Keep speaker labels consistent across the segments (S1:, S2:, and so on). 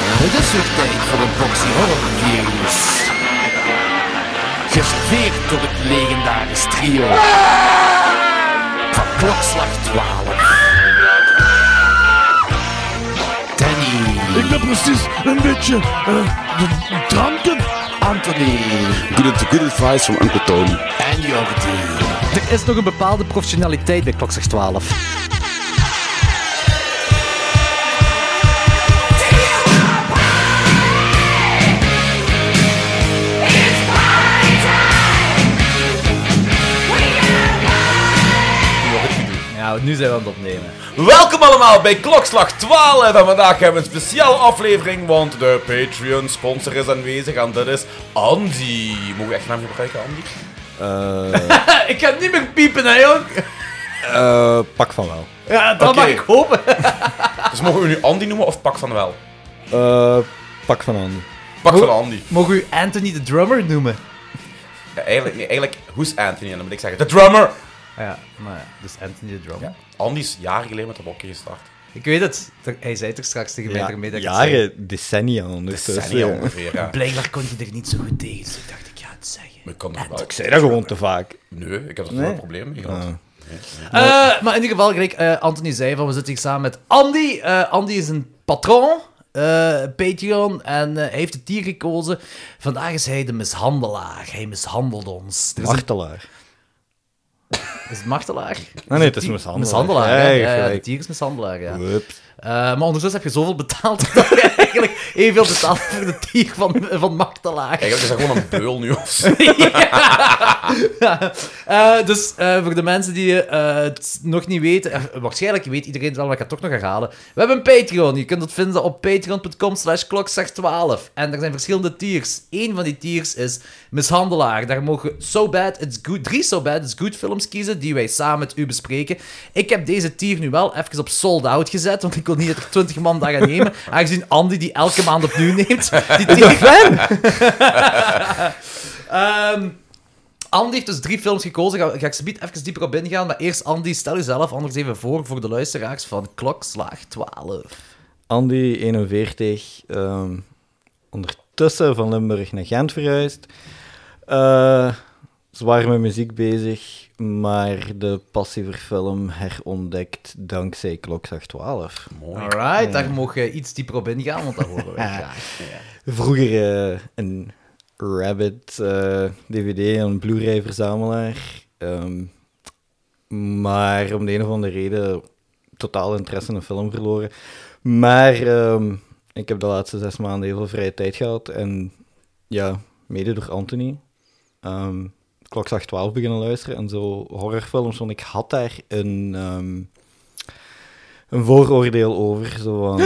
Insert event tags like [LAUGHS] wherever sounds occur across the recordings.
S1: weer tijd voor de boxy horror games. Geserveerd door het legendarisch trio van klokslag 12. Danny,
S2: Ik ben precies een beetje eh, de- dranken.
S1: Anthony
S3: Good, good advice van Uncle Tony.
S1: en Jordi.
S4: Er is nog een bepaalde professionaliteit bij klokslag 12.
S5: Ja, nu zijn we aan het opnemen.
S6: Welkom allemaal bij Klokslag 12 en vandaag hebben we een speciale aflevering, want de Patreon sponsor is aanwezig en dat is Andy. Mogen we echt naam gebruiken,
S3: [LAUGHS]
S6: Andy?
S5: [LAUGHS] Ik ga niet meer piepen, hè, jong. Eh,
S3: pak van wel.
S5: Ja, dat
S6: Oké.
S5: mag ik hopen.
S6: Dus mogen we nu Andy noemen of Pak van wel?
S3: Eh, pak van aan.
S6: Pak van Andy.
S5: Mogen u Anthony de drummer noemen?
S6: Ja, eigenlijk, nee, eigenlijk, hoe is Anthony? En dan moet ik zeggen, de drummer!
S5: Ja, nou ja, dus Anthony de drummer.
S6: Ja, Andy is jaren geleden met de blokken gestart.
S5: Ik weet het. Ter- Hij zei toch straks tegen mij,
S3: Ja,
S5: ja, mee dat ik het zei.
S3: jaren, decennia ondertussen.
S6: Decennia
S3: jongen.
S6: ongeveer,
S3: [LAUGHS]
S6: ja.
S5: Blijkbaar kon je er niet zo goed tegen, dus ik dacht, ik ga het zeggen.
S6: Maar ik kan nog wel...
S3: Ik zei Ah, dat Ah. gewoon te vaak.
S6: Nee, ik heb er geen probleem mee gehad.
S5: Eh, maar in ieder geval, gelijk eh, Anthony zei, van, we zitten hier samen met Andy. Eh, Andy is een patron, eh, Patreon, en eh, hij heeft het dier gekozen. Vandaag is hij de mishandelaar. Hij mishandelt ons. Er is, een-
S3: Martelaar.
S5: is het martelaar?
S3: Ah, nee, het is mishandelaar.
S5: Mishandelaar,
S3: Ja,
S5: hè?
S3: je
S5: ja, ja,
S3: gelijk.
S5: het dier is mishandelaar, ja.
S3: Wups.
S5: Eh, maar ondertussen heb je zoveel betaald [LAUGHS] dat je eigenlijk evenveel betaalt voor het dier van, van martelaar.
S6: Eigenlijk is dat gewoon een beul nu of
S3: [LAUGHS]
S6: zo.
S5: [LAUGHS] Eh, dus eh, voor de mensen die eh, het nog niet weten, eh, waarschijnlijk weet iedereen het wel, maar ik ga het toch nog herhalen. We hebben een Patreon. Je kunt het vinden op patreon.com slash klokslag12. En er zijn verschillende tiers. Eén van die tiers is Mishandelaar. Daar mogen So Bad It's Good, drie So Bad It's Good films kiezen die wij samen met u bespreken. Ik heb deze tier nu wel even op sold out gezet, want ik kon niet dat er 20 man daar gaan nemen. Aangezien Andy die elke maand opnieuw neemt. Die tier... Ehm, Andy heeft dus drie films gekozen. Ga, ga ik ze even dieper op ingaan. Maar eerst, Andy, stel jezelf anders even voor voor de luisteraars van Klokslaag 12.
S3: Andy, 41, ehm, ondertussen van Limburg naar Gent verhuisd. Eh, zwaar met muziek bezig, maar de passie voor film herontdekt dankzij Klokslag 12.
S6: Mooi.
S5: Alright, daar mogen je iets dieper op ingaan, want dat
S6: [LAUGHS]
S5: horen wij graag.
S3: Vroeger eh, een Rabbit eh, DVD en Blu-ray verzamelaar. ehm, maar om de een of andere reden totaal interesse in de film verloren. Maar ehm, ik heb de laatste zes maanden heel veel vrije tijd gehad. En ja, mede door Anthony. ehm klokslag 12 beginnen luisteren en zo horrorfilms. Want ik had daar een, ehm, een vooroordeel over. Zo van,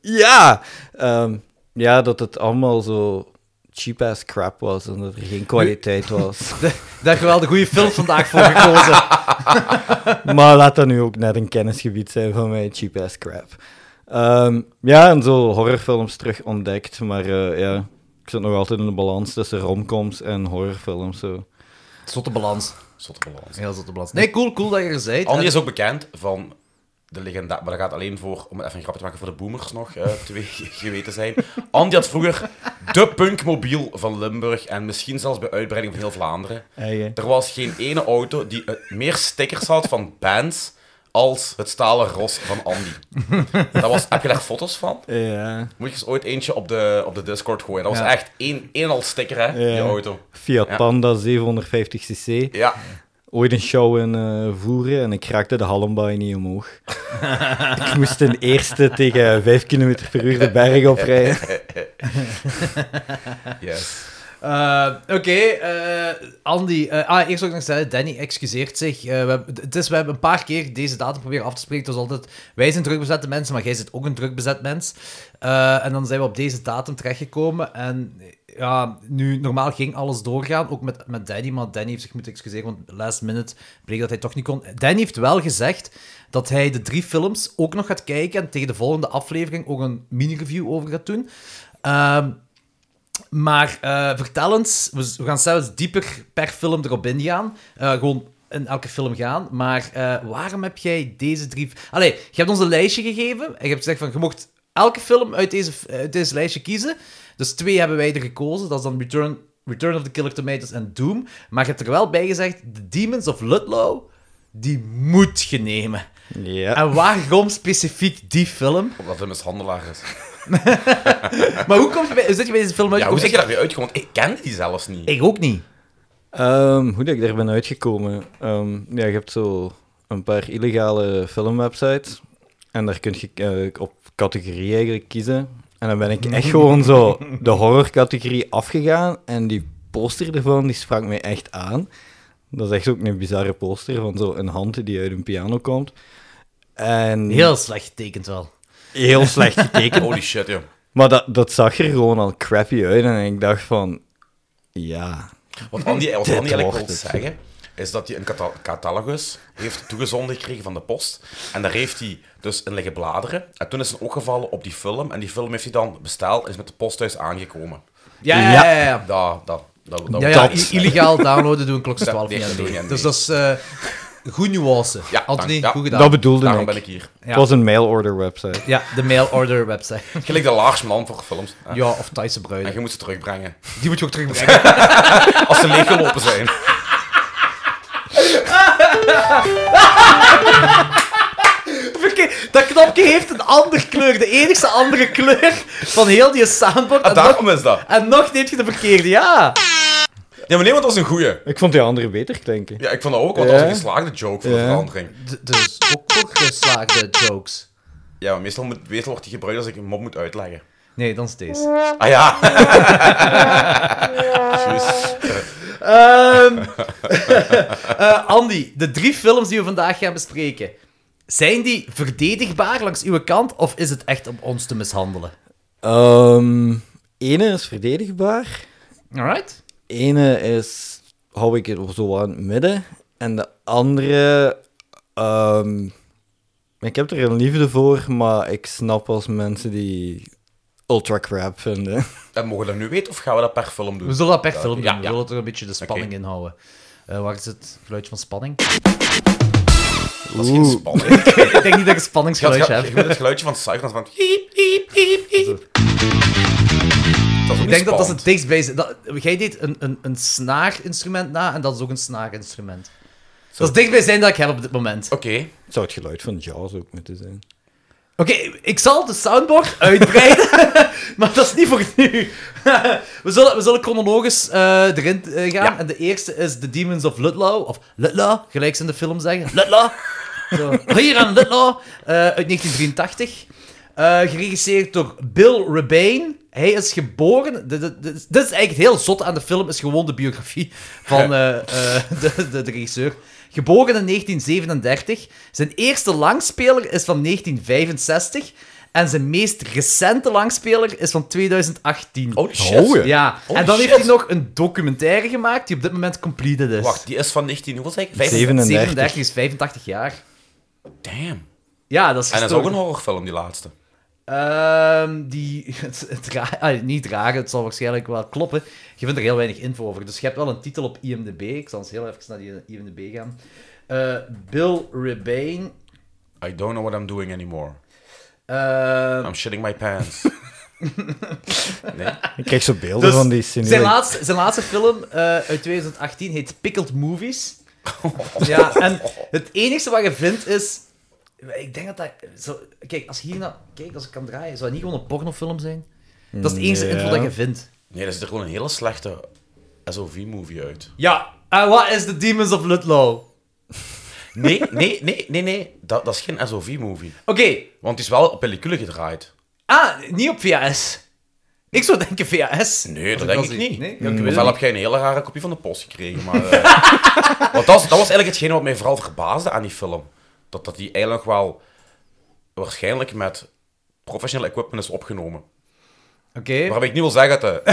S3: ja! Ehm, ja, dat het allemaal zo cheap-ass crap was en dat er geen kwaliteit [LAUGHS] was.
S5: Daar heb je wel de goede film vandaag voor
S6: [LAUGHS]
S5: gekozen.
S3: maar laat dat nu ook net een kennisgebied zijn van mij, cheap-ass crap. Ehm, ja, en zo horrorfilms terug ontdekt, maar eh, ja, ik zit nog altijd in de balans tussen romcoms en horrorfilms. Zo.
S5: Zotte balans.
S6: Zotte balans.
S5: Heel zotte balans. Nee, cool, cool dat je er bent.
S6: Andy is ook bekend van de legenda, maar dat gaat alleen voor, om even een grapje te maken voor de boomers nog, eh, [LAUGHS] twee geweten zijn. Andy had vroeger de punkmobiel van Limburg en misschien zelfs bij uitbreiding van heel Vlaanderen.
S3: Eigen.
S6: Er was geen ene auto die eh, meer stickers had van bands als het stalen ros van Andy. Dat was, heb je daar foto's van?
S3: Ja,
S6: Moet je eens ooit eentje op de, op de Discord gooien. Dat was
S5: Ja.
S6: echt één, één al sticker, hè, die
S3: Ja.
S6: auto.
S3: Fiat
S6: Ja.
S3: Panda 750cc.
S6: Ja,
S3: Ooit een show in eh, Voeren en ik raakte de Hallenbaai niet omhoog. ik moest ten eerste tegen 5 km per uur de berg oprijden.
S6: yes.
S5: Eh, Oké, eh, Andy. eh, ah, eerst ook nog zeggen, Danny excuseert zich. Eh, we, hebben- het is, we hebben een paar keer deze datum proberen af te spreken. Het was altijd, wij zijn drukbezette mensen, maar jij zit ook een drukbezet mens. Eh, en dan zijn we op deze datum terechtgekomen. En eh, ja, nu, normaal ging alles doorgaan, ook met, met Danny. Maar Danny heeft zich moeten excuseren, want last minute bleek dat hij toch niet kon. Danny heeft wel gezegd dat hij de drie films ook nog gaat kijken. En tegen de volgende aflevering ook een mini-review over gaat doen. Ehm, maar eh, vertel eens, we, we gaan zelfs dieper per film erop ingaan. Eh, gewoon in elke film gaan. Maar eh, waarom heb jij deze drie... Allee, je hebt ons een lijstje gegeven. En je hebt gezegd van, je mocht elke film uit deze, uit deze lijstje kiezen. Dus twee hebben wij er gekozen. Dat is dan Return, Return of the Killer Tomatoes en Doom. Maar je hebt er wel bij gezegd, The Demons of Ludlow, die moet je nemen.
S3: Ja.
S5: En waarom specifiek die film?
S6: Omdat hij mishandelaar is.
S5: Maar hoe komt je bij, hoe zit je bij deze film uit?
S6: Ja, hoe zeg je daar weer uit? Want ik ken die zelfs niet.
S5: Ik ook niet.
S3: Ehm, hoe dat ik daar ben uitgekomen? Ehm, ja, je hebt zo een paar illegale filmwebsites. En daar kun je eh, op categorie eigenlijk kiezen. En dan ben ik echt gewoon zo de horrorcategorie afgegaan. En die poster ervan, die sprak mij echt aan. Dat is echt ook een bizarre poster van zo'n hand die uit een piano komt. En
S5: Heel slecht getekend wel.
S3: heel slecht getekend.
S6: Holy shit, joh.
S3: [LAUGHS] Maar dat, dat zag er gewoon al crappy uit. En ik dacht van... Ja...
S6: Wat Andy, wat Andy
S3: Dit
S6: eigenlijk wil
S3: wordt het.
S6: zeggen, is dat hij een cata- catalogus heeft toegezonden gekregen van de post. En daar heeft hij dus in liggen bladeren. En toen is het opgevallen op die film. En die film heeft hij dan besteld en is met de post thuis aangekomen.
S5: Ja, ja, ja. ja.
S6: Dat, dat, dat, dat,
S5: Ja, ja,
S6: dat-
S5: i- illegaal downloaden doen klok is
S6: Dat-
S5: 12
S6: nee,
S5: niet aan
S6: dat doe
S5: mee.
S6: je niet
S5: Dus
S6: aan
S5: dat is eh goed nuance.
S6: Ja,
S5: Anthony,
S6: dank- ja.
S5: goed
S3: Dat
S5: gedaan.
S3: bedoelde
S6: Daarom
S3: ik.
S6: ben ik hier.
S5: Ja.
S3: Het was een mail-order website.
S5: Ja, de mail order website. [LAUGHS]
S6: Gelijk de laars met voor films. Ja.
S5: Ja, of Thaise
S6: En
S5: bruiden.
S6: je moet ze terugbrengen.
S5: Die moet je [LAUGHS] ook terugbrengen.
S6: Als ze leeggelopen
S5: [LAUGHS]
S6: zijn.
S5: Verke- dat knopje heeft een andere kleur. De enigste andere kleur van heel die soundboard.
S6: Ah,
S5: En nog,
S6: daarom is dat.
S5: en nog neemt je de verkeerde, ja.
S6: Ja, maar nee, want dat was een goeie.
S3: Ik vond die andere beter klinken.
S6: Ja, ik vond dat ook, want dat was een
S3: Ja.
S6: geslaagde joke voor de
S3: Ja.
S6: verandering.
S5: D- dus ook voor geslaagde jokes.
S6: Ja, maar meestal, moet, meestal wordt die gebruikt als ik een mop moet uitleggen.
S5: Nee, dan is deze.
S6: Ah ja. [LAUGHS] Juist.
S5: Ehm [LAUGHS] eh, Andy, de drie films die we vandaag gaan bespreken. Zijn die verdedigbaar langs uw kant of is het echt om ons te mishandelen?
S3: Ehm ene is verdedigbaar.
S5: Alright.
S3: Ene is, hou ik het zo aan het midden. En de andere... ehm, ik heb er een liefde voor, maar ik snap als mensen die ultra crap vinden. [LAUGHS]
S6: En mogen we dat nu weten of gaan we dat per film doen?
S5: We zullen dat per film doen.
S6: ja,
S5: We
S6: ja.
S5: zullen er een beetje de spanning in houden. Eh, waar is het geluid van spanning? [LAUGHS]
S6: Dat is geen spanning.
S5: ik denk niet dat ik een
S6: Gaat,
S5: spanningsgeluidje
S6: gaat,
S5: heb.
S6: je moet het geluidje van Cyclones van... Hiep, hiep, hiep, hiep. Dat is ook
S5: Ik
S6: niet
S5: denk dat dat is het
S6: spannend.
S5: dichtstbij dat Jij deed een, een, een snaarinstrument na en dat is ook een snaarinstrument. Dat is dichtbij zijn dat ik heb op dit moment.
S6: Oké.
S3: Het zou het geluid van Jaws ook moeten zijn.
S5: Oké, ik zal de soundboard [LAUGHS] uitbreiden, maar dat is niet voor nu. [LAUGHS] we, zullen, we zullen chronologisch eh, erin eh, gaan.
S6: Ja.
S5: En de eerste is The Demons of Ludlow, of Ludlow, gelijk ze in de film zeggen. Ludlow! Zo, Hier aan Ludlow, eh, uit 1983. Eh, geregisseerd door Bill Rebane. Hij is geboren... Dit, dit- dit is- dit is eigenlijk heel zot aan de film, is gewoon de biografie van eh, eh, de, de, de regisseur. Geboren in 1937. Zijn eerste langspeler is van 1965. En zijn meest recente langspeler is van 2018.
S6: Holy shit.
S3: Oh, ja.
S5: Ja,
S6: Holy
S5: en dan heeft
S6: shit.
S5: hij nog een documentaire gemaakt die op dit moment completed is.
S6: Wacht, die is van 19... Hoeveel zei ik?
S3: 7.
S6: 35.
S5: 37 is 85 jaar.
S6: Damn.
S5: Ja, dat is
S6: En dat is ook
S5: gestorven.
S6: een horrorfilm, die laatste.
S5: Ehm, die, [LAUGHS] het, het ra- ah, niet raar, het zal waarschijnlijk wel kloppen. Je vindt er heel weinig info over. Dus je hebt wel een titel op IMDb. Ik zal eens heel even naar die IMDb gaan. Eh, Bill Rebane.
S6: I don't know what I'm doing anymore.
S5: eh,
S6: I'm shitting my
S5: [LAUGHS]
S6: pants. nee?
S3: Ik krijg zo beelden
S5: Dus
S3: van die
S5: Zijn
S3: cinema.
S5: laatste, zijn laatste film eh, uit 2018 heet Pickled
S3: [LAUGHS]
S5: Movies. ja, en het enige wat je vindt is... Ik denk dat dat... Zo, kijk, als hierna, kijk, als ik kan draaien, zou het niet gewoon een pornofilm zijn? Dat is het enige
S3: Ja.
S5: info dat je vindt.
S6: Nee, dat is er gewoon een hele slechte SOV-movie uit.
S5: Ja, en wat is The Demons of Ludlow? Oké,
S6: Nee, nee, nee, nee, nee. Dat, dat is geen SOV-movie. Want die is wel op pellicule gedraaid.
S5: ah, niet op VHS. Ik zou denken VHS.
S6: Nee,
S5: Als
S6: dat denk
S5: zie.
S6: ik niet. Mm.
S5: Nee? Ja, ik weet
S6: Ofwel
S5: het
S6: heb jij een hele rare kopie van de post gekregen. Maar,
S5: [LAUGHS]
S6: eh, want dat, was- dat was eigenlijk hetgene wat mij vooral verbaasde aan die film. Dat, dat die eigenlijk wel waarschijnlijk met professioneel equipment is opgenomen.
S5: niet. Oké.
S6: Waarbij ik niet wil zeggen
S5: [LAUGHS]
S6: dat de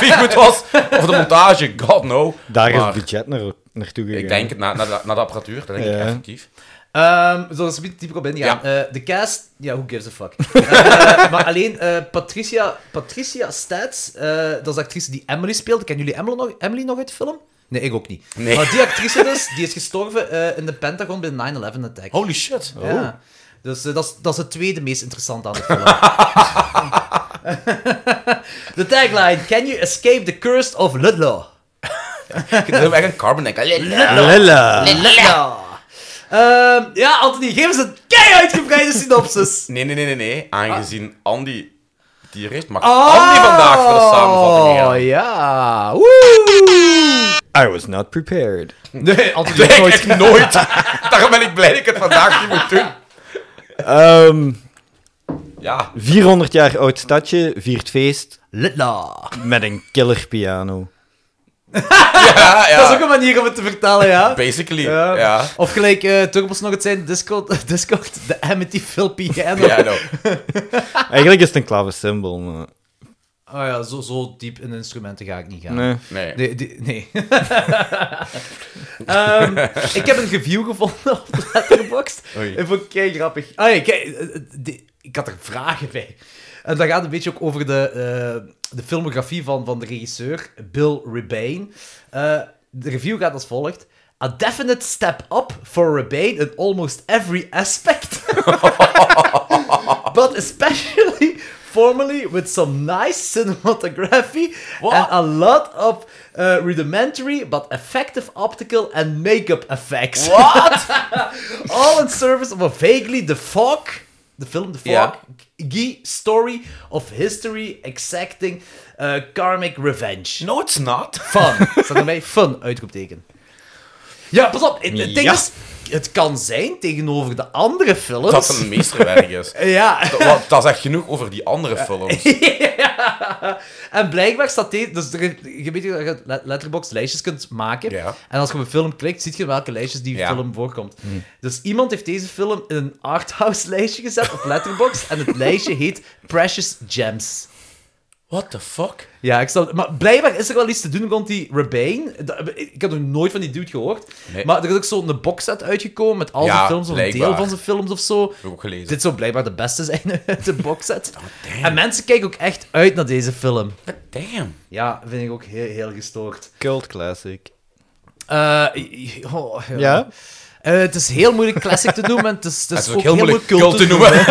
S6: cinematografie goed was of de montage, god no.
S3: Daar is
S6: Maar
S3: het budget naar, naartoe gegaan.
S6: Ik denk het, na, na, de- na de apparatuur, dat denk ik
S3: Ja.
S6: effectief.
S5: Ehm, we zullen er een dieper op ingaan.
S6: Ja.
S5: Eh, de cast, ja, who gives a fuck.
S6: [LAUGHS]
S5: Eh, maar alleen eh, Patricia, Patricia Stats, eh, dat is de actrice die Emily speelde. Kennen jullie Emily nog, Emily nog uit de film? Nee, ik ook niet.
S6: Nee.
S5: Maar die actrice dus, die is gestorven eh, in de Pentagon bij de 9-11-attack.
S6: Holy shit.
S5: Ja. Dus eh, dat, is, dat is het tweede meest interessante aan de film. de tagline: Can you escape the curse of Ludlow?
S6: Ik heb echt een carbon denk.
S3: Lella.
S5: Ludlow. Ehm, ja, Anthony, geef eens een kei uitgebreide synopsis.
S6: Nee, nee, nee, nee, nee. Aangezien Andy die er is, mag
S5: Oh,
S6: Andy vandaag voor de samenvatting
S5: Oh
S6: gaan.
S5: ja. Woe!
S3: I was not prepared.
S5: Nee, Anthony
S6: Nee,
S5: heeft nooit
S6: echt nooit. [LAUGHS] Daarom ben ik blij dat ik het vandaag niet moet doen.
S3: Ehm,
S6: Ja,
S3: 400 jaar oud stadje viert feest
S5: Ludlow.
S3: met een killer piano.
S6: ja, ja.
S5: Dat is ook een manier om het te vertalen, ja.
S6: Basically,
S5: Ja.
S6: [LAUGHS] ja. Ja,
S5: Of gelijk eh Turbos nog het zijn, Discord, [LAUGHS] Discord de Amityville Piano.
S6: no.
S3: Eigenlijk is het een klavensymbool, maar...
S5: Oh ja, zo, zo diep in de instrumenten ga ik niet gaan.
S3: Nee.
S6: Nee.
S5: Nee. die- nee. [LAUGHS] Ehm, ik heb een review gevonden op Letterboxd.
S6: Oei.
S5: Ik vond het kei grappig. Ah, ja, kijk, eh, eh, die- ik had er vragen bij. En dat gaat een beetje ook over de, eh, de filmografie van, van de regisseur, Bill Rebane. Eh, de review gaat als volgt. A definite step up for Rebane in almost every aspect. but especially [LAUGHS] formally with some nice cinematography and a lot of uh, rudimentary but effective optical and makeup effects. What? [LAUGHS] All in service of a vaguely the fog, the film The Fog, Guy story of history exacting uh, karmic revenge.
S6: No, it's not.
S5: Fun. Staat erbij fun, uitroepteken. Ja, pas op. Het, het ding
S3: Ja.
S5: is, het kan zijn tegenover de andere films.
S6: Dat het een meesterwerk is.
S5: [LAUGHS] Ja.
S6: Dat- want Dat is echt genoeg over die andere films.
S5: [LAUGHS] Ja. En blijkbaar staat deze... Dus er, je weet dat je letterbox lijstjes kunt maken.
S6: Ja.
S5: En als je op een film klikt, zie je welke lijstjes die
S6: Ja. Hm.
S5: film voorkomt. Dus iemand heeft deze film in een arthouse lijstje gezet op letterbox. en het lijstje heet Precious Gems.
S6: What the fuck?
S5: Ja, ik snap het. Maar blijkbaar is er wel iets te doen rond die Rebane. Dat- Ik had nog nooit van die dude gehoord.
S6: Nee.
S5: Maar er is ook zo'n boxset uitgekomen met al
S6: Ja,
S5: zijn films of een deel
S6: blijkbaar.
S5: van zijn films of zo.
S6: Heb ik ook gelezen. Oh,
S5: Dit zou blijkbaar de beste zijn [LAUGHS] uit de boxset. en mensen kijken ook echt uit naar deze film.
S6: Damn.
S5: Ja, vind ik ook heel, heel gestoord.
S3: Cult classic.
S5: Eh, oh, ja.
S3: Ja?
S5: Eh, het is heel moeilijk classic te noemen. en Het is, het is
S6: Het is ook heel moeilijk cult te
S5: doen.
S6: noemen.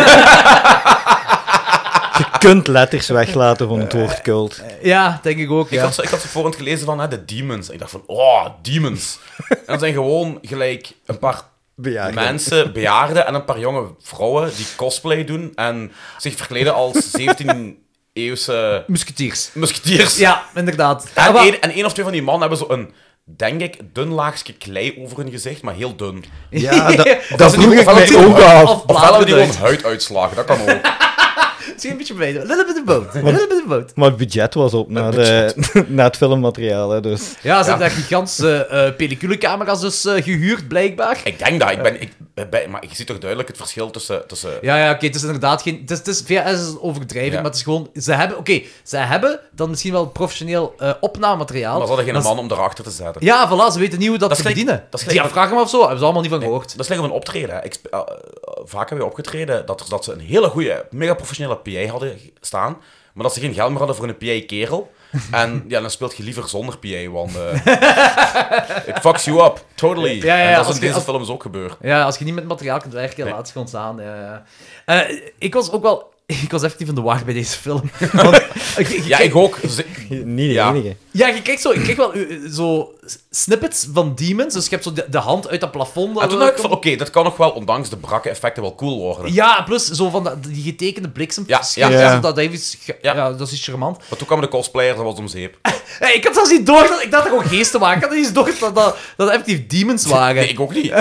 S3: Je kunt letters weglaten van het woord cult.
S5: Ja, denk ik ook.
S6: [LAUGHS] Ik
S5: ja.
S6: had, ze- ik had ze voorhand gelezen van hè, de demons. En ik dacht van, oh, demons. En dat zijn gewoon gelijk een paar
S3: Bejaarden.
S6: mensen, bejaarden en een paar jonge vrouwen die cosplay doen en zich verkleden
S5: [LAUGHS]
S6: als 17e-eeuwse
S5: Musketeers.
S6: musketiers.
S5: Ja, inderdaad.
S6: En,
S5: Ah, maar-
S6: één, en één of twee van die mannen hebben zo een, denk ik, dun laagje klei over hun gezicht, maar heel dun.
S3: Ja,
S5: [LAUGHS]
S3: dat, dat,
S6: dat is
S3: vroeg
S6: niet-
S3: ik
S6: of dat
S3: mij
S6: is
S3: ook
S6: niet-
S3: af.
S5: Of
S6: Of laten we die
S5: blauwduit.
S6: gewoon huid uitslagen, dat kan ook.
S5: [LAUGHS] Zie je een beetje beneden. Little bit of boat. Little bit of boat.
S3: Maar het budget was op na, de, [LAUGHS] na het filmmateriaal, hè, dus...
S5: Ja, ze hebben daar gigantische eh pelliculecamera's dus eh, gehuurd, blijkbaar.
S6: Ik denk dat, ik ben, ik, ben- maar je ziet toch duidelijk het verschil tussen... tussen
S5: Ja, ja, oké, het is inderdaad geen... Het is, het is, VHS is een overdrijving,
S6: Ja.
S5: maar het is gewoon... Ze hebben, oké, ze hebben dan misschien wel professioneel eh opnamemateriaal.
S6: maar ze hadden geen
S5: maar ze-
S6: man om erachter te zetten.
S5: Ja, voilà, ze weten niet hoe dat,
S6: Dat
S5: ze
S6: is gelijk-
S5: bedienen.
S6: dat is
S5: Die
S6: gelijk-
S5: afvragen me of zo, hebben ze allemaal niet van gehoord.
S6: Dat is slecht op een optreden. hè. Ik, sp- eh, eh, vaak hebben we opgetreden dat, er- dat ze een hele goede, mega professionele PA hadden g- staan, maar dat ze geen geld meer hadden voor een
S5: [LAUGHS]
S6: PA-kerel. En ja, dan speelt je liever zonder PA, want eh, [LAUGHS] it fucks you up, totally.
S5: Ja, ja,
S6: en dat
S5: als
S6: is in
S5: je-
S6: deze
S5: als-
S6: films ook gebeurd.
S5: Ja, als je niet met materiaal kunt werken, laat ze gewoon staan. Ja, ja. Eh, ik was ook wel... [LAUGHS] Ik was effectief in de war bij deze
S6: [LAUGHS]
S5: film. Want, ik- ik-
S6: Ja, ik ook. Dus ik-
S3: Niet de
S6: Ja.
S3: enige.
S5: Ja, je krijgt, zo, je krijgt wel eh, zo snippets van demons. Dus je hebt zo de, de hand uit dat plafond. dat
S6: en Ah, toen
S5: er
S6: dacht ik
S5: komt.
S6: van, oké, dat kan nog wel, ondanks de brakke effecten, wel cool worden.
S5: Ja, plus zo van dat- die getekende bliksem.
S6: Ja,
S5: Ja,
S6: ja,
S3: ja.
S5: Dat, heeft iets ge- ja.
S6: Ja.
S5: dat is iets charmant.
S6: Maar toen kwamen de cosplayers, dat was om zeep.
S5: Hey, ik had zelfs niet door dat ik dacht dat gewoon geesten waren. Ik had niet eens door dat dat, dat effectief demons waren.
S6: [LAUGHS] Nee, ik ook niet. Ze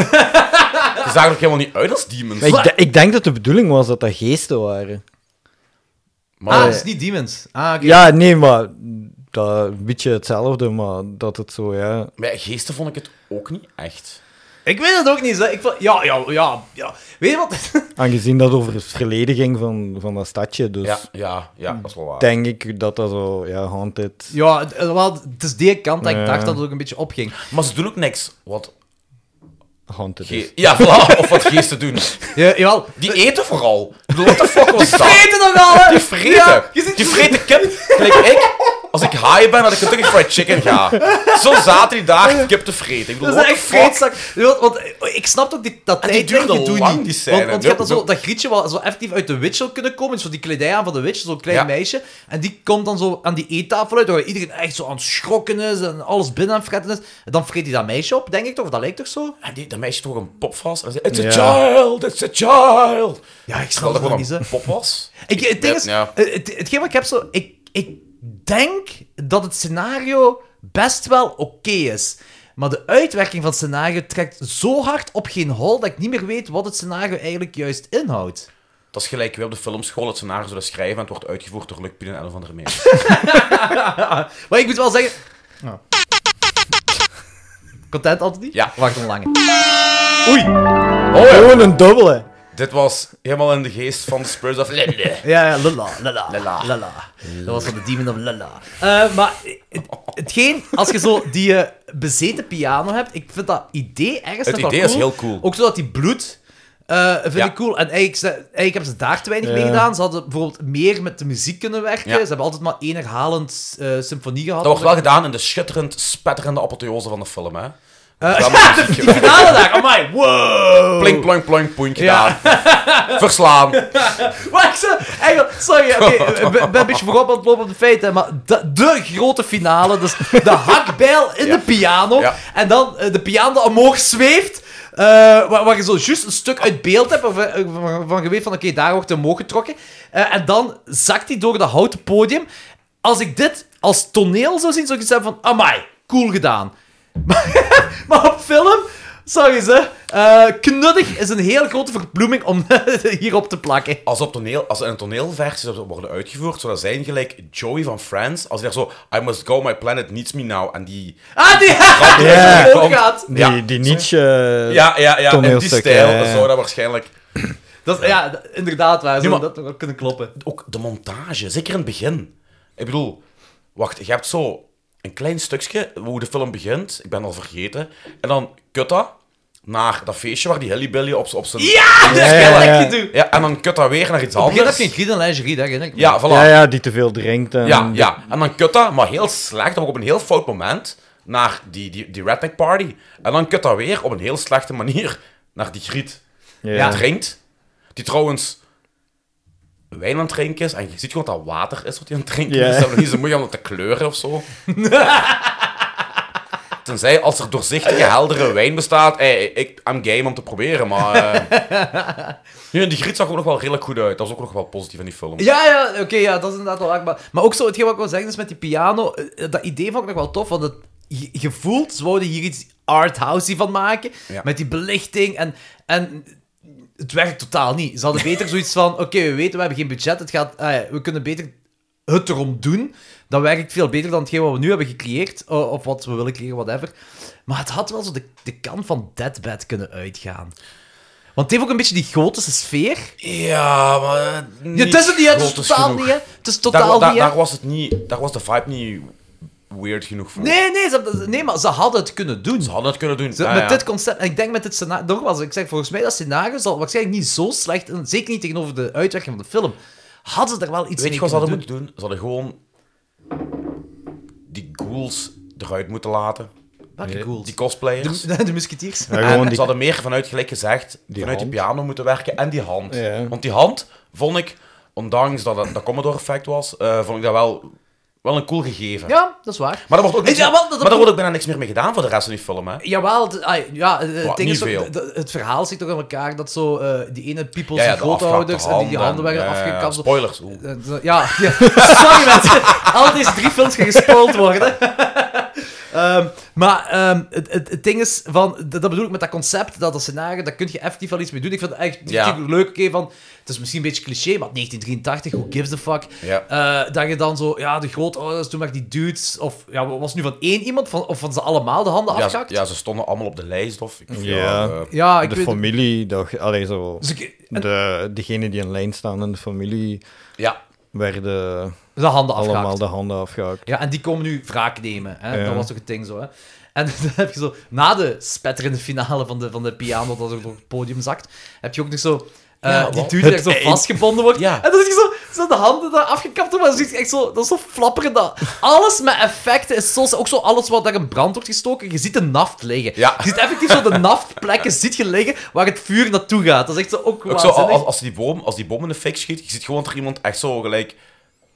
S6: zagen er ook helemaal niet uit als demons.
S3: Maar ik, de- ik denk dat de bedoeling was dat dat geesten waren.
S6: Maar,
S5: ah, het is niet demons. Ah, oké.
S3: Ja, nee, maar... Dat, een beetje hetzelfde, maar dat het zo, ja...
S6: maar ja, geesten vond ik het ook niet echt.
S5: Ik weet het ook niet. Zeg. Ik vond, ja, ja, ja, ja. Weet je wat? [LAUGHS]
S3: Aangezien dat over het verleden ging van, van dat stadje, dus...
S6: Ja, ja, ja, dat is wel waar.
S3: Denk ik dat dat zo, ja, haunted...
S5: ja, het, eh, wel, het is die kant dat ik
S3: Ja.
S5: dacht dat het ook een beetje opging.
S6: Maar ze doen ook niks wat
S3: Haunted is.
S5: Dus-
S6: ge- ja, voilà, of wat geesten doen.
S5: Ja,
S6: [LAUGHS]
S5: jawel.
S6: Die eten vooral. Ik bedoel, What the fuck was dat?
S5: Vreten nog al, hè?
S6: Die vreten.
S5: Ja, je ziet-
S6: die vreten kip, gelijk ik. Als ik high ben, dat ik Kentucky Fried Chicken ga. Zo zaten die daar kip te vreten. Ik bedoel,
S5: Dat is
S6: what the
S5: echt
S6: fuck?
S5: vreedzak. Want, want eh, ik snap ook die, dat
S6: En die
S5: tijdperk,
S6: duurde
S5: doe
S6: lang,
S5: niet.
S6: die scène.
S5: Want, want je hebt dan
S6: Nope,
S5: zo, dat grietje wel zo effectief uit de witch zou kunnen komen. Dus zo die kledij aan van de witch, zo'n klein
S6: Ja.
S5: meisje. En die komt dan zo aan die eettafel uit, waar iedereen echt zo aan het schrokken is en alles binnen aan het fretten is. En dan vreet hij dat meisje op, denk ik toch? Dat lijkt toch zo?
S6: En Ah, die, dat meisje toch een pop vast. En zei, it's a
S3: Ja.
S6: child, it's a child.
S5: Ja, ik snap
S6: Terwijl dat
S5: dat
S6: gewoon
S5: niet, hè.
S6: een pop was.
S5: Ik, het ding is,
S6: Ja.
S5: eh, het, hetgeen wat ik heb zo... Ik, ik denk dat het scenario best wel oké is. Maar de uitwerking van het scenario trekt zo hard op geen hol dat ik niet meer weet wat het scenario eigenlijk juist inhoudt.
S6: Dat is gelijk weer op de filmschool het scenario zullen schrijven en het wordt uitgevoerd door Luc Pien en een of andere mensen.
S5: Maar ik moet wel zeggen... Content, Anthony?
S6: Ja.
S5: Wacht een lange.
S3: Gewoon een dubbele.
S6: [LAUGHS] Dit was helemaal in de geest van Spurs of Lille.
S5: Ja, ja, lala, lala, lala,
S6: Lala.
S5: Dat was van de Demon of Lala. Eh, maar het, hetgeen, als je zo die eh, bezeten piano hebt, ik vind dat idee ergens
S6: Het
S5: nog wel
S6: idee is heel cool.
S5: Ook zodat die bloed, eh, vind
S6: Ja.
S5: ik cool. En eigenlijk, ze- eigenlijk hebben ze daar te weinig mee
S3: Ja.
S5: gedaan. Ze hadden bijvoorbeeld meer met de muziek kunnen werken.
S6: Ja.
S5: Ze hebben altijd maar één herhalend eh, symfonie gehad.
S6: Dat wordt wel gedaan in de schitterend, spetterende apotheose van de film, hè.
S5: Eh,
S6: Wel
S5: [LAUGHS]
S6: met
S5: ja, de,
S6: muziekje
S5: die finale daar, amai, wow!
S6: Plink, plonk, plonk, poentje
S5: Ja.
S6: daar.
S5: [LAUGHS]
S6: Verslaan.
S5: Wacht, ze, eigenlijk, sorry, eh, oké, ik ben- ben een beetje voorop aan het lopen op de feiten, maar de, de grote finale, dus de
S6: [LAUGHS]
S5: hakbijl in
S6: Ja.
S5: de piano,
S6: Ja.
S5: en dan eh, de piano dat omhoog zweeft, eh, waar, waar je zo juist een stuk uit beeld hebt, of, eh, van, van je weet van, oké, daar wordt hij omhoog getrokken, Eh, en dan zakt hij door dat houten podium. Als ik dit als toneel zou zien, zou ik zeggen van, amai, cool gedaan. [LAUGHS] Maar op film, sorry ze, eh, knuddig is een heel grote verbloeming om [LAUGHS] hierop te plakken.
S6: Als, op toneel, als er een toneelversie zou worden uitgevoerd, zou dat zijn gelijk Joey van Friends. Als hij daar zo, I must go, my planet needs me now. En die...
S5: Ah, die [LAUGHS] gaat
S3: Ja.
S5: er ook
S6: Komt-
S5: gaat.
S3: Die,
S6: Ja.
S3: die Nietzsche... eh,
S6: Ja, ja, ja. In die
S3: Toneelstuk,
S6: stijl
S3: ja, ja.
S6: zou dat waarschijnlijk...
S5: Dat, is- ja, d- inderdaad waar. Zou
S6: Nu, maar-
S5: dat toch ook kunnen kloppen?
S6: Ook de montage, zeker in het begin. Ik bedoel, wacht, je hebt zo een klein stukje hoe de film begint. Ik ben al vergeten. En dan kut dat naar dat feestje waar die Hillybilly op, z'n- op zijn...
S5: Ja, dat
S3: ja,
S5: is
S3: ja.
S5: gelijk gedoe.
S6: Ja, en dan kut dat weer naar iets
S5: Op het begin heb
S6: anders.
S5: je een griet en lingerie, daar herinner ik me.
S6: Ja, voilà.
S3: Ja, ja, die te veel drinkt. En
S6: Ja, ja. En dan kut dat, maar heel slecht, maar op een heel fout moment, naar die, die, die redneck party. En dan kut dat weer op een heel slechte manier naar die griet.
S3: Ja.
S6: Die drinkt, die trouwens wijn aan het drinken is. En je ziet gewoon dat water is wat hij aan het drinken
S3: Ja.
S6: is. Dat is niet zo moeilijk om dat te kleuren of [LAUGHS] zo. Tenzij als er doorzichtige, heldere wijn bestaat, ey, ik, I'm game om te proberen, maar... [LAUGHS] eh, Nu, en die griet zag ook nog wel redelijk goed uit. Dat was ook nog wel positief in die film.
S5: Ja, ja, oké, ja, dat is inderdaad wel waar. Maar, maar ook zo, hetgeen wat ik wil zeggen is met die piano, eh, dat idee vond ik nog wel tof, want het, je, je voelt, ze wouden hier iets arthousey van maken,
S6: Ja.
S5: met die belichting en... en het werkt totaal niet. Ze hadden beter zoiets van: oké, we weten, we hebben geen budget. Het gaat, ah ja, we kunnen beter het erom doen. Dat werkt veel beter dan hetgeen wat we nu hebben gecreëerd. o- Of wat we willen creëren, whatever. Maar het had wel zo de, de kant van Deadbed kunnen uitgaan. Want het heeft ook een beetje die gotische sfeer.
S6: Ja, maar... eh,
S5: Ja, het is het niet, hè. het is
S6: groot
S5: totaal
S6: genoeg.
S5: niet, hè. Het is
S6: Daar,
S5: totaal
S6: daar-
S5: niet, hè.
S6: daar was het niet... Daar was de vibe niet weird genoeg voor.
S5: Nee, nee, ze, hebben- nee, maar ze hadden het kunnen doen.
S6: Ze hadden het kunnen doen.
S5: Ze-
S6: Ja,
S5: met
S6: ja.
S5: dit concept, en ik denk met dit scenario, nogmaals, ik zeg, volgens mij dat scenario zal waarschijnlijk niet zo slecht, en zeker niet tegenover de uitwerking van de film, hadden ze er wel iets
S6: Weet je
S5: mee
S6: wat ze
S5: kunnen
S6: hadden
S5: doen.
S6: moeten doen? Ze hadden gewoon... Die ghouls eruit moeten laten.
S5: Welke cool.
S6: Die
S5: [LAUGHS]
S6: cosplayers.
S5: De, de musketiers.
S3: Ja,
S6: en
S3: gewoon
S6: ze
S3: die...
S6: hadden meer vanuit, gelijk gezegd, vanuit
S3: hand.
S6: die piano moeten werken en die hand.
S3: Ja.
S6: Want die hand, vond ik, ondanks dat het, dat Commodore-effect was, eh, vond ik dat wel, wel een cool gegeven.
S5: Ja, dat is waar.
S6: Maar daar wordt ook, niks
S5: Ja,
S6: meer-
S5: wel, dat-
S6: maar daar wordt ook bijna niks meer mee gedaan voor de rest van die film, hè.
S5: Jawel, het, ah, ja, het
S6: Wat,
S5: ding
S6: niet
S5: is ook-
S6: veel.
S5: d- d- het verhaal zit toch aan elkaar dat zo eh, die ene people
S6: Ja, ja,
S5: zijn
S6: de afgehakte
S5: grootouders en die, die handen werden
S6: ja, ja, ja.
S5: afgekapseld.
S6: Spoilers. oeh.
S5: Eh, d- [LAUGHS] Ja, ja. sorry mensen. Al deze drie films gaan gespoild worden. [LAUGHS] Ehm, maar ehm, het, het, het ding is, van, d- dat bedoel ik met dat concept, dat, dat scenario, daar kun je effectief wel iets mee doen. Ik vind het echt
S6: Ja.
S5: natuurlijk leuk, oké, van, het is misschien een beetje cliché, maar 1983, who gives a fuck?
S6: Ja.
S5: Eh, dat je dan zo, ja, de grootouders, toen maar die dudes, of ja, was het nu van één iemand, van, of van ze allemaal de handen
S6: Ja, ze,
S5: afgehakt?
S6: ja, ze stonden allemaal op de lijst of... Ik,
S3: Ja.
S6: eh,
S5: Ja, ik
S3: de
S5: weet het.
S3: familie, toch? Allee, zo...
S5: Dus ik-
S3: De, degene die in lijn staan in de familie
S6: ja.
S3: werden
S5: de handen afgehakt.
S3: allemaal de handen afgehakt.
S5: Ja, en die komen nu wraak nemen. Hè?
S3: Ja.
S5: Dat was toch het ding zo, hè? En [LAUGHS] dan heb je zo, na de spetterende finale van de, van de piano dat er door het podium zakt, heb je ook nog zo Eh,
S6: Ja,
S5: die
S6: wat?
S5: dude die echt zo vastgebonden wordt.
S6: Ja.
S5: En dan zie je zo, zo de handen daar afgekapt worden. Maar dan zie je echt zo, dat is zo flapperend. Dat. Alles met effecten is zo... Ook zo alles wat daar in brand wordt gestoken. Je ziet de naft liggen.
S6: Ja.
S5: Je ziet effectief zo de naftplekken ziet je liggen waar het vuur naartoe gaat. Dat is echt zo ook
S6: Ook zo,
S5: waanzinnig.
S6: als, als, die bom, als die bom in de fik schiet, je ziet gewoon dat er iemand echt zo gelijk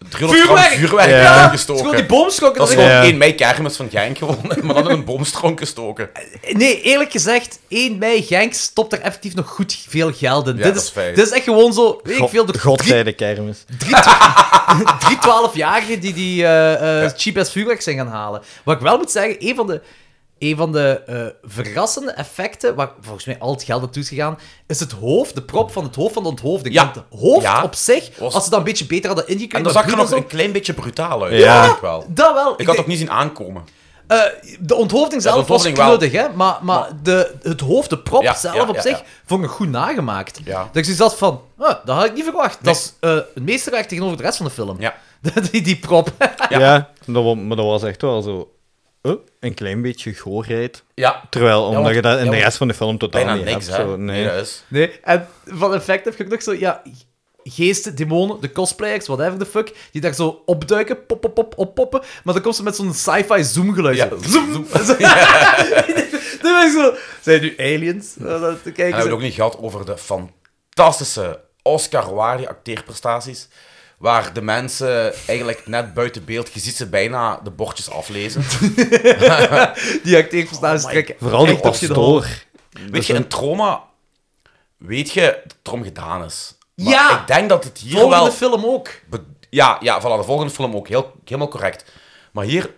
S6: 300
S5: Vuurwerk!
S6: gram vuurwerk
S3: Ja.
S6: in
S5: Ja, het is
S6: gestoken.
S5: gewoon die boomschokken.
S6: dat is
S5: Dat
S6: gewoon
S5: is
S3: Ja.
S6: één mei kermis van Genk gewoon, maar dan in een boomstronk gestoken.
S5: echt- Nee, eerlijk gezegd, 1 mei Genk stopt er effectief nog goed veel geld in.
S6: Ja,
S5: dit,
S6: dat
S5: is,
S6: is feit.
S5: dit is echt gewoon zo... Weet ik veel, de
S3: God
S5: drie-
S3: zij de kermis.
S5: [LAUGHS] drie 12-jarigen die die eh, eh, cheap as vuurwerk zijn gaan halen. Wat ik wel moet zeggen, een van de, een van de eh, verrassende effecten, waar volgens mij al het geld naartoe is gegaan, is het hoofd, de prop van het hoofd van de onthoofding.
S6: Ja.
S5: Want het hoofd
S6: Ja.
S5: op zich,
S6: Was-
S5: als ze dat een beetje beter hadden
S6: En
S5: ingekeken...
S6: dat
S5: met
S6: zag er nog
S5: bloed en
S6: een
S5: zo,
S6: klein beetje brutaal uit,
S3: Ja.
S6: ja. ik wel.
S5: Dat wel.
S6: Ik had
S5: denk-
S6: het ook niet zien aankomen.
S5: eh, de onthoofding zelf
S6: onthoofding
S5: was
S6: wel.
S5: knuddig, hè? maar, maar de, het hoofd, de prop
S6: Ja,
S5: zelf
S6: ja,
S5: op
S6: ja,
S5: zich,
S6: ja.
S5: vond ik goed nagemaakt.
S6: Ja.
S5: Dat ik zoiets had van, ah, dat had ik niet verwacht. Dat is eh een meesterwerk tegenover de rest van de film.
S6: Ja.
S5: [LAUGHS] die, die prop. [LAUGHS]
S3: Ja, dat, wa- maar dat was echt wel zo eh, een klein beetje goorheid.
S6: Ja,
S3: Terwijl, omdat
S6: want-
S3: je dat in
S6: ja,
S3: de
S6: want
S3: rest van de film totaal
S6: bijna
S3: niet
S6: niks,
S3: hebt.
S6: hè.
S3: Zo, nee.
S6: Nee, eh, dat is...
S5: Nee, en van effect heb je ook nog zo, ja, geesten, demonen, de cosplayers, whatever the fuck, die daar zo opduiken, pop, pop, pop, oppoppen, maar dan komt ze met zo'n sci-fi zoomgeluid.
S6: Ja,
S5: zo. Zoom. [LAUGHS] Zo. Dan ben ik zo, zijn nu aliens? Eh, dat- dan
S6: En
S5: kijken
S6: we hebben
S5: ze.
S6: het ook niet gehad over de fantastische Oscar-waardige acteerprestaties. Waar de mensen eigenlijk net buiten beeld, je ziet ze bijna de bordjes aflezen.
S5: Die acteerprestaties
S6: Oh
S5: trekken.
S3: Vooral die
S5: echt op je de
S3: pastoor.
S6: Weet je, een trauma, weet je, dat het erom gedaan is. Maar
S5: Ja!
S6: Ik denk dat het hier
S5: Volgende
S6: wel...
S5: film ook.
S6: be- Ja, ja, voilà, de volgende film ook. Heel, helemaal correct. Maar hier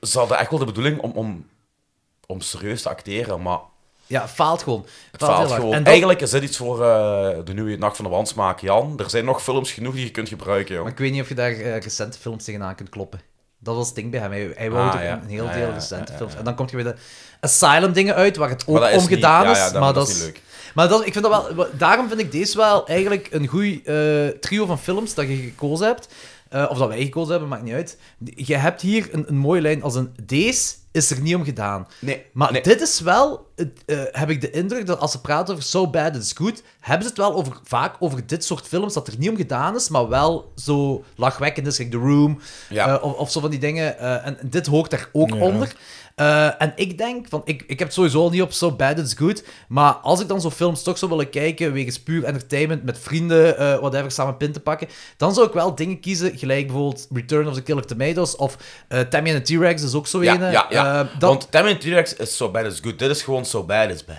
S6: ze hadden echt wel de bedoeling om, om, om serieus te acteren, maar
S5: Ja, faalt gewoon.
S6: het faalt
S5: heel hard.
S6: gewoon.
S5: En dat-
S6: Eigenlijk is dit iets voor eh, de nieuwe Nacht van de Wansmaak, Jan. Er zijn nog films genoeg die je kunt gebruiken, joh.
S5: Maar ik weet niet of je daar eh, recente films tegenaan kunt kloppen. Dat was het ding bij hem. Hij, hij wou
S6: Ah,
S5: er
S6: ja.
S5: een heel
S6: Ja,
S5: deel
S6: ja, ja,
S5: recente
S6: ja,
S5: films.
S6: ja.
S5: En dan komt je bij de Asylum-dingen uit, waar het ook
S6: dat is
S5: om gedaan
S6: niet-
S5: is.
S6: ja, ja, dat-
S5: maar
S6: dat
S5: dat
S6: is
S5: is
S6: niet leuk.
S5: Maar dat, ik vind dat wel, daarom vind ik deze wel eigenlijk een goed trio van films dat je gekozen hebt. Eh, of dat wij gekozen hebben, maakt niet uit. Je hebt hier een, een mooie lijn als een... Deze is er niet om gedaan.
S6: Nee,
S5: Maar
S6: nee.
S5: dit is wel, het, eh, heb ik de indruk dat als ze praten over So Bad It's Good, hebben ze het wel over, vaak over dit soort films dat er niet om gedaan is, maar wel zo lachwekkend is, like The Room
S6: Ja.
S5: eh, of, of zo van die dingen. eh, en dit hoort daar ook onder. Eh, en ik denk, van, ik, ik heb het sowieso al niet op So Bad It's Good, maar als ik dan zo'n films toch zou willen kijken, wegens puur entertainment, met vrienden, eh whatever, samen pin te pakken, dan zou ik wel dingen kiezen, gelijk bijvoorbeeld Return of the Killer Tomatoes of eh, Tammy and the T-Rex is ook zo
S6: Ja,
S5: ene.
S6: ja, ja.
S5: Eh, dat-
S6: Want Tammy T-Rex is so bad is good. Dit is gewoon so bad is bad.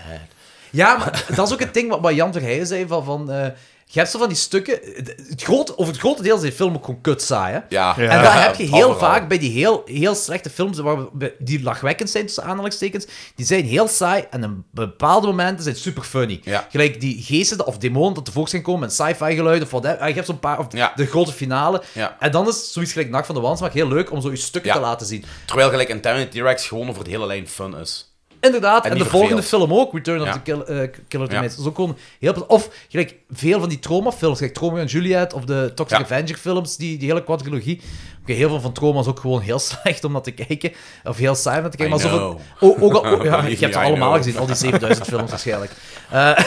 S5: Ja, maar dat is ook het ding wat, wat Jan Verheijen zei van... van eh, je hebt zo van die stukken... Het grote, over het grote deel is die film ook gewoon kut saai, hè?
S6: Ja.
S5: En dat heb je
S6: het
S5: heel
S6: overal.
S5: vaak bij die heel, heel slechte films waar we- die lachwekkend zijn, tussen aanhalingstekens. Die zijn heel saai en op bepaalde momenten zijn super funny.
S6: Ja.
S5: Gelijk die geesten of demonen dat tevoorschijn komen met sci-fi geluiden of whatever. Ah, Je hebt zo'n paar... Of
S6: Ja.
S5: de grote finale.
S6: Ja.
S5: En dan is zoiets gelijk Nacht van de Wansmaak heel leuk om zo je stukken
S6: Ja.
S5: te laten zien.
S6: Terwijl gelijk een Tammy T-Rex gewoon over de hele lijn fun is.
S5: Inderdaad, en,
S6: niet
S5: de volgende
S6: verveeld.
S5: film ook, Return of
S6: Ja.
S5: the Kill- eh, Killer
S6: Ja.
S5: Tomatoes. Dat is ook gewoon heel... pla- Of gelijk veel van die traumafilms, gelijk Trauma en Juliet of de Toxic
S6: Ja.
S5: Avenger films, die, die hele quadrilogie. Oké, heel veel van Trauma is ook gewoon heel [LAUGHS] slecht om naar te kijken. Of heel saai om naar te kijken.
S6: I
S5: maar zoveel- O- ook al, o-
S6: [LAUGHS]
S5: ja,
S6: Believe
S5: ik heb
S6: me,
S5: ze
S6: I
S5: allemaal
S6: know.
S5: gezien, al die 7000 films
S6: [LAUGHS]
S5: waarschijnlijk. Eh,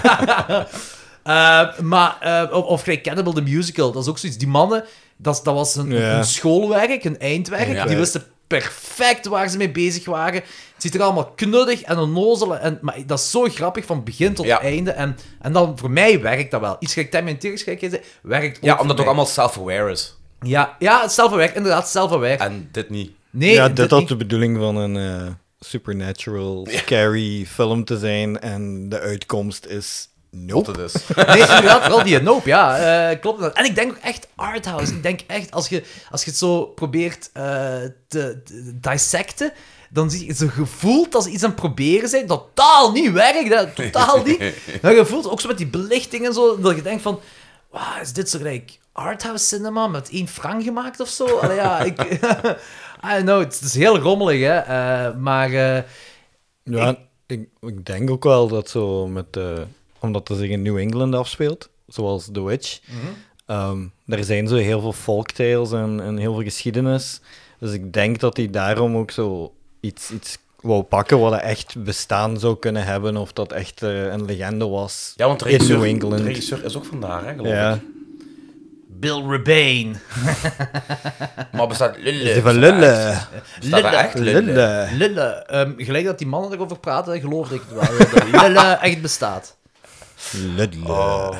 S5: [LAUGHS] eh, maar, eh, of, of gelijk Cannibal the Musical, dat is ook zoiets. Die mannen, dat, is- dat was een,
S3: Ja.
S5: een schoolwerk, een eindwerk.
S6: Ja.
S5: Die wisten perfect waar ze mee bezig waren. Het ziet er allemaal knuddig en onnozel. En, maar dat is zo grappig van begin tot
S6: Ja.
S5: einde. En, en dan, voor mij werkt dat wel. Iets gelijk Tammy en Tyrus, gelijk jij zei, werkt ook
S6: Ja,
S5: voor
S6: omdat het ook
S5: mij.
S6: allemaal self-aware is.
S5: Ja, ja het zelfverwerk, inderdaad, zelfverwerk.
S6: En dit niet.
S5: Nee,
S3: ja, dit
S5: niet.
S3: had de bedoeling van een eh, supernatural, scary film te zijn. En de uitkomst is
S6: Wat
S3: nope.
S6: het is.
S5: Nee, inderdaad, vooral die Nope, ja. eh, klopt dat. En ik denk ook echt arthouse. Ik denk echt, als je, als je het zo probeert eh, te, te dissecten, dan zie je zo gevoeld dat ze iets aan het proberen zijn. Totaal niet werkt, hè, totaal niet. Maar je voelt ook zo met die belichting en zo, dat je denkt van... Wauw, is dit zo gelijk arthouse cinema met één frank gemaakt of zo? Allee, ja, ik... [LAUGHS] I don't know, het is heel rommelig, hè. eh, maar... eh,
S3: Ja, ik, ik denk ook wel dat zo met... eh, omdat het zich in New England afspeelt, zoals The Witch.
S6: Mhm.
S3: ehm, er zijn zo heel veel folktales en, en heel veel geschiedenis. Dus ik denk dat die daarom ook zo iets, iets wou pakken wat dat echt bestaan zou kunnen hebben, of dat echt eh, een legende was.
S6: Ja, want de
S3: In New
S6: regisseur, de
S3: England.
S6: regisseur is ook vandaar, hè, geloof
S3: Ja.
S6: ik.
S5: Bill Rebane.
S6: Maar bestaat Lulle?
S3: Ze van lullen.
S6: Bestaat dat echt Lulle?
S3: Lullen.
S5: Lille. ehm, gelijk dat die mannen erover praten, geloofde ik het
S6: [LAUGHS]
S5: wel. dat Lille echt bestaat.
S3: Lullen.
S6: Oh.
S3: Oh.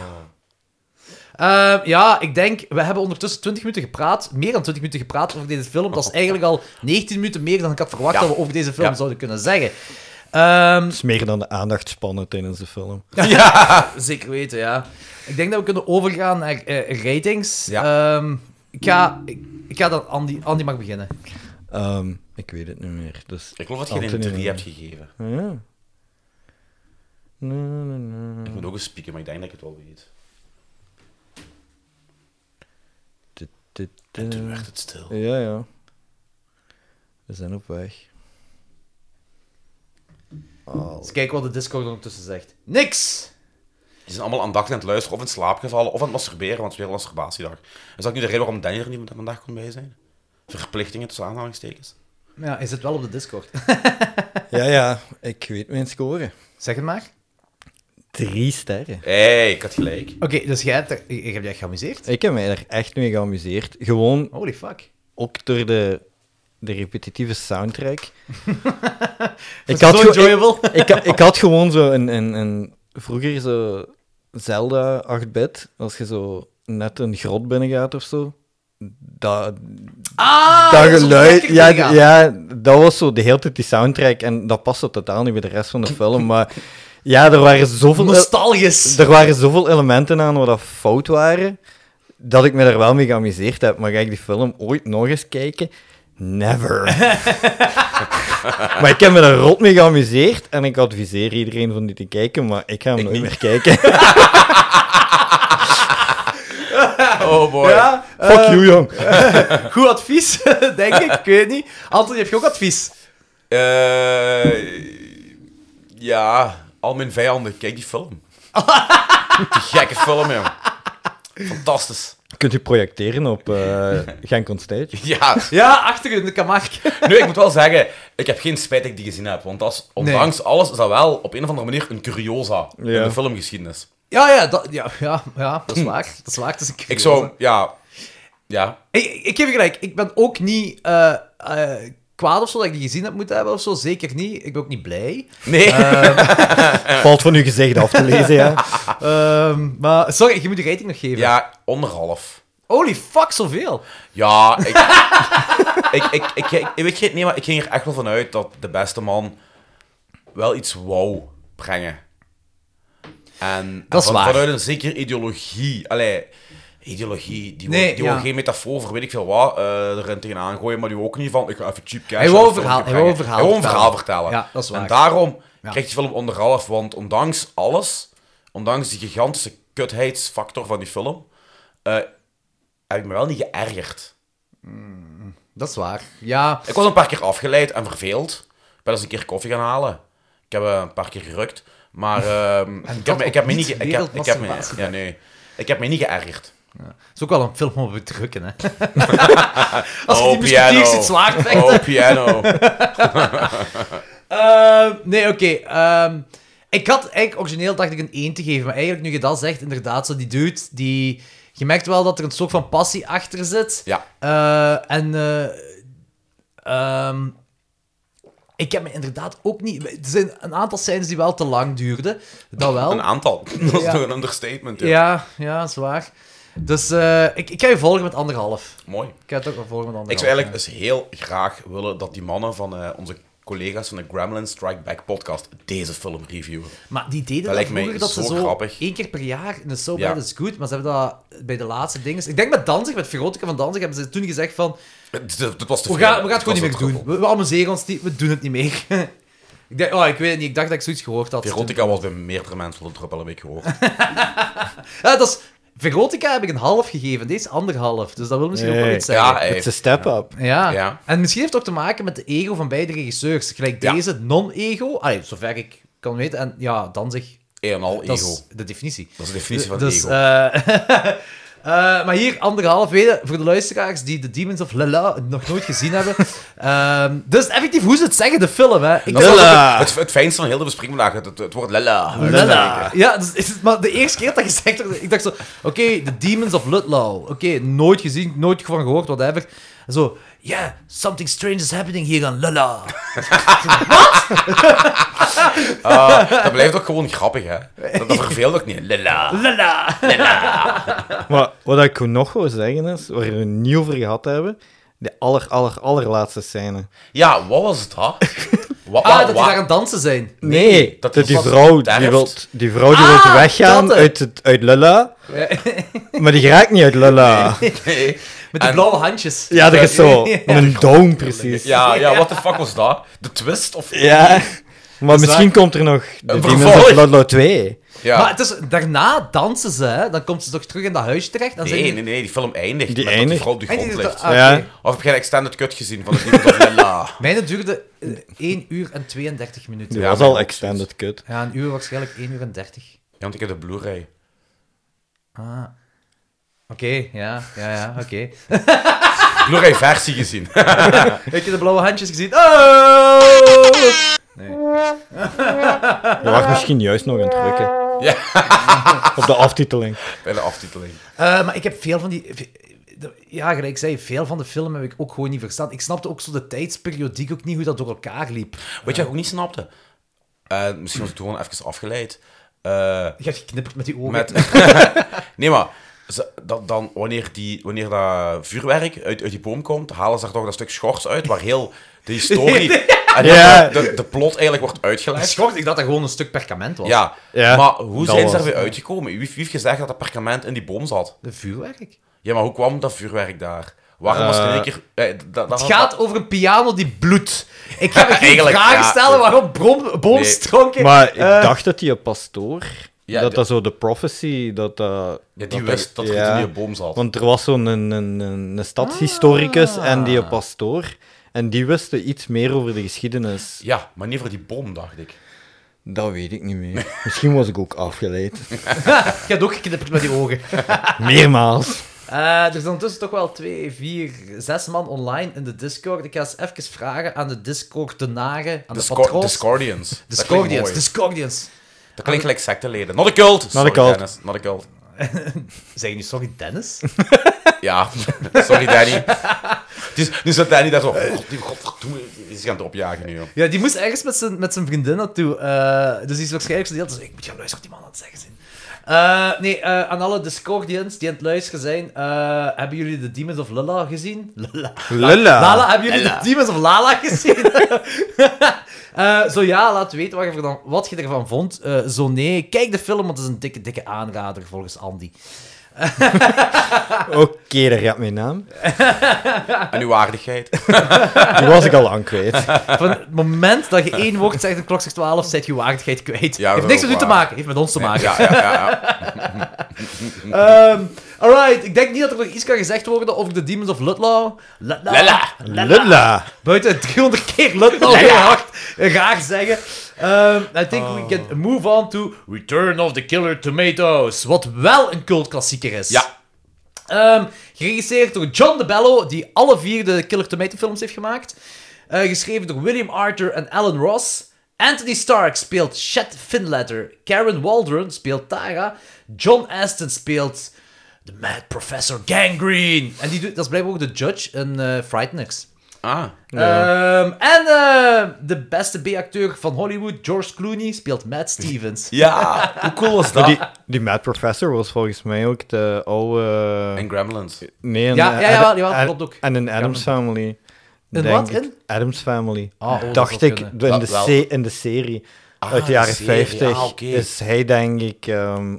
S5: Ehm, ja, ik denk, we hebben ondertussen 20 minuten gepraat, meer dan 20 minuten gepraat over deze film.
S6: [LAUGHS]
S5: Dat is eigenlijk al 19 minuten meer dan ik had verwacht
S6: Ja.
S5: dat we over deze film
S6: Ja.
S5: zouden kunnen zeggen. Ehm,
S3: Dat is meer dan de aandachtspannen tijdens de film.
S5: zeker weten, ja. Ik denk dat we kunnen overgaan naar eh, ratings.
S6: Ja.
S5: Ehm, ik, ga, ik, ik ga dan, Andy, Andy mag beginnen.
S3: Ehm, ik weet het niet meer. Dus
S6: Ik geloof dat je een
S3: Anthony.
S6: 3 hebt gegeven.
S3: Ja. Nee, nee, nee.
S6: Ik moet ook eens spieken, maar ik denk dat ik het wel weet.
S3: Dit, dit,
S6: En toen
S3: eh.
S6: werd het stil.
S3: Ja, ja. We zijn op weg.
S6: Oh.
S5: Eens kijken wat de Discord ondertussen zegt. Niks!
S6: Die zijn allemaal aandachtig aan het luisteren, of in slaap gevallen, of aan het masturberen, want het is weer een masturbatiedag. Is dat nu de reden waarom Danny er niet vandaag kon bij zijn? Verplichtingen tussen aanhalingstekens.
S5: Ja, hij zit wel op de Discord. [LAUGHS]
S3: Ja, ja. Ik weet mijn score.
S5: Zeg het maar.
S3: Drie sterren.
S6: Hé, hey, ik had gelijk.
S5: Oké, dus jij hebt, er- je hebt je echt geamuseerd?
S3: Ik heb mij er echt mee geamuseerd. Gewoon
S5: Holy fuck.
S3: ook door de, de repetitieve
S6: [LAUGHS]
S3: soundtrack.
S5: Ik had zo
S3: gewoon-
S5: enjoyable.
S3: ik, ik, ik had gewoon zo een, een, een vroeger zo Zelda 8-bit, als je zo net een grot binnengaat of zo. Dat,
S5: Ah,
S3: dat
S5: dat is
S3: geluid,
S5: ontzettend
S3: ja,
S5: gegaan.
S3: ja, dat was zo de hele tijd die soundtrack en dat paste totaal niet bij de rest van de film. Maar ja, er waren zoveel,
S5: Nostalgisch.
S3: er waren zoveel elementen aan wat dat fout waren, dat ik me daar wel mee geamuseerd heb. Maar ga ik die film ooit nog eens kijken? [LAUGHS] Never. maar ik heb me daar rot mee geamuseerd en ik adviseer iedereen van die te kijken, maar ik ga hem nooit meer kijken.
S6: Oh boy.
S5: Ja,
S3: [LAUGHS] Fuck you, jong.
S5: goed advies, [LAUGHS] denk ik. Ik weet het niet. Anthony, heb je ook advies?
S6: Eh, ja, al mijn vijanden, kijk die film. die gekke film, joh. Fantastisch.
S3: Kunt u projecteren op [LAUGHS] eh Genk on Stage?
S6: Ja,
S5: Ja, achter in de kamark.
S6: nu, ik moet wel zeggen, ik heb geen spijt dat ik die gezien heb. Want als, ondanks alles is dat wel op een of andere manier een curiosa in
S3: Ja.
S6: de filmgeschiedenis.
S5: Ja, ja, dat, ja, ja, ja, dat is waar. Dat is waar. Het is een
S6: Ik
S5: curieus, hè.
S6: zou, ja... Ja,
S5: Ik, ik, ik geef je gelijk. Ik ben ook niet eh, eh, kwaad of zo dat ik die gezien heb moeten hebben of zo. Zeker niet. Ik ben ook niet blij.
S6: nee.
S3: Valt van uw gezicht af te lezen, ja.
S5: Ehm, maar sorry, je moet de rating nog geven.
S6: ja, onderhalf.
S5: Holy fuck, zoveel.
S6: Ja, ik... [LAUGHS] ik, ik, ik, ik, ik weet je, nee, maar ik ging er echt wel van uit dat de beste man wel iets wou brengen. En,
S5: Dat is
S6: en
S5: waar.
S6: vanuit een zekere ideologie. Allee, ideologie, die wil
S5: Nee,
S6: die wil
S5: ja.
S6: geen metafoor voor weet ik veel wat eh erin tegenaan gooien, maar die wil ook niet van, ik ga even cheap cash
S5: Hij wou
S6: aan
S5: een
S6: de
S5: verhaal-
S6: filmpje
S5: hij wou een
S6: brengen.
S5: verhaal
S6: Hij wou een verhaal
S5: vertellen.
S6: vertellen.
S5: Ja, dat is waar.
S6: En daarom
S5: Ja.
S6: krijgt die film onderhalf, want ondanks alles, ondanks die gigantische kutheidsfactor van die film, eh, heb ik me wel niet geërgerd.
S5: Dat is waar. Ja,
S6: Ik was een paar keer afgeleid en verveeld. Ik ben eens een keer koffie gaan halen. Ik heb eh, een paar keer gerukt.
S5: [LAUGHS]
S6: Maar ehm, ik, heb,
S5: dat
S6: me- ik heb me
S5: op
S6: niet... ge- Ik heb, ik heb me,
S5: wereldmasturbatie.
S6: ja, nee. Ik heb me niet
S5: [LAUGHS]
S6: geërgerd.
S5: het is ook wel een film om te drukken, hè. [LAUGHS] Als je
S6: Oh,
S5: die musketiers
S6: piano.
S5: ziet zwaar vechten.
S6: Oh, piano.
S5: Ehm, nee, oké. ehm, ik had eigenlijk origineel dacht ik een 1 te geven, maar eigenlijk nu je dat zegt, inderdaad, zo die dude, die... Je merkt wel dat er een soort van passie achter zit.
S6: Ja.
S5: Eh, en... eh, ehm, ik heb me inderdaad ook niet... Er zijn een aantal scènes die wel te lang duurden. Dat wel.
S6: Een aantal. [LAUGHS] Dat is
S5: [LAUGHS] Ja.
S6: nog een understatement. Ja.
S5: Ja, ja, dat is waar. Dus eh, ik, ik ga je volgen met anderhalf.
S6: Mooi.
S5: Ik ga het ook wel volgen met anderhalf.
S6: Ik zou eigenlijk dus heel graag willen dat die mannen van eh, onze collega's van de Gremlin Strike Back podcast deze film reviewen.
S5: Maar die deden
S6: Dat
S5: dat,
S6: lijkt mij
S5: vroeger dat ze
S6: zo
S5: zo
S6: grappig.
S5: één keer per jaar in de So
S6: Ja.
S5: Bad It's Good, maar ze hebben dat bij de laatste dingen... Ik denk met Danzig, met Verotica van Danzig, hebben ze toen gezegd van...
S6: Het het- het was te
S5: We
S6: veel.
S5: gaan, we gaan het
S6: was
S5: gewoon niet meer doen.
S6: gevoel.
S5: We, we amuseren ons niet, we doen het niet meer. [LAUGHS] ik, denk, oh, ik weet het niet, ik dacht dat ik zoiets gehoord had.
S6: Veronica was bij meerdere mensen op de druppel een
S5: [LAUGHS]
S6: week gehoord.
S5: Ja, Eh, dat is, Verotica heb ik een half gegeven, deze anderhalf. Dus dat wil misschien ook wel
S3: Nee.
S5: iets zeggen.
S6: Ja,
S5: Ja,
S6: hij-
S3: Het is een step-up.
S6: Ja.
S5: En misschien heeft het ook te maken met de ego van beide regisseurs. Gelijk
S6: Ja.
S5: deze, non-ego. Allee, zover ik kan weten. En ja, Danzig,
S6: een en al
S5: dat
S6: ego.
S5: is de definitie.
S6: Dat is de definitie van
S5: Dus,
S6: ego.
S5: eh, [LAUGHS] Eh, maar hier anderhalf weder voor de luisteraars die The Demons of Lala nog nooit gezien hebben. [LAUGHS] Ehm, dus effectief, hoe ze het zeggen, de film. Hè. Ik
S6: Dat is
S5: dacht-
S6: wel Het, het, het fijnste van heel de bespreking vandaag, het, het, het woord lella.
S5: [LAUGHS] Lala. Ja, dus, is het- maar de eerste keer dat je zegt, ik dacht zo, oké, The Demons of Ludlow. Oké, nooit gezien, nooit van gehoord, whatever. En zo, yeah, something strange is happening here aan Lala.
S6: Ah, dat blijft ook gewoon grappig, hè. Dat, dat verveelt ook niet. Lella. [LAUGHS]
S5: Lala.
S3: Maar wat ik nog wil zeggen is, waar we niet over gehad hebben, de aller, aller, allerlaatste scène.
S6: Ja, wat was dat? Wat,
S5: Ah,
S6: wat-
S5: dat die
S6: wat-
S5: daar aan het dansen zijn.
S3: Nee,
S6: dat
S3: dat,
S6: die
S3: die
S6: vast
S3: vrouw,
S6: sterft.
S3: die wil, die vrouw die wil weggaan
S5: dat, hè.
S3: uit, het- uit Lula, maar die raakt niet uit Lula.
S6: Nee.
S5: Met die
S6: En-
S5: blauwe handjes.
S3: Ja, dat is zo.
S5: Ja.
S3: Met een doom, precies. Ja,
S6: Ja, ja, what the fuck was dat? De twist? Of...
S3: maar misschien komt er nog de
S6: Dus Een
S3: Demons
S6: vervolg.
S3: of Ludlow 2.
S6: Ja.
S5: Maar het is, daarna dansen ze, hè? dan komt ze toch terug in dat huisje terecht. Dan
S6: Nee, nee, nee, die film eindigt.
S3: Die
S6: met dat
S3: eindigt.
S6: vrouw op de grond
S5: Eindigt het-
S6: ligt.
S5: ah,
S3: Ja.
S5: oké.
S6: Of heb je een extended cut gezien van het nieuwe van Lella?
S5: Mijne duurde eh, 1 uur en 32 minuten.
S3: Die
S5: Ja.
S3: was al extended cut.
S5: een uur waarschijnlijk 1 uur en 30.
S6: Ja, want ik heb de Blu-ray.
S5: Ah. Oké, ja, ja, ja, oké.
S6: Blu-ray versie gezien. [LAUGHS]
S5: Heb je de blauwe handjes gezien? Ah! Oh!
S3: Je was misschien juist nog aan het drukken.
S6: Ja.
S3: [LAUGHS] Op de aftiteling.
S6: Bij de aftiteling.
S5: Eh, maar ik heb veel van die... de- Ja, gelijk ik zei, veel van de film heb ik ook gewoon niet verstaan. Ik snapte ook zo de tijdsperiodiek ook niet hoe dat door elkaar liep.
S6: Weet je wat ik ook niet snapte? Eh, misschien was ik toen gewoon even afgeleid. Eh,
S5: Je hebt geknipperd met die ogen.
S6: met... [LAUGHS] nee, maar ze- dat, dan, wanneer, die, wanneer dat vuurwerk uit, uit die boom komt, halen ze er toch dat stuk schors uit waar heel de historie en
S3: Ja.
S6: de, de, de plot eigenlijk wordt uitgelegd.
S5: Schokt ik dat dat gewoon een stuk perkament was.
S6: Ja.
S3: Ja,
S6: maar hoe
S3: dat
S6: zijn ze
S3: was-
S6: daar weer uitgekomen? Wie, heeft- wie heeft gezegd dat dat perkament in die boom zat?
S5: De vuurwerk.
S6: Ja, maar hoe kwam dat vuurwerk daar? Waarom was er
S3: Eh,
S6: een keer... eh, dat- dat-
S5: Het gaat over een piano die bloedt. Ik
S6: [LAUGHS]
S5: ga me geen
S6: Eigenlijk,
S5: vragen
S6: ja.
S5: stellen waarom brom, boomstronken...
S3: Maar ik
S5: Eh,
S3: dacht dat die pastoor,
S6: Ja,
S3: dat
S6: de-
S3: dat zo de prophecy, dat dat...
S6: Ja, die
S3: dat-
S6: wist dat er
S3: ja.
S6: iets in die boom zat.
S3: Want er was zo'n een, een, een, een stadshistoricus en die
S6: Ah.
S3: pastoor. En die wisten iets meer over de geschiedenis.
S6: Ja, maar niet voor die bom, dacht ik.
S3: Dat weet ik niet meer. [LAUGHS] Misschien was ik ook afgeleid. [LAUGHS]
S5: Je hebt ook geknipperd met die ogen.
S3: Meermaals.
S5: Eh, er zijn ondertussen toch wel twee, vier, zes man online in de Discord. Ik ga eens even vragen aan de Discordenaren, aan de,
S6: Discor-
S5: patroons.
S6: Discordians. Dat klinkt
S5: Discordians,
S6: mooi.
S5: Discordians.
S6: Dat klinkt gelijk secteleden. Not a cult! Not
S3: a cult.
S6: Not a cult.
S5: Zeg je nu sorry, Dennis?
S6: Ja, [LAUGHS] sorry Danny. Dus, nu zat Danny daar zo... Oh, God, die godverdomme, die is gaan het opjagen nu, joh.
S5: ja, die moest ergens met zijn, met zijn vriendin naartoe. Eh, dus die is waarschijnlijk zo deel. Dus ik moet gaan luisteren wat die man aan het zeggen zijn. Eh, nee, eh, aan alle Discordians die aan het luisteren zijn, eh, hebben jullie de Demons of Lala gezien? Lala.
S3: Lala.
S5: Lala, hebben jullie
S6: Lala.
S5: de Demons of Lala [LAUGHS] gezien? Eh, zo ja, laat weten wat je, ervan, wat je ervan vond. Eh, zo nee, kijk de film, want het is een dikke, dikke aanrader volgens Andy.
S3: Oké, daar gaat mijn naam.
S6: En uw
S5: [LAUGHS]
S6: waardigheid.
S3: Die was ik al
S6: [LAUGHS]
S3: lang kwijt.
S5: Van het moment dat je één woord zegt in klok zegt 12, zet je waardigheid kwijt.
S6: Ja,
S5: heeft
S6: dat
S5: niks
S6: is
S5: met u
S6: waar.
S5: te maken, heeft met ons te maken.
S6: Ja, ja, ja. ja.
S5: Ehm, alright, ik denk niet dat er nog iets kan gezegd worden over de Demons of Ludlow. Ludlow.
S6: Lala.
S3: Lula.
S5: Buiten 300 keer Ludlow heel hard graag zeggen. Ehm, I think we can move on to Return of the Killer Tomatoes. Wat wel een cultklassieker is.
S6: Ja.
S5: Ehm, geregisseerd door John DeBello, die alle vier de Killer Tomato films heeft gemaakt. Eh, geschreven door William Arthur en Alan Ross. Anthony Stark speelt Chet Finletter. Karen Waldron speelt Tara. John Aston speelt de Mad Professor Gangrene. En die doet, dat is blijkbaar ook de judge in eh Frighteners.
S6: Ah.
S5: Ehm, en eh, de beste B-acteur van Hollywood, George Clooney, speelt Matt Stevens.
S6: Ja, hoe cool was dat?
S3: Die, die Mad Professor was volgens mij ook de oude...
S6: En Gremlins.
S3: Nee, een,
S5: Ja,
S3: eh,
S5: ja, jawel,
S3: Ad-
S5: jawel,
S3: Ad-
S5: klopt ook.
S3: En een Adams Family.
S5: Een
S3: denk
S5: wat
S3: ik.
S5: in?
S3: Adams Family.
S5: Ah, oh, dat
S3: Dacht
S5: zou
S3: ik,
S5: kunnen. Ah,
S3: in de,
S6: Dat wel.
S3: se- in de serie. uit de
S6: de
S3: jaren
S6: serie.
S3: 50
S6: Ah, oké.
S3: is hij denk ik ehm,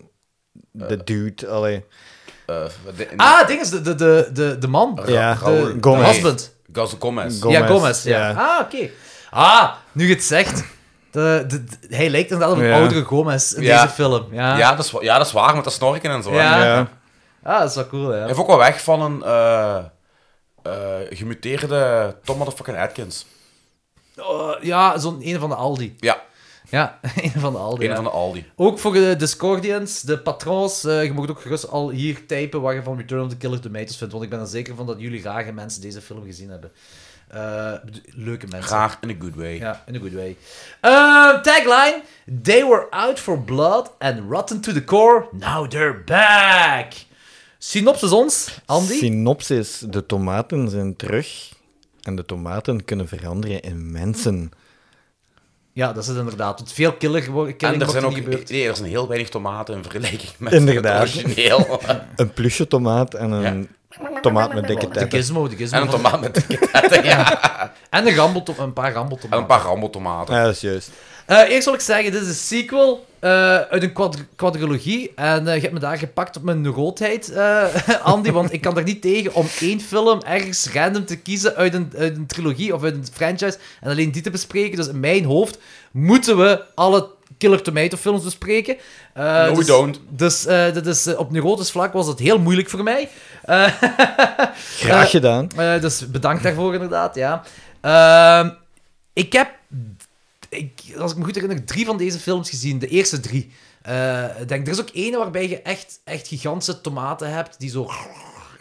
S3: de dude. Allee.
S6: Eh, de-
S5: Ah, ding is de, de, de, de, de man.
S6: Ra-
S3: Ja,
S6: Raoul.
S5: de-
S3: Gomez.
S5: de husband.
S6: Gus Gomez.
S3: Gomez,
S5: ja, Gomez. Ja.
S3: ja.
S5: Ah, oké. Ah, nu je het zegt. De, de, de- hij lijkt inderdaad op een
S3: Ja.
S5: oudere Gomez in
S6: Ja.
S5: deze film. Ja.
S6: Ja, dat is, wa- ja, dat is waar, met dat snorken en zo. hè.
S5: Ja.
S6: Hij
S3: Ja.
S5: Ah, dat is wel cool, ja.
S6: heeft ook wel weg van een eh, eh, gemuteerde Tom motherfucking Atkins.
S5: Oh, ja, zo'n een van de Aldi.
S6: Ja.
S5: Ja, [LAUGHS] een van de Aldi.
S6: Een van de Aldi.
S5: Ook voor de Discordians, de patrons, eh, je mocht ook gerust al hier typen waar je van Return of the Killer Tomatoes vindt, want ik ben er zeker van dat jullie rare mensen deze film gezien hebben. Eh, leuke mensen.
S6: Graag in a good way.
S5: Ja, in a good way. Eh, tagline: They were out for blood and rotten to the core. Now they're back. Synopsis ons, Andy.
S3: Synopsis: de tomaten zijn terug en de tomaten kunnen veranderen in
S5: Hm.
S3: mensen.
S5: ja, dat is het inderdaad. Want veel killer wo- killing
S6: En er
S5: wordt
S6: zijn
S5: niet
S6: ook...
S5: gebeurd.
S6: Nee, er zijn heel weinig tomaten in vergelijking met
S3: Inderdaad.
S6: het origineel.
S3: Een plusje tomaat en een tomaat met dikke
S5: De
S3: tetten.
S5: gizmo, de gizmo.
S6: En een tomaat
S5: [LAUGHS]
S6: met dikke tetten.
S5: En een, rambo een paar rambotomaten.
S6: En een paar rammeltomaten.
S3: Ja, dat is juist.
S5: Eh, eerst wil ik zeggen, dit is een sequel eh, uit een quad quadrilogie. En eh, je hebt me daar gepakt op mijn roodheid, eh, [LAUGHS] Andy. want ik kan er niet tegen om één film ergens random te kiezen uit een, uit een trilogie of uit een franchise. En alleen die te bespreken. Dus in mijn hoofd moeten we alle Killer Tomato films bespreken. Eh,
S6: No, we
S5: dus,
S6: don't.
S5: Dus eh, dit is, eh, op neurotisch vlak was het heel moeilijk voor mij. Eh,
S3: Graag
S5: Eh,
S3: gedaan.
S5: eh, dus bedankt daarvoor, inderdaad. Ja. Ehm, ik heb, ik, als ik me goed herinner, drie van deze films gezien. De eerste drie. Eh, ik denk, er is ook ene waarbij je echt, echt gigantische tomaten hebt die zo...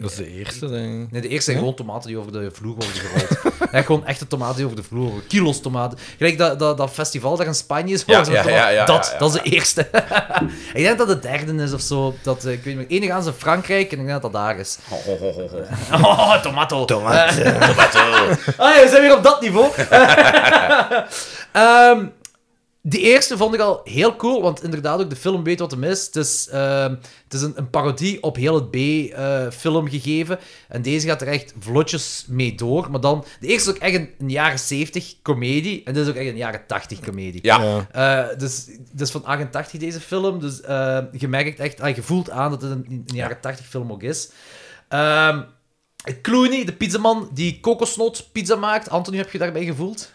S3: Dat is de eerste, denk ik.
S5: Nee, de eerste zijn gewoon tomaten die over de vloer worden [LAUGHS] gerold. Echt gewoon echte tomaten die over de vloer worden. Kilo's tomaten. Gelijk dat, dat, dat festival daar in Spanje is.
S6: Ja,
S5: waar ze met
S6: ja,
S5: tomaten-
S6: ja, ja,
S5: dat,
S6: ja, ja.
S5: dat is de eerste. [LAUGHS] ik denk dat het derde is of zo. Dat, eh, ik weet niet meer. Ene gaan ze in Frankrijk en ik denk dat dat daar is.
S6: Ho, ho, ho, ho, ho.
S5: [LAUGHS] Oh, tomato.
S3: Tomaat.
S5: [LAUGHS] Ah ja, we zijn weer op dat niveau. Ehm, die eerste vond ik al heel cool, want inderdaad ook de film weet wat hem is. Het is, ehm, het is een, een parodie op heel het B-film gegeven. En deze gaat er echt vlotjes mee door. Maar dan, de eerste is ook echt een, een jaren 70 comedie. En dit is ook echt een jaren 80 comedie.
S6: Ja.
S3: Ja.
S5: Eh, dus, dus van 88 deze film. Dus eh, je merkt echt, ah, je voelt aan dat het een, een jaren 80 film ook is. Ehm, Clooney, de pizzaman die kokosnoot pizza maakt. Anton, hoe heb je daarbij
S3: [LAUGHS]
S5: gevoeld?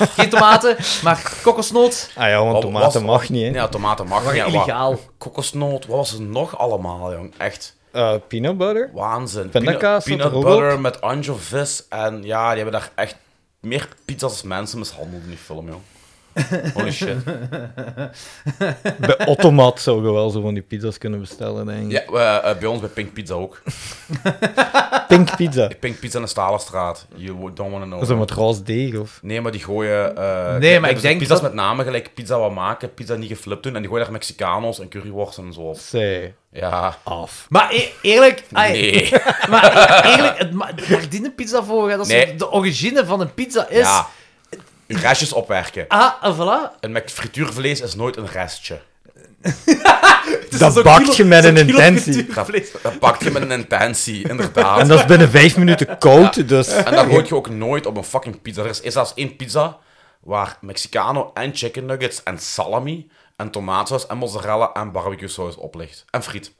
S5: Geen tomaten, maar kokosnoot.
S3: Ah ja, want
S6: Wat
S3: tomaten
S6: was-
S3: mag niet, hè.
S6: Ja, tomaten mag.
S5: Maar
S6: Ja, maar
S5: illegaal.
S6: kokosnoot, wat was er nog allemaal, jong? Echt
S3: Eh, peanut butter?
S6: waanzin.
S3: Pindakaas
S6: Peanut,
S3: zat er
S6: peanut
S3: ook op.
S6: butter met anchovies. En ja, die hebben daar echt meer pizza's als mensen mishandeld in die film, jong. Holy shit.
S3: Bij Automat zou je wel zo van die pizza's kunnen bestellen, denk ik.
S6: Ja, eh, eh, bij ons bij Pink Pizza ook.
S3: Pink pizza.
S6: Pink Pizza in de Stalenstraat. You don't wanna know.
S3: Zo met roze deeg, of...
S6: Nee, maar die gooien... eh,
S5: Nee,
S6: die
S5: maar
S6: hebben
S5: ik
S6: zo
S5: denk
S6: Pizza's
S5: dat-
S6: met name, gelijk pizza wat maken, pizza niet geflipt doen. En die gooien daar Mexicanos en currywurst en zo op.
S3: Zij.
S6: Ja.
S3: eh, Af.
S5: Maar e- eerlijk, ai,
S6: Nee.
S5: maar e- [LAUGHS] eerlijk, het ma- daar dient een pizza voor. Hè. Dat is
S6: Nee.
S5: wat de origine van een pizza is.
S6: [LAUGHS] Ja. Uw Restjes opwerken.
S5: Ah, en voilà.
S6: En met frituurvlees is nooit een restje.
S5: Het
S3: Dat
S5: zo'n
S3: bakt
S5: kilo-
S3: je met
S5: zo'n
S3: een
S5: kilo
S3: intentie.
S5: frituurvlees.
S6: Dat, dat pak je met een
S5: [LAUGHS]
S6: intentie, inderdaad.
S3: En
S6: En,
S3: dat is binnen vijf minuten koud, dus...
S6: dat gooit je ook nooit op een fucking pizza. Er is, is zelfs één pizza waar Mexicano en chicken nuggets en salami en tomaatsaus en mozzarella en barbecue saus op ligt. En friet.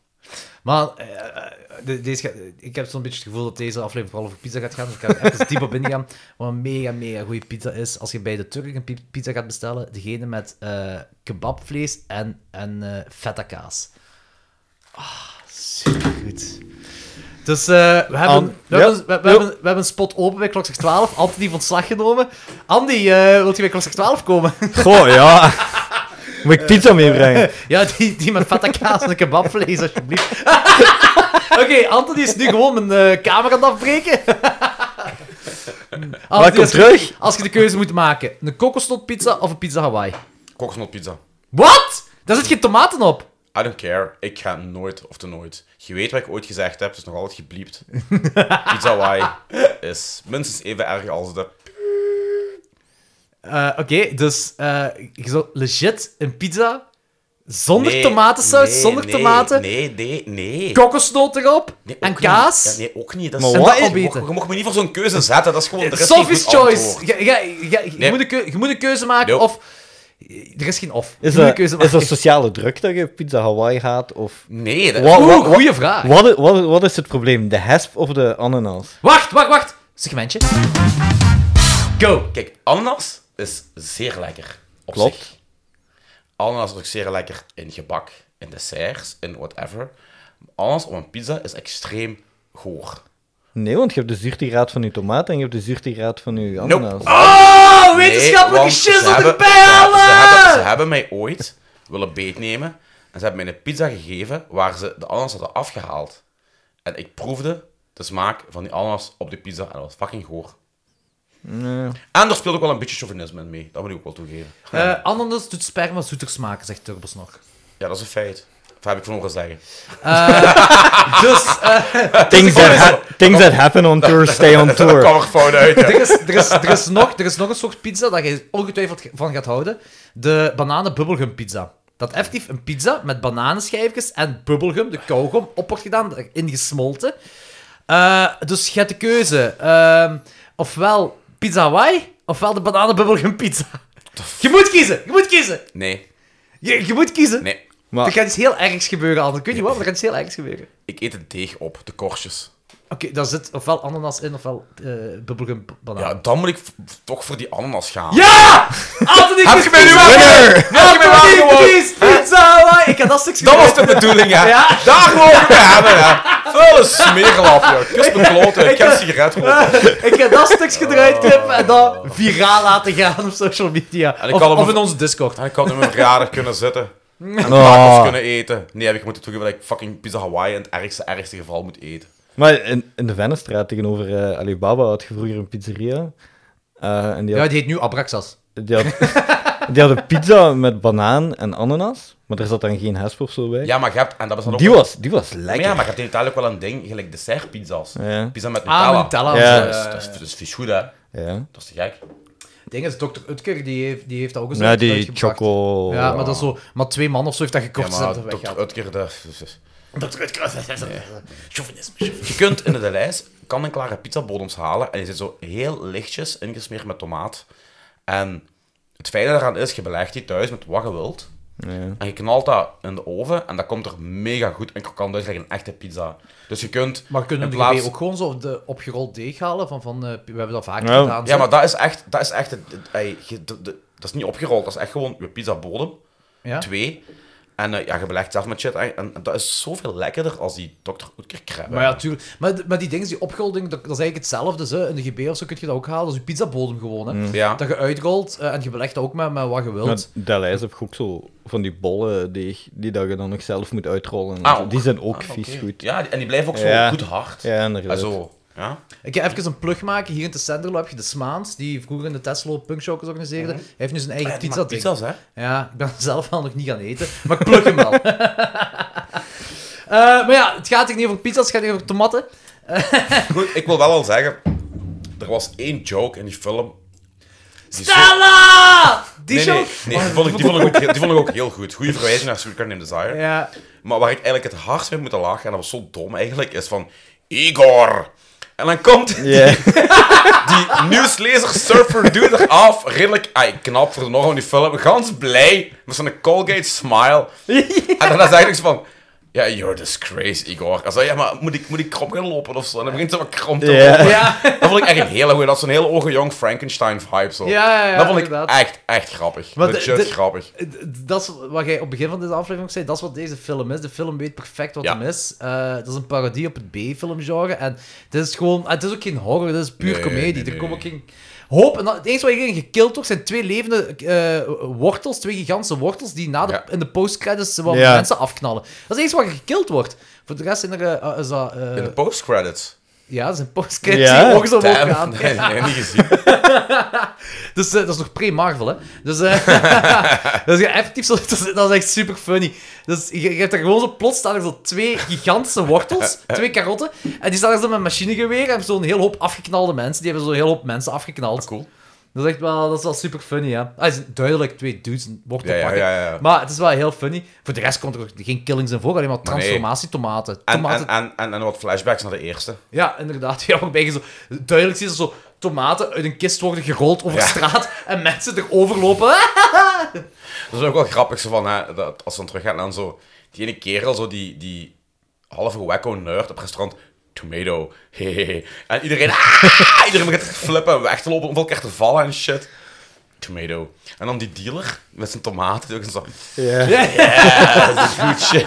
S5: Maar eh, eh, de- deze gaat- ik heb zo'n beetje het gevoel dat deze aflevering vooral over pizza gaat gaan. Dus ik ga er even diep op ingaan. [LAUGHS] Wat een mega, mega goede pizza is. Als je bij de Turk een pi- pizza gaat bestellen, degene met eh, kebabvlees en, en eh feta kaas. Ah, supergoed. Dus eh, we, hebben,
S3: An-
S5: we, hebben,
S3: ja,
S5: we, we
S3: ja.
S5: hebben, we hebben een spot open bij klok 12. Anthony heeft ontslag genomen. Andy, eh wilt je bij klok 12 komen?
S3: Goh, ja. Moet ik pizza meebrengen?
S5: Ja, die, die met feta kaas en kebabvlees,
S6: [LAUGHS]
S5: alsjeblieft. Oké, Anthony is nu gewoon mijn eh, camera aan het afbreken.
S3: Maar
S5: Anthony,
S3: kom
S5: als, je-
S3: terug.
S5: als je de keuze moet maken, een kokosnotpizza of een pizza Hawaii?
S6: Kokosnootpizza.
S5: Wat? Daar zit geen tomaten op.
S6: I don't care. Ik ga nooit of te nooit. Je weet wat ik ooit gezegd heb, het is nog altijd
S5: [LAUGHS]
S6: gebliept. Pizza Hawaii is minstens even erg als de...
S5: Eh, Oké, dus eh, je zou legit een pizza zonder
S6: Nee,
S5: tomatensaus,
S6: nee,
S5: zonder
S6: nee,
S5: tomaten,
S6: Nee, nee, nee.
S5: kokosnoot erop
S6: Nee,
S5: en
S6: ook
S5: kaas.
S6: niet. Ja, nee, ook niet. Dat
S3: Maar
S6: is,
S5: En
S3: wat?
S5: dat
S6: Je mocht,
S5: opeten.
S6: je mocht me niet voor zo'n keuze zetten. Dat is gewoon... er is geen
S5: Sophie's
S6: goed
S5: choice.
S6: antwoord.
S5: Ja, ja, ja, je,
S6: Nee.
S5: moet een keu- je moet een keuze maken
S6: Nope.
S5: of... Er is geen of.
S3: Is
S5: je moet een
S3: dat,
S5: keuze
S3: is
S5: maken.
S3: dat sociale druk dat je pizza Hawaii gaat? Of...
S6: Nee, dat...
S3: Wat,
S5: Oeh,
S3: wat,
S5: goeie vraag.
S6: Ah,
S3: wat, wat, wat is het probleem? De hesp of de ananas?
S5: Wacht, wacht, wacht. Segmentje. Go.
S6: Kijk, ananas is zeer lekker. Op
S3: Klopt.
S6: zich. Ananas is ook zeer lekker in gebak, in desserts, in whatever. Ananas op een pizza is extreem goor.
S3: Nee, want je hebt de zuurtegraad van je tomaat en je hebt de zuurtegraad van je
S6: Nope. Ah,
S3: ananas.
S5: Oh,
S6: Nee,
S5: wetenschappelijke
S6: want
S5: shit
S6: ze hebben-
S5: erbij
S6: ze hebben- Ze hebben,
S5: halen!
S6: ze hebben mij ooit willen beetnemen en ze hebben mij een pizza gegeven waar ze de ananas hadden afgehaald. En ik proefde de smaak van die ananas op de pizza en dat was fucking goor.
S3: Nee.
S6: En er speelt ook wel een beetje chauvinisme in mee, dat moet ik ook wel toegeven.
S5: Eh, ananas doet sperma zoeter smaken, zegt Turbos
S6: [LAUGHS]
S5: nog.
S6: Ja, dat is een feit. Dat heb ik van horen zeggen.
S5: Dus, eh,
S3: Things, that ha- things that happen on tour stay on
S6: Dat
S3: tour.
S6: kwam er fout uit. ja.
S5: er, is, er, is, er, is nog, er is nog een soort pizza dat je ongetwijfeld van gaat houden. De bananenbubbelgum pizza. Dat effectief een pizza met bananenschijfjes en bubbelgum, de kauwgom, op wordt gedaan, erin gesmolten. Eh, dus je hebt de keuze. ehm, ofwel pizza Hawaii, ofwel de bananenbubbelgum pizza. Je moet kiezen, je moet kiezen.
S6: Nee,
S5: Je, je moet kiezen.
S6: nee.
S5: Er
S3: Maar
S5: gaat iets heel ergs gebeuren, anders. Ik weet niet wat, maar er gaat iets heel ergs gebeuren.
S6: Ik eet het deeg op, de korstjes.
S5: Oké, daar zit ofwel ananas in, ofwel eh bubbelgum banaan.
S6: Ja,
S5: Ja!
S6: dan moet ik v- toch voor die ananas gaan.
S5: Altijd niet
S6: Heb je mij nu
S5: Ja,
S6: me
S5: precies,
S6: wakker
S5: precies, pizza, Hawaii. Ik had dat stukje
S6: Dat was de bedoeling, hè.
S5: Ja.
S6: Daar mogen we hebben, hè. Vuile smeerlap, joh. Kus mijn kloten, ik heb een sigaret geroken.
S5: Ik heb dat stukje eruit knippen en dat viraal laten gaan op social media.
S6: En ik
S5: of
S6: had hem-
S5: of in onze Discord.
S6: En ik had in mijn verjaardag kunnen zitten. En
S3: Oh.
S6: tacos kunnen eten. Nee, heb ik moeten toegeven dat ik fucking pizza Hawaii in het ergste, ergste geval moet eten.
S3: Maar in, in de Vennestraat tegenover eh, Alibaba had je vroeger een pizzeria. Eh, en die
S5: Ja,
S3: had,
S5: die heet nu Abraxas.
S3: die, had, die had [LAUGHS] een pizza met banaan en ananas. Maar er zat dan geen hesp of zo bij.
S6: Ja, maar je hebt... En dat was dan ook...
S3: die, was, die was
S6: maar
S3: lekker.
S6: ja, maar je hebt in Italië ook wel een ding, gelijk dessertpizza's.
S3: Ja.
S6: Pizza met Nutella.
S5: Ah, Nutella.
S3: Ja.
S5: eh,
S6: Dat is, dat is vies goed, hè.
S3: Ja.
S6: Dat is te gek.
S5: Het ding is, Dr. Utker, die heeft, die heeft dat ook eens
S3: Ja, die
S5: uitgebracht.
S3: choco...
S5: Ja, maar dat is zo... Maar twee man of zo heeft dat
S6: Ja,
S5: gekort.
S6: maar
S5: zodat het
S6: Dr.
S5: weggaat.
S6: Utker, dat...
S1: Dr. Utker. Chauvinisme.
S6: Je kunt in de lijst kan-en-klare pizzabodems halen en die zit zo heel lichtjes ingesmeerd met tomaat. En het fijne daaraan is, je belegt die thuis met wat je wilt
S3: Ja.
S6: en je knalt dat in de oven en dat komt er mega goed en krokant uit, gelijk een echte pizza. Dus je kunt...
S5: Maar kunnen we
S6: in plaats-
S5: ook gewoon zo de opgerold deeg halen? Van, van, eh, we hebben dat vaak
S3: Ja.
S5: gedaan.
S6: Ja, maar dat is echt... Dat is, echt het- het- ey, je- de- de- dat is niet opgerold, dat is echt gewoon je pizzabodem,
S5: Ja?
S6: twee. En eh, ja, je belegt zelf met shit en, en dat is zoveel lekkerder als die Dr. Oetker crème.
S5: Maar ja, tuurlijk. Maar, d- maar die dingen, die opgerolding, dat, dat is eigenlijk hetzelfde. Dus, hè. In de GB of zo kun je dat ook halen. Dat is je pizzabodem gewoon. Hè.
S6: Ja.
S5: Dat je uitrolt eh, en je belegt dat ook met, met wat je wilt.
S3: Maar Deleuze heb je ook zo van die bollen die, die dat je dan nog zelf moet uitrollen.
S6: Ah,
S3: die zijn ook
S6: Ah,
S3: vies
S6: oké.
S3: goed.
S6: Ja, die- en die blijven ook zo
S3: Ja.
S6: goed hard.
S3: Ja,
S6: En
S3: inderdaad.
S6: zo. Ja?
S5: Ik ga even een plug maken. Hier in de Senderlo heb je de Smaans, die vroeger in de Tesla Punkshockers organiseerde. Hij heeft nu zijn eigen
S6: Ja, die
S5: pizza
S6: maakt
S5: ding.
S6: pizza's, hè?
S5: Ja, ik ben [LAUGHS] zelf al nog niet gaan eten, maar ik pluk hem wel. [LAUGHS] Eh, maar ja, het gaat hier niet over pizza's, het gaat hier over tomaten.
S6: Goed, ik wil wel al zeggen, er was één joke in die film. Die zo-
S5: Stella! Die
S6: Nee,
S5: show?
S6: nee, nee, die, vond ik, die, vond ik ook, heel- die vond ik ook heel goed. Goede verwijzing naar Sweet Carnation Desire.
S5: Ja,
S6: Maar waar ik eigenlijk het hardst mee moet lachen, en dat was zo dom eigenlijk, is van... Igor! En dan
S5: [LAUGHS]
S6: komt
S3: Ja.
S6: [LAUGHS] die nieuwslezer surfer dude eraf, redelijk ai, knap voor de norm van die film, gans blij, met zo'n Colgate smile. En dan is eigenlijk zo van... Ja, you're a disgrace, Igor. En zo, ja, maar moet ik, moet ik krom gaan lopen of zo? En dan begint ze wat krom te
S3: Ja.
S6: lopen.
S5: Ja.
S6: Dat vond ik echt een hele goeie. Dat is zo'n hele ogen jong Frankenstein-vibe zo.
S5: Ja, ja, ja,
S6: dat vond
S5: inderdaad.
S6: ik echt, echt grappig.
S5: Want
S6: Legit
S5: de- de-
S6: grappig.
S5: D- Dat is wat jij op het begin van deze aflevering ook zei. Dat is wat deze film is. De film weet perfect wat
S6: Ja.
S5: hem is. Eh, dat is een parodie op het B-filmgenre. En het is gewoon... Het is ook geen horror. Het is puur
S6: Nee,
S5: comedie.
S6: nee,
S5: Er
S6: nee.
S5: komt ook geen... Hoop. En dat, het enige wat hierin gekild wordt, zijn twee levende eh, wortels. Twee gigantische wortels die na de,
S6: Ja.
S5: in de postcredits wel
S3: Ja.
S5: mensen afknallen. Dat is het enige wat gekild wordt. Voor de rest zijn er... eh, eh, is dat, eh,
S6: In de postcredits.
S5: Ja, dat zijn postcredits
S3: Ja.
S5: die ook zo omhoog
S6: Damn.
S5: gaan.
S6: [LAUGHS] Nee, nee, niet gezien.
S5: Dus eh, dat is nog pre-Marvel, hè. Dus, eh, [LAUGHS] dat is effectief zo, dat is, dat is echt super funny. Dus je, je hebt er gewoon zo plots staan er zo twee gigantische
S6: [LAUGHS]
S5: wortels, twee karotten, en die staan er zo met machinegeweer en zo'n heel hoop afgeknalde mensen. Die hebben zo'n heel hoop mensen afgeknald.
S6: Ah, Cool.
S5: Dat is echt wel, dat is wel super funny, ja. Ah, het is duidelijk twee dudes een wortel
S6: Ja, ja,
S5: pakken.
S6: ja, ja.
S5: Maar het is wel heel funny. Voor de rest komt er ook geen killings in voor, alleen maar
S6: Maar nee.
S5: transformatietomaten.
S6: En,
S5: Tomaten-
S6: en, en, en, en wat flashbacks naar de eerste.
S5: ja, inderdaad. [LAUGHS] Ja, waarbij je zo duidelijk ziet dat zo tomaten uit een kist worden gerold over
S6: Ja.
S5: straat en mensen erover lopen.
S6: Dat is ook wel grappig, zo van, hè, dat, als ze dan teruggaan aan zo... Die ene kerel, zo die, die halve wacko nerd op restaurant... Tomato, [LAUGHS] hehehe. En iedereen... "Ah!" [LAUGHS] iedereen begint te flippen en weg te lopen om op elkaar te vallen en shit. Tomato. En dan die [LAUGHS] dealer met zijn tomaten, die ook zo...
S3: Ja.
S6: "Yeah, dat is goed shit.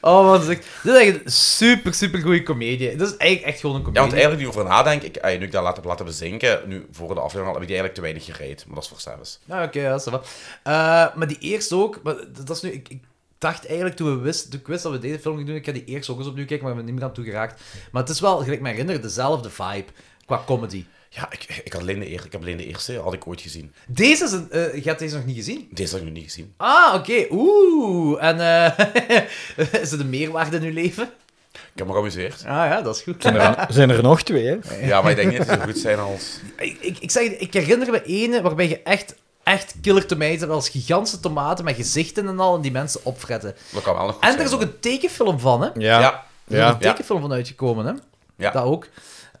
S5: Oh, wat zeg. Dit is echt een super, super goede comedie. Dit is eigenlijk echt gewoon een
S6: Ja, want
S5: comedie.
S6: eigenlijk nu ik erover nadenk, ik, ey, nu ik dat laat heb laten bezinken, nu voor de aflevering al, heb ik die eigenlijk te weinig gereed. Maar dat is voor service.
S5: Ja, oké, ja, ça va. Eh, maar die eerste ook, maar dat dat is nu, ik, ik dacht eigenlijk toen, we wist, toen ik wist dat we deze film gingen doen, ik ga die eerste ook eens opnieuw kijken, maar ik ben er niet meer aan toe geraakt. Maar het is wel, gelijk me herinner, dezelfde vibe qua comedy.
S6: Ja, ik, ik, had alleen de eer, ik heb alleen de eerste had ik ooit gezien.
S5: Deze is een, eh, je hebt deze nog niet gezien?
S6: Deze had ik nog niet gezien.
S5: Ah, oké, oeh. En eh, [LAUGHS] is het een meerwaarde in uw leven?
S6: Ik heb me geamuseerd.
S5: Ah ja, dat is goed.
S3: Zijn er, zijn er nog twee, hè?
S6: Ja, maar ik denk niet dat die zo goed zijn als...
S5: Ik, ik, ik zeg, ik herinner me ene waarbij je echt, echt killer tomatoes hebt, als gigantische tomaten met gezichten en al, en die mensen opfretten.
S6: Dat kan wel nog goed
S5: En
S6: zijn,
S5: er is ook
S6: hoor.
S5: een tekenfilm van, hè?
S3: Ja.
S6: Ja.
S5: Er is
S3: Ja.
S5: een tekenfilm van uitgekomen, hè?
S6: Ja.
S5: Dat ook.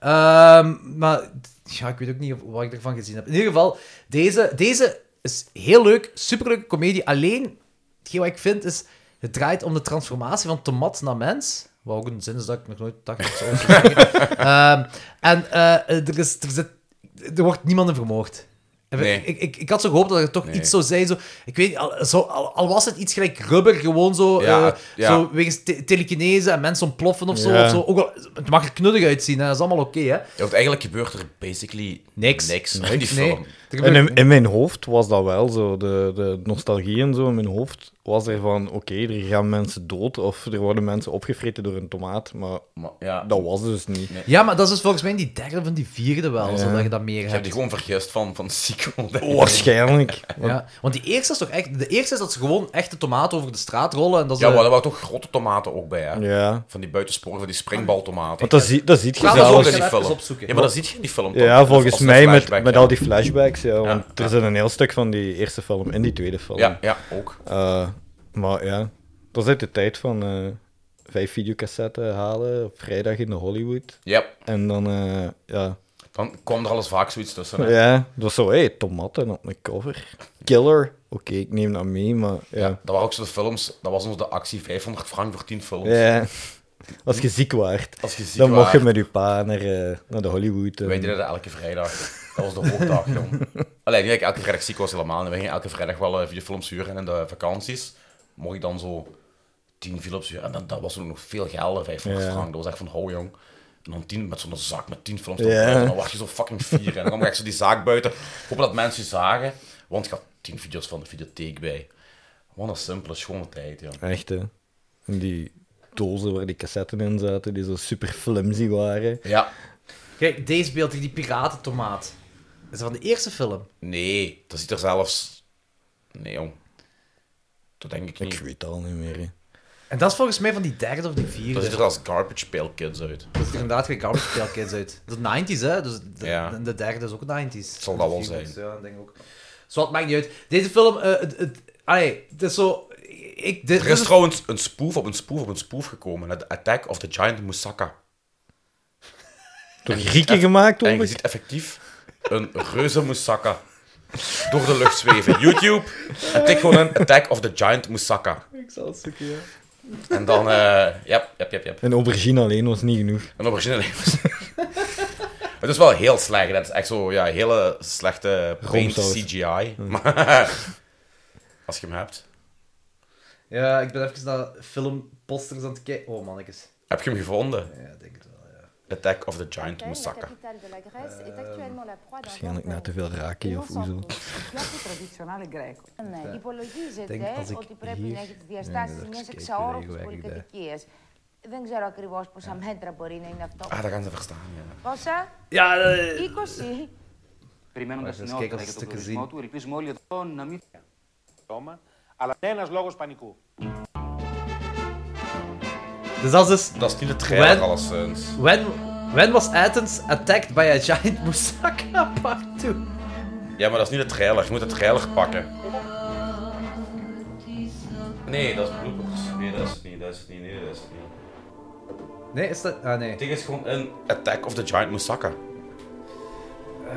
S5: Ehm, maar ja, ik weet ook niet of, wat ik ervan gezien heb. In ieder geval, deze, deze is heel leuk, superleuke komedie. Alleen, hetgeen wat ik vind is, het draait om de transformatie van tomat naar mens. Wat ook een zin is dat ik nog nooit dacht. dat zou ik
S6: [LAUGHS]
S5: zeggen. Ehm, en eh, er, is, er, zit, er wordt niemand in vermoord. En we-
S6: Nee.
S5: Ik, ik, ik had zo gehoopt dat er toch
S6: Nee.
S5: iets zou zijn. Zo, ik weet, niet, al, zo, al, al was het iets gelijk rubber, gewoon zo,
S6: Ja,
S5: eh,
S6: ja.
S5: zo wegens te- telekinese en mensen ontploffen of zo.
S3: Ja.
S5: Of zo. Ook al, het mag er knuddig uitzien, hè. dat is allemaal oké. hè.
S6: Ja, want eigenlijk gebeurt er basically
S5: Niks.
S6: niks in die
S5: Nee,
S6: film.
S5: er
S3: En
S5: gebeurt-
S3: in, in mijn hoofd was dat wel zo. De, de nostalgie en zo in mijn hoofd was er van: oké, er gaan mensen dood of er worden mensen opgevreten door een tomaat. Maar
S6: Maar ja,
S3: dat was dus niet.
S5: Ja, maar dat is dus volgens mij in die derde of in die vierde wel,
S3: Ja.
S5: zodat je dat meer
S6: ik
S5: hebt.
S6: heb die gewoon vergist van, van sequel. denk
S3: Oh,
S6: ik.
S3: Waarschijnlijk.
S5: Ja, want die eerste is toch echt... De eerste is dat ze gewoon echt de tomaat over de straat rollen en dat ze...
S6: Ja, maar er waren toch grote tomaten ook bij, hè?
S3: Ja.
S6: Van die buitensporen, van die springbaltomaten.
S3: Want dat, zie, dat ziet je
S5: Ja,
S6: dat is ook
S5: zelfs-
S6: in
S3: zelfs.
S6: die
S5: Even
S6: film.
S5: opzoeken.
S6: Ja, maar dat ziet je in die film. toch?
S3: Ja,
S6: Als-
S3: volgens
S6: als een
S3: mij met,
S6: flashback,
S3: met
S6: ja.
S3: al die flashbacks. Ja, want er zit een heel stuk van die eerste film in die tweede film.
S6: Ja, ja, ook.
S3: Eh, maar ja, dat is uit de tijd van eh, vijf videocassetten halen op vrijdag in de Hollywood.
S6: Ja,
S3: En dan, eh, ja.
S6: dan kwam er alles vaak zoiets tussen. hè.
S3: Ja, dat was zo, hé, hey, tomaten op mijn cover. Killer. Oké, ik neem dat mee, maar ja.
S6: Dat waren ook zo de films, dat was ons de actie 500 frank voor 10 films.
S3: ja. Als je ziek waart,
S6: Als je ziek
S3: dan mocht je
S6: waart.
S3: met je pa naar, eh, naar de Hollywood. eh, en-
S6: Wij deden dat elke vrijdag. Dat was de hoogdag,
S3: [LAUGHS]
S6: jong. Alleen, niet dat ik elke vrijdag ziek was helemaal. We gingen elke vrijdag wel eh, videofilms huren en in de vakanties mocht ik dan zo 10 films huren. En dan, dat was toen nog veel geld, hè, 500
S3: Ja.
S6: frank. Dat was echt van, ho jong. En dan 10 met zo'n zak met 10 films.
S3: Ja.
S6: erbij. En dan wacht je zo fucking fier. En dan kwam ik echt zo die zaak buiten. Hopen dat mensen je zagen. Want ik had 10 video's van de videotheek bij. Wat een simpele, schone tijd, ja.
S3: Echt, hè. En Die dozen waar die cassetten in zaten, die zo super flimsy waren.
S6: Ja,
S5: Kijk, deze beeld, hier, die piratentomaat. Dat is van de eerste film.
S6: nee, dat ziet er zelfs... Nee, jong. Dat denk ik niet.
S3: Ik weet het al niet meer, hè.
S5: En dat is volgens mij van die derde of die vierde.
S6: Dat ziet er als garbage pail kids uit.
S5: Dat is er inderdaad geen Garbage Pail Kids uit. Dat is 90s, hè? Dus de,
S6: Ja.
S5: de- de derde is ook 90s.
S6: Zal dat wel
S5: Die
S6: zijn.
S5: was, Ja, ik denk ook. Zo, het maakt niet uit. Deze film, eh, het, het, allee, het is zo. Ik, dit,
S6: Er
S5: dit
S6: is trouwens een spoof op een spoof op een spoof gekomen. The Attack of the Giant Moussaka.
S3: Door Grieken gemaakt,
S6: En je
S3: hoor.
S6: ziet effectief een reuze Moussaka door de lucht zweven. YouTube, en tik gewoon een Attack of the Giant Moussaka.
S5: Ik zal het zoeken, ja.
S6: En dan, eh yep, yep, yep, yep.
S3: Een aubergine alleen was niet genoeg.
S6: Een originele [LAUGHS] Het is wel heel slecht. Dat is echt zo, ja, hele slechte paint
S3: Rompsaus.
S6: CGI. Maar [LAUGHS] als je hem hebt.
S5: Ja, ik ben even naar filmposters aan het kijken. Oh, mannetjes.
S6: Heb je hem gevonden?
S5: Ja, ik denk het wel, ja.
S6: Attack of the Giant
S7: Ukraine, la
S6: Moussaka.
S7: capitale de la Grèce, est actuellement la proie d'un
S3: Waarschijnlijk na
S7: vampire.
S3: te veel raken of hoezo.
S8: piatto tradizionale greco.
S7: Ναι, υπολογίζεται
S5: Denk, als ik
S7: ότι πρέπει
S5: hier-
S7: να έχει τις
S5: Ναι,
S7: διαστάσεις
S5: εντάξει,
S7: μιας
S5: και
S7: εξαόροφης
S5: κυριακή, βέβαια.
S7: πολυκατοικίας. Δεν ξέρω ακριβώς πόσα μέτρα μπορεί να είναι αυτό.
S6: Ah, dat gaan ze verstaan, ja.
S7: Πόσα?
S5: Ja, eh,
S7: 20.
S9: Περιμένοντα
S5: Ωραία,
S9: την
S5: σας
S9: νεότητα
S5: καίγαζα
S9: για
S5: στο
S9: τον πληθυσμό
S5: καζίνι.
S9: του, ελπίζουμε όλοι εδώ να μην.
S10: Τόμα, αλλά ένας λόγος πανικού.
S5: dus dat is dus.
S6: Dat is niet de trailer,
S5: When-
S6: alleszins.
S5: When, when was Athens attacked by a giant moussaka [LAUGHS] part 2?
S6: Ja, maar dat is niet de trailer. Je moet de trailer pakken. Nee, dat is bloopers. Nee, dat is het niet. Dat is het niet. Nee, dat is het niet.
S5: Nee, is dat. Ah, nee.
S6: Het ding is gewoon een Attack of the Giant Moussaka. Eh,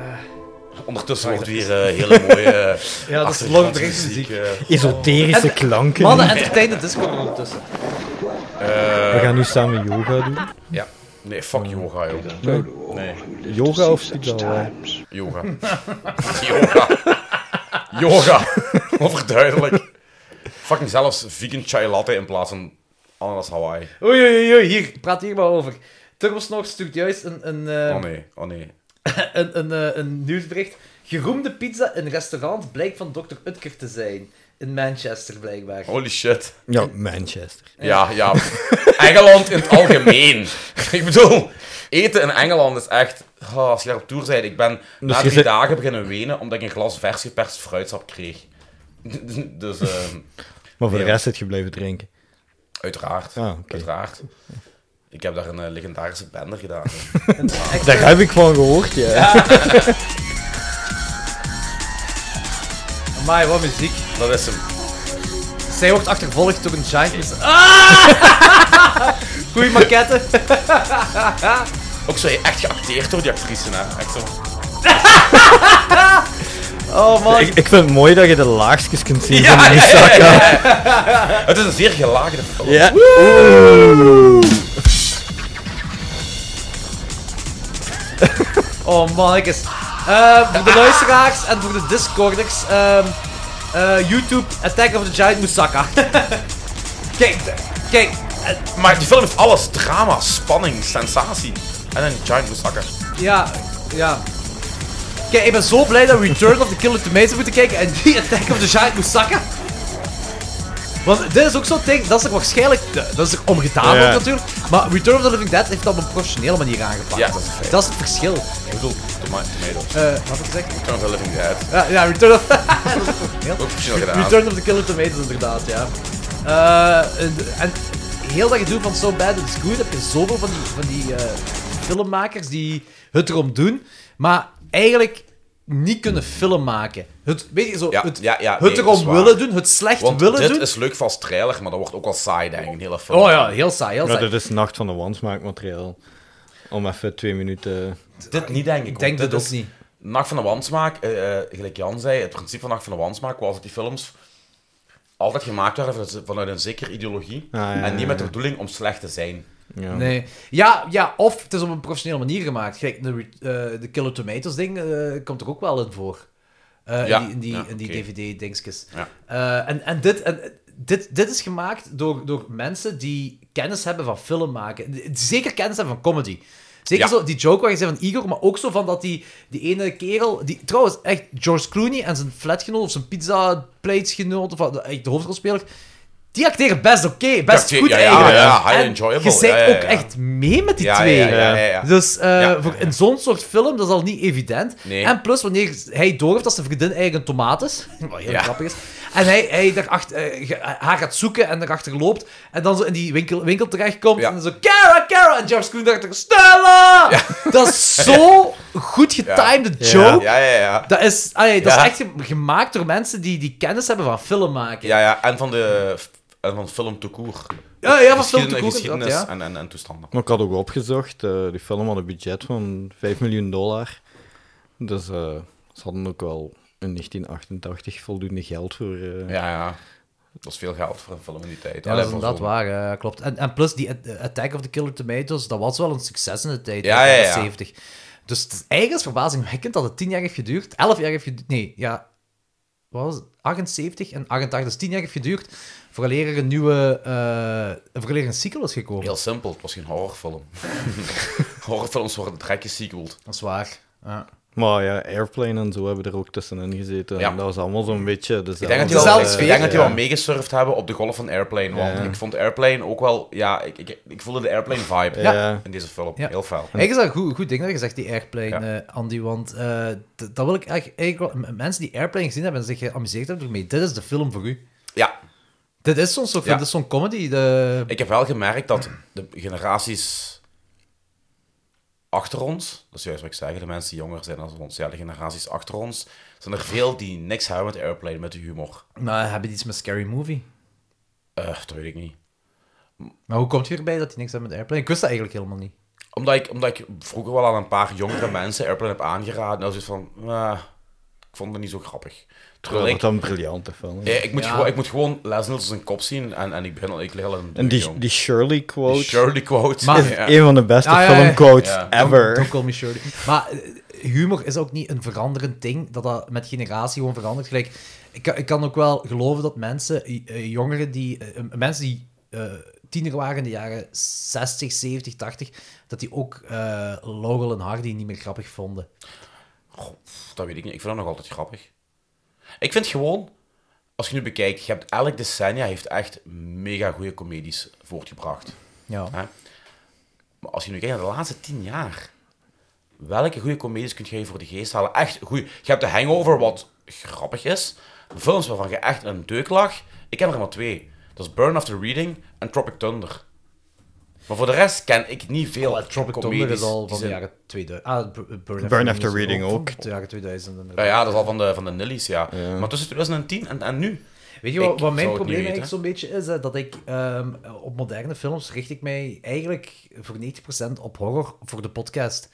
S6: Ondertussen wordt weer eh, hele [LAUGHS] mooie...
S5: Ja, dat is
S6: achtergrondmuziek, eh.
S3: Esoterische
S5: En-
S3: klanken.
S5: Mannen, entertain de Discord er ondertussen.
S3: We gaan nu samen yoga doen.
S6: Ja. Nee, fuck yoga, joh. Nee,
S3: Yoga of pizza?
S6: [LAUGHS] yoga. yoga. [LAUGHS] yoga. Overduidelijk. Fucking zelfs vegan chai latte in plaats van Ananas Hawaii.
S5: Oei, oei, oei, hier. Praat hier maar over. Turbosnog stuurt juist een, een, eh,
S3: Ehm,
S6: Oh nee, oh nee.
S5: een, een, eh, een nieuwsbericht. Geroemde pizza in restaurant blijkt van Dr. Utker te zijn. In Manchester, blijkbaar.
S6: Holy shit.
S3: Ja, Manchester.
S6: Ja, ja. Engeland
S3: [LAUGHS]
S6: in het algemeen. ik bedoel, eten in Engeland is echt... ah, als je daar op tour bent, ik ben na
S3: Dus je
S6: drie
S3: zit-
S6: dagen beginnen wenen omdat ik een glas vers geperst fruitsap kreeg. [LAUGHS] dus, ehm,
S3: Maar voor de
S6: Ja.
S3: rest zit je blijven drinken.
S6: uiteraard.
S3: Ah, oké.
S6: Uiteraard. Ik heb daar een eh, legendarische bender gedaan.
S3: Daar heb ik van gehoord, ja.
S5: Amai, wat muziek.
S6: Dat is hem.
S5: Zij wordt achtervolgd door een giant. mis- Ah! [LAUGHS] Goeie maquette.
S6: Ook zo echt geacteerd door die actrice, hè. Echt zo.
S5: Oh man.
S3: Ik, ik vind het mooi dat je de laagstjes kunt zien
S6: Ja,
S3: van die
S6: ja,
S3: zak. Ja,
S6: Het is een zeer gelaagde film.
S5: Oh man, ik is. Eh, voor de luisteraars en voor de Discorders. ehm, eh, YouTube Attack of the Giant Moussaka. [LAUGHS] kijk, kijk.
S6: Eh, Maar die film heeft alles. Drama, spanning, sensatie. En een giant moussaka.
S5: Ja, ja. Kijk, ik ben zo blij dat we Return of the Killer Tomatoes moeten kijken en die Attack of the Giant Moussaka. Want dit is ook zo'n ding, dat is er waarschijnlijk, dat is er omgedaan
S3: Ja.
S5: ook natuurlijk. Maar Return of the Living Dead heeft dat op een professionele manier aangepakt.
S6: Ja, dat is een feit.
S5: Dat is het verschil.
S6: Ik bedoel, toma- tomatoes.
S5: Eh, wat heb ik gezegd?
S6: Turn of the Living Dead.
S5: Ja, ja Return of... [LAUGHS] dat is professioneel.
S6: Ook verschil gedaan.
S5: Return of the Killer Tomatoes, inderdaad, ja. Eh, en, en heel dat gedoe van So Bad It's Good heb je zoveel van die, van die eh, filmmakers die het erom doen, maar eigenlijk niet kunnen film maken. Het, weet je, zo,
S6: Ja,
S5: het,
S6: ja, ja,
S5: het
S6: nee, dat is
S5: erom
S6: waar.
S5: willen doen, het slecht
S6: Want
S5: willen
S6: dit
S5: doen.
S6: is leuk voor als trailer, maar dat wordt ook wel saai, denk ik, een hele film.
S5: Oh ja, heel saai, heel saai.
S3: dat is Nacht van de Wansmaakmateriaal. Om even twee minuten...
S6: Dit niet, denk ik.
S5: Ik denk
S6: want
S5: dat
S6: dit
S5: ook niet.
S6: Nacht van de Wansmaak, eh, eh, gelijk Jan zei, het principe van Nacht van de Wansmaak was dat die films altijd gemaakt werden vanuit- vanuit een zekere ideologie.
S3: Ah, ja,
S6: en niet
S3: ja,
S6: met de
S3: ja.
S6: bedoeling om slecht te zijn.
S3: Ja.
S5: Nee. Ja, ja, of het is op een professionele manier gemaakt. Kijk, de, re- eh, de Killer Tomatoes ding eh, komt er ook wel in voor. Eh,
S6: Ja,
S5: in die, in die,
S6: ja,
S5: in die
S6: oké.
S5: DVD-dingetjes.
S6: Ja.
S5: en en, dit, en eh, dit, dit is gemaakt door, door mensen die kennis hebben van film maken. Die- die Zeker kennis hebben van comedy. Zeker
S6: Ja.
S5: zo die joke waar je zei van Igor, maar ook zo van dat die, die ene kerel... Die, trouwens, echt, George Clooney en zijn flatgenoot of zijn pizza platesgenoot, of wat- echt de hoofdrolspeler, die acteren best oké, best
S6: Ja,
S5: goed
S6: ja, ja,
S5: eigenlijk.
S6: ja, ja, high
S5: En
S6: enjoyable,
S5: Je zit
S6: ja, ja,
S5: ook
S6: ja.
S5: echt mee met die
S6: Ja,
S5: twee.
S6: ja, ja, ja, ja.
S5: Dus eh,
S6: ja,
S5: voor,
S6: ja.
S5: in zo'n soort film, dat is al niet evident.
S6: Nee.
S5: En plus, wanneer hij doorheeft dat zijn vriendin eigenlijk een tomaat is, [LAUGHS] wat heel
S6: Ja.
S5: grappig is, en hij, hij daarachter, eh, ge- haar gaat zoeken en daarachter loopt, en dan zo in die winkel, winkel terechtkomt,
S6: Ja.
S5: en dan zo, Kara, Kara, en George Clooney daarachter, Stella! Dat
S6: [LAUGHS]
S5: is zo goed getimede joke.
S6: Ja, ja, ja.
S5: Dat, is, allee, dat
S6: Ja.
S5: is echt ge- gemaakt door mensen die, die kennis hebben van film maken.
S6: Ja, ja. En van de en van film tout court.
S5: Ja, ja, van
S6: Geschiedenis-
S5: film tout court,
S6: Geschiedenis
S5: inderdaad, ja.
S6: en, en, en toestanden.
S3: Maar ik had ook opgezocht, eh, die film had een budget van 5 miljoen dollar. Dus eh, ze hadden ook wel in 1988 voldoende geld voor... eh,
S6: Ja, ja. Dat is veel geld voor een film in die tijd.
S5: Ja, dat is
S6: Allee, voor
S5: inderdaad
S6: zo'n-
S5: waar, eh, klopt. En, en plus, die At- Attack of the Killer Tomatoes, dat was wel een succes in de tijd,
S6: Ja,
S5: in de
S6: ja,
S5: jaren
S6: ja.
S5: 70. Dus het is eigenlijk is verbazingwekkend dat het 10 jaar heeft geduurd, 11 jaar heeft geduurd, nee, ja, wat was het? 78 en 88, dus 10 jaar heeft geduurd, vooraleer er een nieuwe, eh vooraleer er een sequel is gekomen.
S6: Heel simpel, het was geen
S5: [LAUGHS]
S6: horrorfilm. [LAUGHS] Horrorfilms worden direct gesequeld.
S5: Dat is waar. Ja.
S3: Maar ja, Airplane en zo hebben er ook tussenin gezeten.
S6: Ja.
S3: En dat was allemaal zo'n beetje
S6: Ik denk dat die
S5: Dezelfde
S6: wel,
S5: sfeer,
S6: ik denk dat die
S5: ja.
S6: wel meegesurfd hebben op de golf van Airplane. Want
S3: Ja.
S6: ik vond Airplane ook wel... Ja, ik, ik, ik voelde de Airplane-vibe
S3: Ja.
S6: in deze film.
S5: Ja.
S6: Heel fel.
S5: Eigenlijk is dat een goed, goed ding dat je zegt, die Airplane,
S6: Ja.
S5: eh, Andy, want eh, d- dat wil ik eigenlijk, eigenlijk wel- m- mensen die Airplane gezien hebben en zich geamuseerd hebben ermee, dit is de film voor u.
S6: Ja,
S5: Dit is zo'n soort,
S6: Ja.
S5: dit is zo'n comedy, de...
S6: ik heb wel gemerkt dat de generaties achter ons... Dat is juist wat ik zeg. De mensen die jonger zijn dan ons. Ja, de generaties achter ons... Zijn er veel die niks hebben met Airplane, met de humor.
S5: Maar hebben die iets met Scary Movie?
S6: Eh, dat weet ik niet.
S5: Maar hoe komt je erbij dat hij niks heeft met Airplane? Ik wist dat eigenlijk helemaal niet.
S6: Omdat ik, omdat ik vroeger wel aan een paar jongere mensen Airplane heb aangeraden. En dat is van... eh, ik vond het niet zo grappig. Terwijl ik...
S3: Wat een briljante film.
S6: Ja, ik, moet
S5: Ja.
S6: Gewoon, ik moet gewoon Les Niels zijn kop zien en, en ik begin al, ik leer al een
S3: En die,
S6: jong.
S3: die Shirley quote
S6: Die Shirley quote.
S5: Maar-
S3: is
S6: ja.
S3: een van de beste
S5: Ah, ja, ja, ja.
S3: filmquotes
S6: Ja.
S3: ever.
S5: Don't call me Shirley. Maar eh, humor is ook niet een veranderend ding, dat dat met generatie gewoon verandert. Gelijk, ik, kan- ik kan ook wel geloven dat mensen, eh, eh, jongeren die, eh, eh, mensen die eh, tiener waren in de jaren 60, 70, 80, dat die ook eh, Laurel en Hardy niet meer grappig vonden.
S6: Dat weet ik niet. Ik vind dat nog altijd grappig. Ik vind gewoon, als je nu bekijkt, je hebt elk decennia heeft echt mega goede comedies voortgebracht.
S5: Ja.
S6: Hè? Maar als je nu kijkt naar de laatste tien jaar, welke goede comedies kun je je voor de geest halen? Echt goed. Je hebt de Hangover, wat grappig is. Films waarvan je echt een deuk lag. Ik ken er maar twee. Dat is Burn After Reading en Tropic Thunder. Maar voor de rest ken ik niet veel
S5: Oh, Tropic Thunder
S6: comedies
S5: is al
S6: die
S5: van de
S6: zijn-
S5: jaren 2000. Ah, Bur- Burn,
S3: After
S5: is
S3: Reading ook.
S5: van De jaren 2000. inderdaad.
S6: Ah, Ja, ja, dat is al van de, van de Nillies, ja. Maar tussen 2010 en, en nu...
S5: Weet je wat,
S6: Ik
S5: wat
S6: zou
S5: mijn
S6: het niet
S5: probleem
S6: weten.
S5: eigenlijk zo'n beetje is? Hè? Dat ik ehm, op moderne films richt ik mij eigenlijk voor 90% op horror voor de podcast.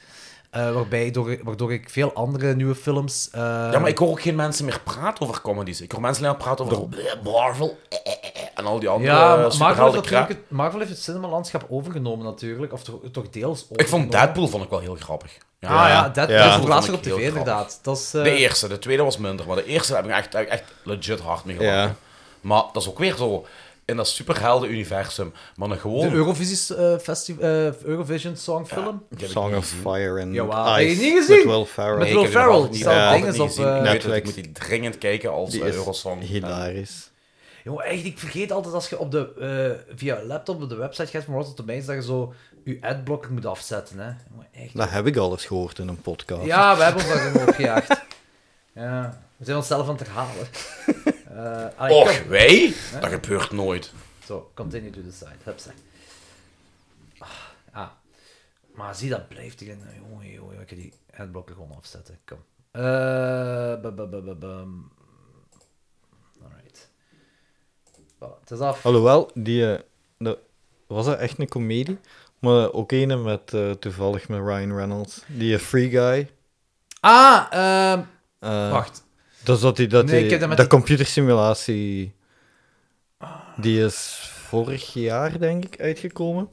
S5: Eh, waarbij door, waardoor ik veel andere nieuwe films... eh,
S6: Ja, maar ik hoor ook geen mensen meer praten over comedies. Ik hoor mensen alleen maar praten over bleh, Marvel eh, eh, eh, en al die andere
S5: Ja,
S6: ja,
S5: maar Marvel heeft,
S6: superhelden
S5: natuurlijk
S6: crap.
S5: het, Marvel heeft het cinemalandschap overgenomen natuurlijk. Of toch, toch deels
S6: Ik
S5: overgenomen.
S6: vond Deadpool vond ik wel heel grappig. Ja,
S5: Ah ja, dat
S3: Ja.
S5: dat is voor laatst nog op
S6: Vond ik
S5: tv
S6: heel
S5: inderdaad. Dat is, eh,
S6: De E eerste, de tweede was minder, maar de eerste heb ik echt, heb ik echt legit hard mee gelachen.
S3: Ja.
S6: Maar dat is ook weer zo in dat superhelden-universum. Maar een
S5: de
S6: gewoon...
S5: Eurovisie, eh, festi- eh, Eurovision Songfilm.
S6: Ik heb het
S3: Song
S6: niet
S3: of
S6: gezien.
S3: Fire and
S5: Jawel. Heb
S3: Ice.
S5: je niet gezien?
S3: Met Will Ferrell.
S5: Met
S6: Nee,
S5: Will
S6: ik heb die nog
S5: Ferrell,
S6: altijd niet-
S5: die staat
S6: ja,
S5: dingen
S6: altijd
S5: op,
S6: niet gezien.
S5: eh,
S6: Ik weet het, Ik
S3: Netflix.
S6: moet die dringend kijken als
S3: Die
S6: eh,
S3: is
S6: Eurosong.
S3: hilarisch.
S5: Jongen, echt, ik vergeet altijd als je op de, eh, via laptop op de website gaat van Rotten Tomatoes dat je zo je adblocker moet afzetten. Hè. Jongen, echt.
S3: Dat heb ik al eens gehoord in een podcast.
S5: Ja, we hebben ons daar helemaal opgejaagd. Ja, we zijn onszelf aan het herhalen. Eh, allee,
S6: Och,
S5: kom.
S6: wij? Dat gebeurt nooit.
S5: Zo, continue to the side. Hupsa. Ah, maar zie, dat blijft erin. Jongen, jongen, ik kan die adblocker gewoon afzetten. Kom. Eh, bu- bu- bu- bu- bum. Alright. Voilà, het is af.
S3: Alhoewel, die, eh, dat- was dat echt een komedie? Maar ook een met, eh, toevallig met Ryan Reynolds. Die eh, Free Guy.
S5: Ah, ehm,
S3: Eh,
S5: wacht.
S3: Dat is dat die, dat
S5: Nee, ik
S3: die,
S5: heb dat
S3: dat
S5: met die-
S3: computersimulatie... Die is vorig jaar, denk ik, uitgekomen.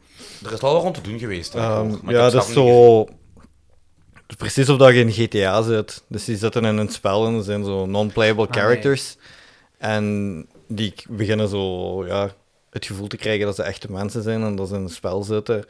S6: Er is al wat rond te doen geweest. hè,
S3: Ehm,
S6: maar ik
S3: ja,
S6: heb
S3: dat
S6: zelf
S3: is
S6: niet
S3: zo... Precies of dat je in GTA zit. Dus die zitten in een spel en er zijn zo non-playable
S6: Ah,
S5: nee.
S3: characters. En die k- beginnen zo ja, het gevoel te krijgen dat ze echte mensen zijn en dat ze in een spel zitten.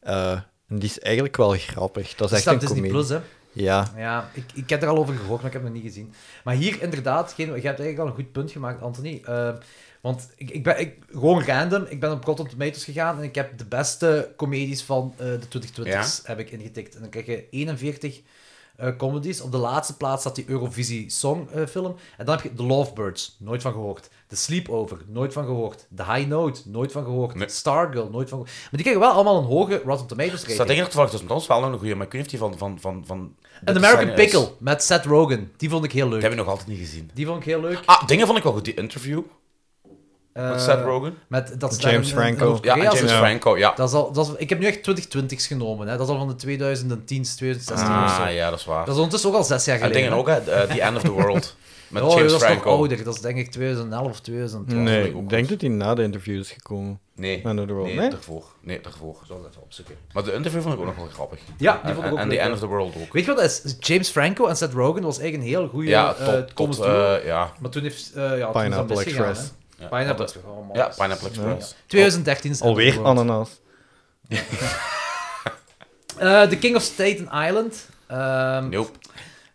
S3: Eh, en die is eigenlijk wel grappig. Dat is
S5: Dat
S3: echt
S5: staat
S3: een
S5: op Disney
S3: comedie.
S5: Plus, hè.
S3: Ja.
S5: Ja, ik, ik heb er al over gehoord, maar ik heb het nog niet gezien. Maar hier inderdaad, geen, je hebt eigenlijk al een goed punt gemaakt, Anthony. Ehm, want ik, ik ben ik, gewoon random, ik ben op Rotten Tomatoes gegaan en ik heb de beste comedies van eh, de 2020s heb ik ingetikt. En dan krijg je 41 eh, comedies. Op de laatste plaats staat die Eurovisie Songfilm. film en dan heb je The Lovebirds, nooit van gehoord. The Sleepover, nooit van gehoord. The High Note, nooit van gehoord.
S6: Nee.
S5: Stargirl, nooit van gehoord. Maar die krijgen wel allemaal een hoge Rotten Tomatoes
S6: Er
S5: rating.
S6: staat eigenlijk toevallig tussen ons wel nog een goede, maar ik weet niet of die van... van, van, van
S5: An
S6: dit
S5: American
S6: design is.
S5: Pickle met Seth Rogen. Die vond ik heel leuk.
S6: Die heb ik nog altijd niet gezien.
S5: Die vond ik heel leuk.
S6: Ah, dingen vond ik wel goed. Die interview
S5: Eh,
S6: met Seth Rogen.
S5: Met dat ze
S3: James
S5: daar in- in
S3: Franco.
S5: Noord-Korea
S6: Ja, en James
S5: zitten.
S6: Franco, ja.
S5: Dat is al, dat is, ik heb nu echt 2020's genomen. Hè. Dat is al van de 2010's, 2016 of zo.
S6: Ah, ja, dat is waar.
S5: Dat is ondertussen ook al zes jaar
S6: en
S5: geleden.
S6: dingen ook, hè. eh, The End of the
S5: [LAUGHS]
S6: World. Met
S5: oh,
S6: James
S5: dat is nog
S6: Franco. Mm.
S5: ouder. Dat is denk ik 2011 of 2012.
S3: Nee,
S6: ook
S3: ik denk dat die na de interview is gekomen.
S6: Nee,
S3: End of the World,
S6: nee,
S3: nee?
S6: daarvoor. Nee, daarvoor. Zal dat even opzoeken. Maar de interview vond ik ook nog wel grappig.
S5: Ja, die
S6: En-
S5: vond ik
S6: en-
S5: ook
S6: En
S5: leuk,
S6: The End
S5: ja.
S6: of the World ook.
S5: Weet je wat dat is? James Franco en Seth Rogen was eigenlijk een heel goede
S6: Ja,
S5: eh,
S6: tot... tot
S5: comedy
S6: eh,
S5: duo.
S6: ja.
S5: Maar toen heeft... eh, ja, toen is dat
S3: Pineapple
S5: misgegaan,
S3: Express.
S5: hè.
S6: Ja,
S5: Pineapple
S6: dat-
S5: Express. oh, man.
S6: Ja, Pineapple Express.
S5: 2013 is
S3: Alweer
S5: Underworld.
S3: ananas.
S5: Eh, The King of Staten Island. Ehm,
S6: Nope.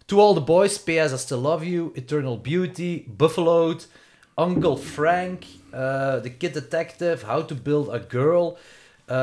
S5: To All the Boys, PS I Still Love You, Eternal Beauty, Buffaloed, Uncle Frank, eh, The Kid Detective, How to Build a Girl. Eh,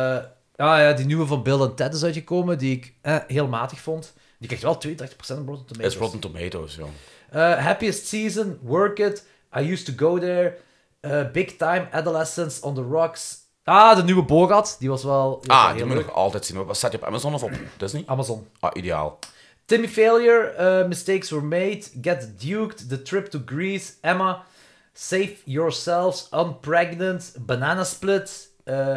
S5: ah ja, die nieuwe van Bill and Ted is uitgekomen, die ik eh, heel matig vond. Die krijgt wel 32% op Rotten
S6: Is
S5: Tomatoes.
S6: Rotten Tomatoes, joh.
S5: Eh, happiest Season, Work It, I Used to Go There, eh, Big Time, Adolescence, On the Rocks. Ah, de nieuwe Borat, die was wel die was wel
S6: Ah,
S5: heel
S6: die moet ik
S5: leuk.
S6: nog altijd zien. Maar Wat staat die op Amazon of op Disney?
S5: Amazon.
S6: Ah, ideaal.
S5: Timmy Failure, uh, Mistakes Were Made, Get Duked, The Trip to Greece, Emma, Save Yourselves, Unpregnant, Banana Split, uh,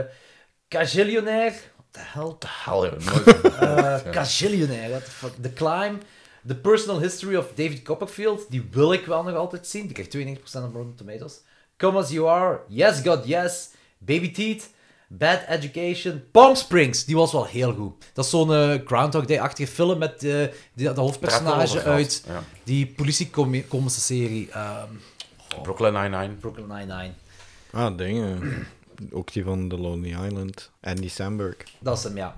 S5: Cajillionaire, what the hell?
S6: Hel,
S5: [LAUGHS]
S6: joh. nooit.
S5: Uh, Cajillionaire, what the fuck? The Climb, The Personal History of David Copperfield, die wil ik wel nog altijd zien, die krijgt 92% op Rotten Tomatoes. Come As You Are, Yes God Yes, Baby Teeth, Bad Education, Palm Springs, die was wel heel goed. Dat is zo'n eh, Groundhog Day-achtige film met eh die, dat
S6: Daar hebben we
S5: hoofdpersonage
S6: het over
S5: uit
S6: gehad,
S5: die politiecomische serie ehm
S6: Brooklyn Nine-Nine.
S5: Brooklyn Nine-Nine.
S3: Ah, dingen. ook die van The Lonely Island. Andy Samberg.
S5: Dat is hem, ja.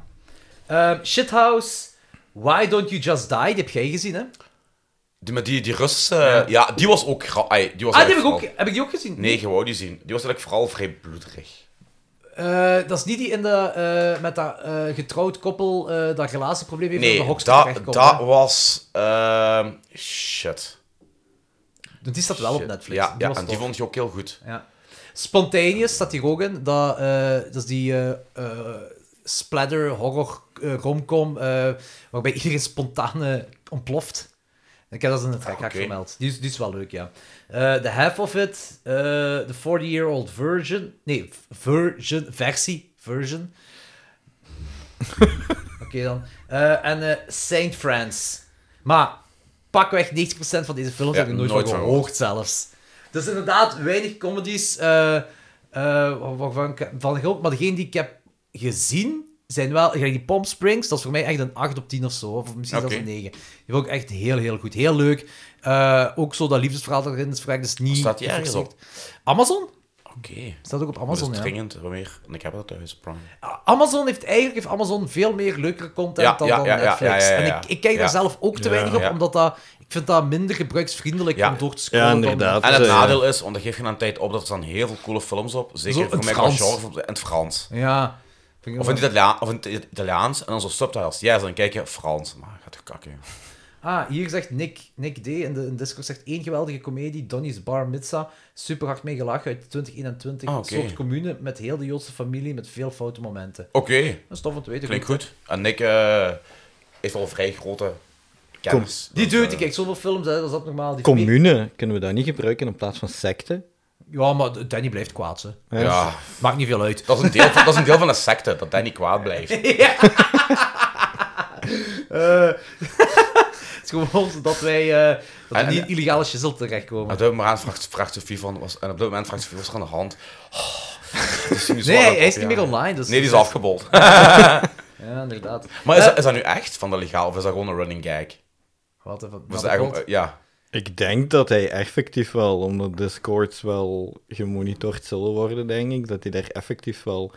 S5: Ehm, Shithouse, Why Don't You Just Die? Die heb jij gezien, hè?
S6: Die, maar die, die Russische... Ja. die was ook... gra- ai, die was
S5: Ah, die heb ik,
S6: eigenlijk
S5: ook,
S6: vooral-
S5: heb ik die ook gezien?
S6: Nee, gewoon die zien. Die was eigenlijk vooral vrij bloederig.
S5: Eh, dat is niet die in de, eh, met dat eh, getrouwd koppel eh dat relatieprobleem heeft en
S6: Nee,
S5: op de
S6: dat
S5: hokster terechtkomt.
S6: dat
S5: hè?
S6: was... ehm, shit.
S5: Want Die staat wel op
S6: Shit.
S5: Netflix.
S6: Ja, ja
S5: was
S6: en die
S5: tof.
S6: vond je ook heel goed.
S5: Ja. Spontaneous staat hier ook in. Dat, eh, dat is die eh, eh, splatter, horror, eh, romcom, eh, waarbij iedereen spontaan eh, ontploft. Ik heb dat in de trekhaak
S6: oké.
S5: vermeld. Die is, die is wel leuk, ja. Eh, The Half of It, eh, The 40-Year-Old Virgin... Nee, version, versie, version. Oké dan. Eh, en eh, Saint Frans. Maar pakweg 90% van deze films
S6: Ja,
S5: heb ik nooit,
S6: nooit
S5: van
S6: van
S5: gehoord zelfs. Dus inderdaad, weinig comedies eh, eh, waarvan ik van gehoord. Maar degene die ik heb gezien, zijn wel... gelijk Die Palm Springs, dat is voor mij echt een 8 op 10 of zo. Of misschien zelfs
S6: Oké.
S5: een 9. Die vond ik echt heel, heel goed. Heel leuk. Eh, ook zo dat liefdesverhaal dat erin is verwerkt. Dus niet
S6: Staat die ergens op?
S5: geforceerd. Amazon?
S6: Oké.
S5: Staat ook op
S6: Dat is
S5: Amazon, ja.
S6: dringend. wat meer. En ik heb dat thuis. Prime.
S5: Amazon heeft eigenlijk heeft Amazon veel meer leukere content
S6: Ja,
S5: dan,
S6: ja,
S5: dan
S6: ja, ja,
S5: Netflix.
S6: ja, ja, ja.
S5: En ik, ik kijk daar
S6: Ja.
S5: zelf ook te
S3: Ja,
S5: weinig op,
S6: ja.
S5: omdat dat, ik vind dat minder gebruiksvriendelijk
S6: Ja.
S5: om door te
S3: Ja,
S5: scrollen. dan-
S3: inderdaad.
S6: En het
S3: Dus, eh,
S6: nadeel is, want dat geeft je aan tijd op, dat er staan heel veel coole films op.
S5: Zo,
S6: Zeker
S5: in
S6: voor mij
S5: het
S6: als
S5: Frans.
S6: genre in het Frans.
S5: Ja. Vind ik
S6: Of in
S5: wel-
S6: het Italia- of in het Italiaans en dan zo subtitles. Ja, dan kijk je Frans. Maar gaat toch kakken.
S5: Ah, hier zegt Nick, Nick D in de in Discord zegt één geweldige komedie, Donny's Bar Mitzah. Super hard mee gelachen uit 2021.
S6: Ah,
S5: Een
S6: oké.
S5: soort commune met heel de Joodse familie met veel foute momenten.
S6: Oké,
S5: Dat is tof om te weten.
S6: klinkt goed. En Nick eh heeft al vrij grote kennis.
S5: Die
S6: Dus,
S5: dude,
S6: eh,
S5: die kijkt zoveel films, hè, dat is dat normaal. Die
S3: Commune, kunnen we dat niet gebruiken in plaats van secte?
S5: Ja, maar Danny blijft kwaad, hè.
S3: Hè?
S6: Ja,
S5: Maakt niet veel uit.
S6: dat is, een deel van, dat is een deel van een secte, dat hij niet kwaad blijft.
S5: Ja. Eh, het is gewoon dat wij eh, dat we
S6: En-
S5: niet
S6: en-
S5: in illegale shizzle terechtkomen.
S6: Op dat moment vraagt, vraagt Sophie van, was, en op dat moment vraagt Sophie, was er aan de hand?
S5: [LAUGHS]
S6: Oh, dat is nu zo
S5: Nee,
S6: aan-
S5: hij is
S6: ja.
S5: niet meer online. Dus
S6: Nee, die
S5: [LAUGHS]
S6: is afgebold.
S5: Ja, inderdaad.
S6: Maar is, dat- is dat nu echt van de legaal of is dat gewoon een running gag?
S5: Wat even.
S6: Was
S5: wat
S6: dat
S5: een
S6: eigenlijk,
S5: god.
S6: eh, ja.
S3: Ik denk dat hij effectief wel, omdat Discords wel gemonitord zullen worden, denk ik, dat hij daar effectief wel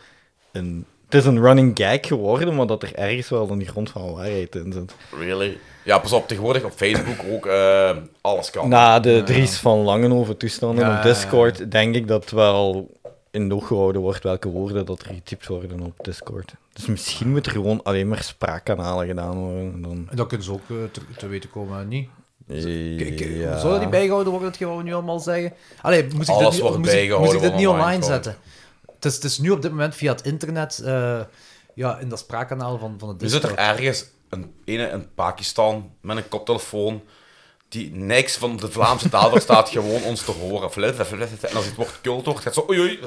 S3: een... Het is een running gag geworden, maar dat er ergens wel een grond van waarheid in zit.
S6: Really? Ja, pas op, tegenwoordig op Facebook ook eh, alles kan.
S5: Nou,
S3: Na de Dries van Langenhoven toestanden
S5: Ja,
S3: op Discord, denk ik dat wel in de oog gehouden wordt welke woorden dat er getypt worden op Discord. Dus misschien moet er gewoon alleen maar spraakkanalen gedaan worden. en Dan...
S5: En Dat kunnen ze ook eh, te, te weten komen, niet? Ik- ik-
S3: Ja.
S5: Zou dat niet bijgehouden worden, hetgeen wat we nu allemaal zeggen? Allee, moest ik
S6: Alles
S5: dit, niet-
S6: wordt
S5: moest ik-
S6: bijgehouden
S5: moest ik dit
S6: wat
S5: niet online,
S6: online komt.
S5: zetten? Het is, het is nu op dit moment via het internet, eh, ja, in dat spraakkanaal van, van het
S6: Nu zit
S5: Discord.
S6: er ergens een ene in Pakistan met een koptelefoon die niks van de Vlaamse taal verstaat, [LAUGHS] gewoon ons te horen. Fluit, fluit, fluit, fluit. En als het wordt kult wordt, gaat zo oei oei.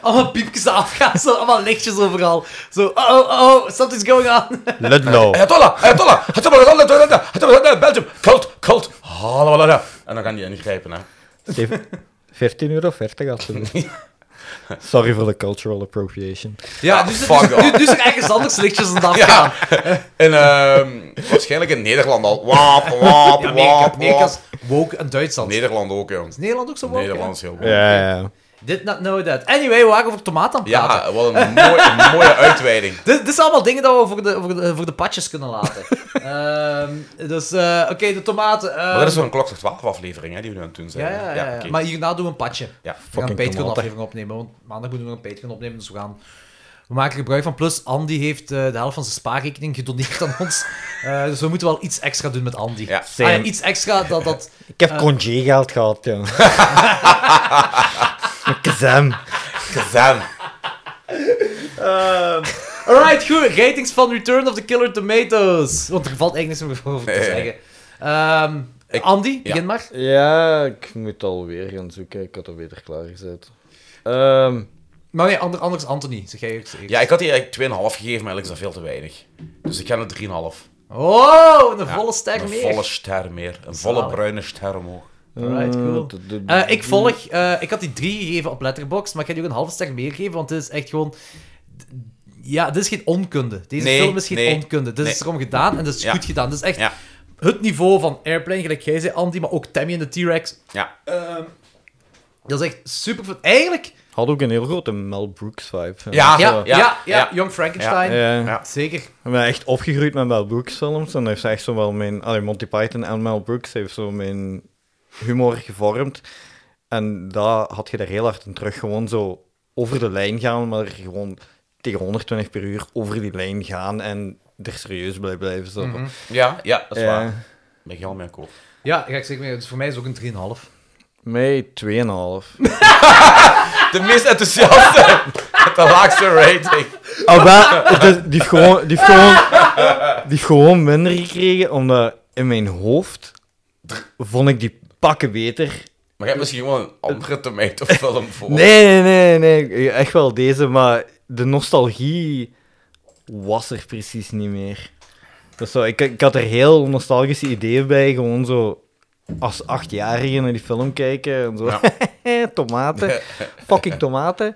S5: Allemaal piepjes afgaan, zo, allemaal lichtjes overal. Zo, oh, oh, oh, something's going on.
S3: Ludlow.
S6: Ayatollah, Ayatollah, Hattabara, Hattabara, Hattabara, Belgium, cult, cult, halalala. En dan kan die ingrijpen, hè.
S3: [LAUGHS] Zeven- 15 euro 40 alsjeblieft. [LAUGHS] Sorry voor de cultural appropriation.
S5: Ja, [LAUGHS]
S6: Ah,
S5: nu, zit-
S6: fuck
S5: nu,
S6: off.
S5: nu, nu is Dus- er ergens anders lichtjes aan het afgaan.
S6: [LAUGHS] [LAUGHS] Ja, en ehm, waarschijnlijk in Nederland al. Waap, waap,
S5: Ja, Amerika,
S6: waap,
S5: Amerika
S6: waap.
S5: is woke en Duitsland.
S6: Nederland ook, jongens.
S5: Is Nederland ook zo woke?
S6: Nederland is heel goed.
S3: Ja, ja.
S5: hè? Did not know that. Anyway, we waren over tomaten aan het praten.
S6: Ja, wat een mooie, een
S5: [LAUGHS]
S6: mooie uitweiding.
S5: Dit, dit zijn allemaal dingen dat we voor de, voor de, voor de patjes kunnen
S6: [LAUGHS]
S5: laten. Ehm, dus, eh, oké, de tomaten. ehm,
S6: Maar dat is zo'n klokslag 12 aflevering hè, die we nu aan het doen zijn.
S5: ja, ja, ja, ja.
S6: oké.
S5: Maar hierna doen we een patje.
S6: Ja,
S5: we gaan een
S3: fucking
S5: Patreon
S3: tomaten.
S5: aflevering opnemen, want maandag moeten we nog een Patreon opnemen, dus we gaan... We maken gebruik van Plus. Andy heeft eh, de helft van zijn spaarrekening gedoneerd aan
S6: [LAUGHS]
S5: ons. Eh, dus we moeten wel iets extra doen met Andy.
S6: Ja.
S5: Ah, ja, iets extra dat... dat
S3: Ik heb congé geld gehad, [LAUGHS] ja. Met Kazam.
S6: Kazan.
S5: Ehm, alright, goed. Ratings van Return of the Killer Tomatoes. Want er valt eigenlijk niks meer over te
S6: Nee.
S5: zeggen. Ehm,
S6: Ik-
S5: Andy, begin maar.
S3: Ja, ik moet alweer gaan zoeken. Ik had dat beter klaargezet. Ehm
S5: Maar nee, ander, anders Anthony. Zeg jij eerst. eerst.
S6: Ja, ik had die eigenlijk 2,5 gegeven, maar eigenlijk is dat veel te weinig. Dus ik ga naar 3,5.
S5: Oh, een volle ster
S6: Een
S5: meer.
S6: volle ster meer. Een volle
S5: Zalig.
S6: bruine ster omhoog.
S5: Alright, cool.
S3: eh, d- d-
S5: Eh, ik volg. eh, ik had die drie gegeven op Letterboxd, maar ik ga die ook een halve ster meer geven, want dit is echt gewoon... Ja, dit is geen onkunde. Deze
S6: Nee,
S5: film is geen
S6: nee,
S5: onkunde. Dit
S6: nee.
S5: is erom gedaan en dit is
S6: Ja.
S5: goed gedaan. Dit is echt
S6: Ja.
S5: het niveau van Airplane, gelijk jij zei, Andy, maar ook Tammy en de T-Rex.
S6: Ja.
S5: Ehm, dat is echt super vet. Eigenlijk
S3: Had ook een heel grote Mel Brooks vibe.
S6: Ja.
S5: ja,
S6: zo.
S5: ja, ja,
S6: Ja.
S5: Young Frankenstein.
S3: Ja.
S6: Ja.
S5: Zeker.
S3: Ik ben echt opgegroeid met Mel Brooks films. En heeft ze echt zo wel mijn... Allee, Monty Python en Mel Brooks heeft zo mijn humor gevormd. En daar had je daar heel hard in terug. Gewoon zo over de lijn gaan, maar gewoon tegen 120 per uur over die lijn gaan. En er serieus bij blijven. Zo.
S6: Ja, ja, Mhm. dat is
S3: Ja.
S6: waar. Ben ik helemaal mee akkoord.
S5: Ja, daar ga ik zeker mee. Dus voor mij is het ook een 3,5.
S3: Mij
S6: [LAUGHS]
S3: 2,5.
S6: De meest enthousiaste met de laagste rating.
S3: Ah, maar, het is- die, heeft gewoon, die, heeft gewoon, die heeft gewoon minder gekregen, omdat in mijn hoofd vond ik die pakken beter.
S6: Maar je hebt misschien gewoon een andere tomato-film voor.
S3: Nee, nee, nee, nee, echt wel deze, maar de nostalgie was er precies niet meer. Dat is zo, ik, ik had er heel nostalgische ideeën bij, gewoon zo als achtjarige naar die film kijken en zo. [LAUGHS] tomaten, fucking tomaten.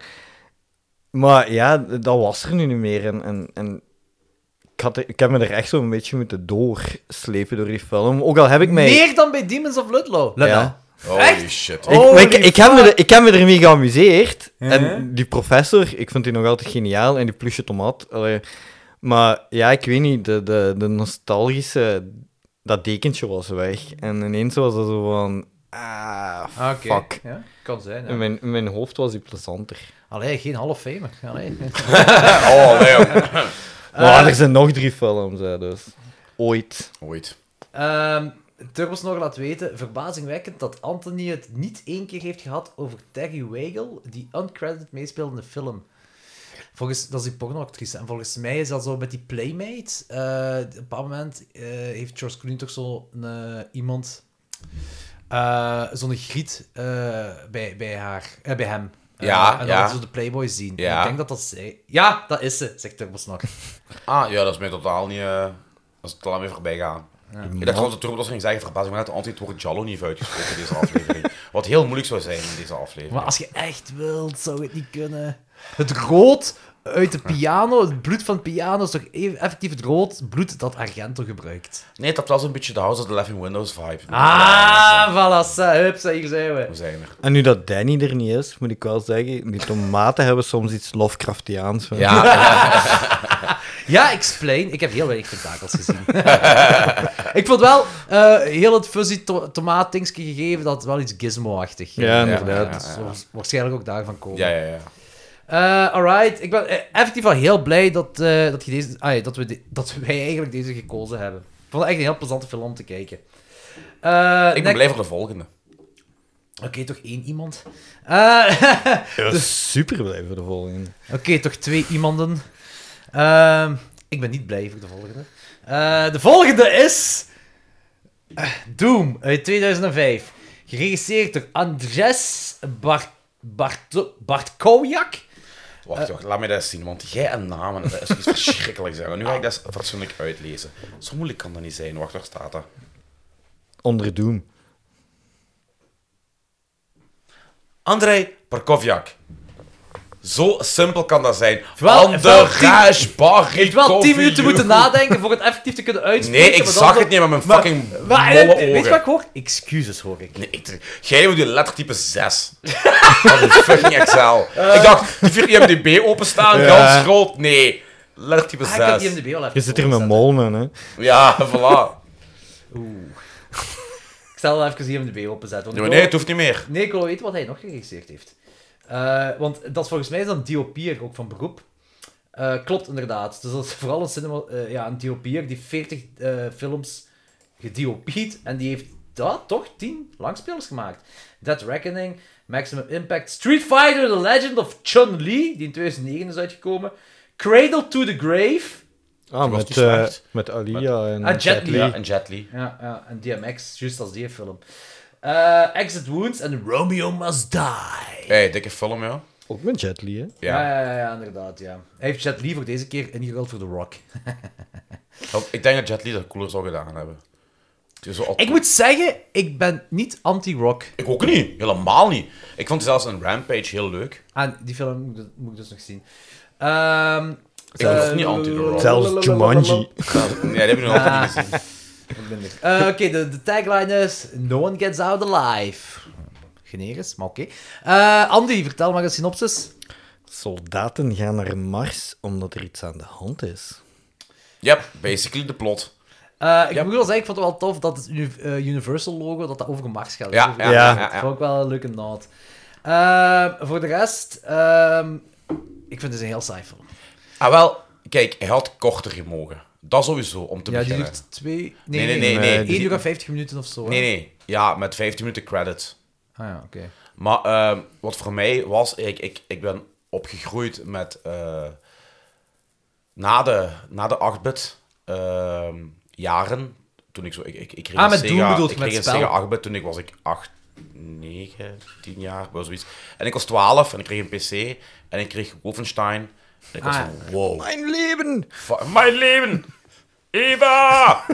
S3: Maar ja, d- dat was er nu niet meer en, en, en ik, had, er- ik heb me er echt zo'n beetje moeten doorslepen door die film. Ook al heb ik mij...
S5: Meer dan bij Demons of Ludlow. Let
S3: Ja.
S6: Holy
S5: Echt?
S6: shit.
S3: Ik, maar ik,
S5: Holy
S3: ik, heb me, er- ik heb me ermee geamuseerd. En die professor, ik vind die nog altijd geniaal. En die plusje tomaat. allee. Maar ja, ik weet niet, de, de, de nostalgische... Dat dekentje was weg. En ineens was dat zo van... Ah,
S5: wel. Ah,
S3: fuck.
S5: Oké. Ja, kan zijn.
S3: In
S5: Ah, Ja.
S3: mijn, in mijn hoofd was die plezanter.
S5: Allee, geen half famer. Allee.
S6: Oh, nee. joh.
S3: Maar er zijn nog drie films, hè, dus... Ooit.
S6: Ooit.
S5: Ehm Turbos nog laat weten, verbazingwekkend dat Anthony het niet één keer heeft gehad over Terry Weigel, die uncredited meespeelde in de film. Volgens, dat is die pornoactrice. En volgens mij is dat zo met die Playmate. Eh, op een bepaald moment eh, heeft George Clooney toch zo iemand, eh, zo'n griet eh, bij, bij, haar, eh, bij hem. Eh,
S6: Ja,
S5: en dan
S6: ja.
S5: laten ze de Playboy zien. En
S6: Ja.
S5: Ik denk dat dat zij... Ja, dat is ze, zegt Turbos nog.
S6: Ah, ja, dat is mij totaal niet... eh dat is te lang mee voorbij gaan. Ik dacht gewoon dat Turbo ging zeggen, verbazing me net, altijd het woord Jallo niet heeft uitgesproken in deze aflevering. Wat heel moeilijk zou zijn in deze aflevering.
S5: Maar als je echt wilt, zou het niet kunnen. Het rood uit de piano, het bloed van de piano is toch even, effectief het rood bloed dat Argento gebruikt.
S6: Nee, dat was een beetje de House of the Laughing Windows vibe.
S5: Ah, voilà, sa, hup, sa, hier zijn we.
S6: We zijn er.
S3: En nu dat Danny er niet is, moet ik wel zeggen... Die tomaten [LAUGHS] hebben soms iets Lovecraftiaans. vind ik.
S6: Ja,
S5: Ja, explain. Ik heb heel weinig tentakels gezien. [LAUGHS] ik vond wel eh, heel het fuzzy to tomaatdingske gegeven, dat wel iets gizmo-achtig.
S3: Ja,
S5: eh,
S3: inderdaad.
S5: dat zal Waarschijnlijk ook daarvan komen.
S6: ja, ja. ja.
S5: Eh, alright. Ik ben eh, effectief wel heel blij dat, eh, dat, je deze, ah, ja, dat, we [LAUGHS] de- dat wij eigenlijk deze gekozen hebben. Ik vond het echt een heel plezante film om te kijken. Eh,
S6: Ik ben
S5: next-
S6: blij voor de volgende.
S5: Oké, toch één iemand. Eh, [LAUGHS]
S3: Ja, super blij voor de volgende.
S5: Oké, toch twee iemanden. Ehm, ik ben niet blij voor de volgende. Eh, de volgende is... eh, Doom uit 2005. Geregisseerd door Andres Bart, Bart, Bartkowiak. Eh,
S6: Wacht, wacht, laat mij dat eens zien, want jij en namen, dat is iets verschrikkelijks. hè. Nu ga ik dat eens fatsoenlijk uitlezen. Zo moeilijk kan dat niet zijn. Wacht, waar staat dat?
S3: Onder Doom.
S6: André Parkovjak. Zo simpel kan dat zijn.
S5: Wel,
S6: André Parkovjak.
S5: Je hebt wel 10 minuten moeten nadenken voor het effectief te kunnen uitspreken.
S6: Nee, ik
S5: maar dan
S6: zag
S5: zo-
S6: het niet met mijn
S5: Maar-
S6: fucking
S5: maar-
S6: molle
S5: eh, Weet je wat
S6: ogen.
S5: ik hoor? Excuses hoor ik.
S6: Nee, ik- jij moet je lettertype 6. [LAUGHS] Dat is fucking Excel.
S5: Eh.
S6: Ik dacht, die vier IMDb openstaan,
S3: Ja.
S6: gans groot. Nee, lettertype
S5: Ah, ik heb die
S6: 6.
S5: IMDb al even
S3: Je zit hier met
S5: voorgezet.
S3: molmen, hè.
S6: Ja, voilà.
S5: Ik zal wel even die IMDb openzetten. want
S6: Nee,
S5: ik
S6: nee,
S5: wil-
S6: het hoeft niet meer.
S5: Nee, ik wil weten wat hij nog geregisseerd heeft. Eh, want dat is volgens mij is dat een DOP'er, ook van beroep. Eh, klopt inderdaad. Dus dat is vooral een, cinema, eh, ja, een DOP'er die 40 eh, films gediopied. En die heeft dat toch 10 langspelers gemaakt. Dead Reckoning, Maximum Impact, Street Fighter, The Legend of Chun-Li, die in 2009 is uitgekomen. Cradle to the Grave.
S3: Ah,
S6: was
S3: met,
S6: niet
S3: eh,
S6: slecht.
S3: met Alia en
S5: Ah, Jet Li.
S6: Ja, en Jet Li.
S5: Ja, ja, en DMX, juist als die film. Eh, Exit Wounds en Romeo Must Die.
S6: Hey, dikke film, ja.
S3: Ook met Jet Li, hè?
S6: Ja.
S5: Ja, ja, ja, ja, inderdaad, ja. Hij heeft Jet Li voor deze keer ingeruild voor The Rock.
S6: Wel, Ik denk dat Jet Li dat cooler zou gedaan hebben. Het is zo al-
S5: Ik moet zeggen, ik ben niet anti-Rock.
S6: Ik ook niet. Helemaal niet. Ik vond zelfs een Rampage heel leuk.
S5: Ah, die film moet ik- moet ik dus nog zien. Ehm,
S6: Ik was niet anti The Rock.
S3: Zelfs Jumanji.
S6: Nee, die hebben we nog
S5: Ah.
S6: altijd niet gezien.
S5: eh, Oké, de, de tagline is... No one gets out alive. Generis, maar oké. Eh, Andy, vertel maar een synopsis.
S3: Soldaten gaan naar Mars omdat er iets aan de hand is.
S6: Ja, basically de plot.
S5: Eh, ik moet wel zeggen, ik vond het wel tof dat het Uni- eh, Universal logo dat dat over Mars gaat.
S6: Ja,
S5: Over-
S6: ja, ja, ja,
S5: Dat
S6: ja.
S5: vond ik wel een leuke nod. Ehm, voor de rest, ehm, ik vind het een heel saai film.
S6: Ah, wel, kijk, hij had korter gemogen. Dat sowieso, om te
S5: ja, die
S6: beginnen.
S5: duurt twee...
S6: Nee, nee, nee, nee.
S5: 1
S6: Die-
S5: uur en 50 minuten of zo. hè?
S6: Nee, nee. Ja, met 15 minuten credit.
S5: Ah ja, oké.
S6: Maar ehm, wat voor mij was, ik, ik, ik ben opgegroeid met. eh, na de, na de 8-bit ehm, jaren. Toen ik zo. Ik, ik, ik kreeg
S5: Ah,
S6: een
S5: met
S6: Sega-
S5: Doom bedoelt
S6: Ik
S5: je met
S6: kreeg een
S5: spel?
S6: Sega 8-bit toen ik was ik 8, 9, 10 jaar, wel zoiets. En ik was 12 en ik kreeg een PC en ik kreeg Wolfenstein. En ik was
S5: Ah.
S6: van, wow.
S3: Mijn leven!
S6: Va- Mijn leven! Eva!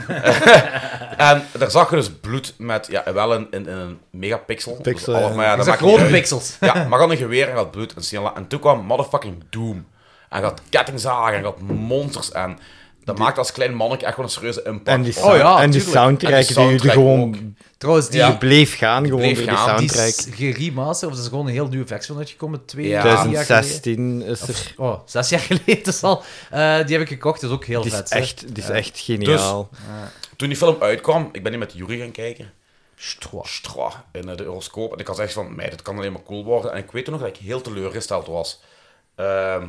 S6: [LAUGHS] en daar zag je dus bloed met, ja, wel in, in, in een megapixel.
S3: Pixel,
S6: alles-
S3: ja.
S6: maar ja,
S5: Dat
S6: dat
S5: zijn
S6: maakt niet
S5: grote
S6: uit.
S5: pixels.
S6: Ja, maar dan een geweer en gaat bloed en snel. En toen kwam motherfucking Doom. En gaat kettingzagen en gaat monsters. En dat maakt als klein mannetje echt wel een serieuze impact.
S3: En die,
S6: op-
S5: Oh ja,
S3: en die
S5: tuurlijk.
S3: soundtrack,
S6: En
S3: die,
S6: die
S3: die
S6: soundtrack
S3: gewoon
S5: Trouwens, die,
S6: Ja.
S3: die bleef gaan gewoon
S6: bleef
S3: door
S6: gaan.
S3: die
S5: die
S3: soundtrack.
S5: is Ah, geremasterd, of er is gewoon een heel nieuwe versie van uitgekomen. Twee,
S6: Ja.
S5: drie jaar geleden.
S3: 2016 is er.
S5: Oh, zes jaar geleden [LAUGHS] is al. Eh, die heb ik gekocht, dat is ook heel
S3: Die is
S5: vet. hè.
S3: echt, die is echt geniaal.
S6: Toen die film uitkwam, ik ben die met Jury gaan kijken.
S5: Stroh.
S6: Stra, in eh, de Euroscoop. En ik had echt van, mij, dit kan alleen maar cool worden. En ik weet toen nog dat ik heel teleurgesteld was. Ehm,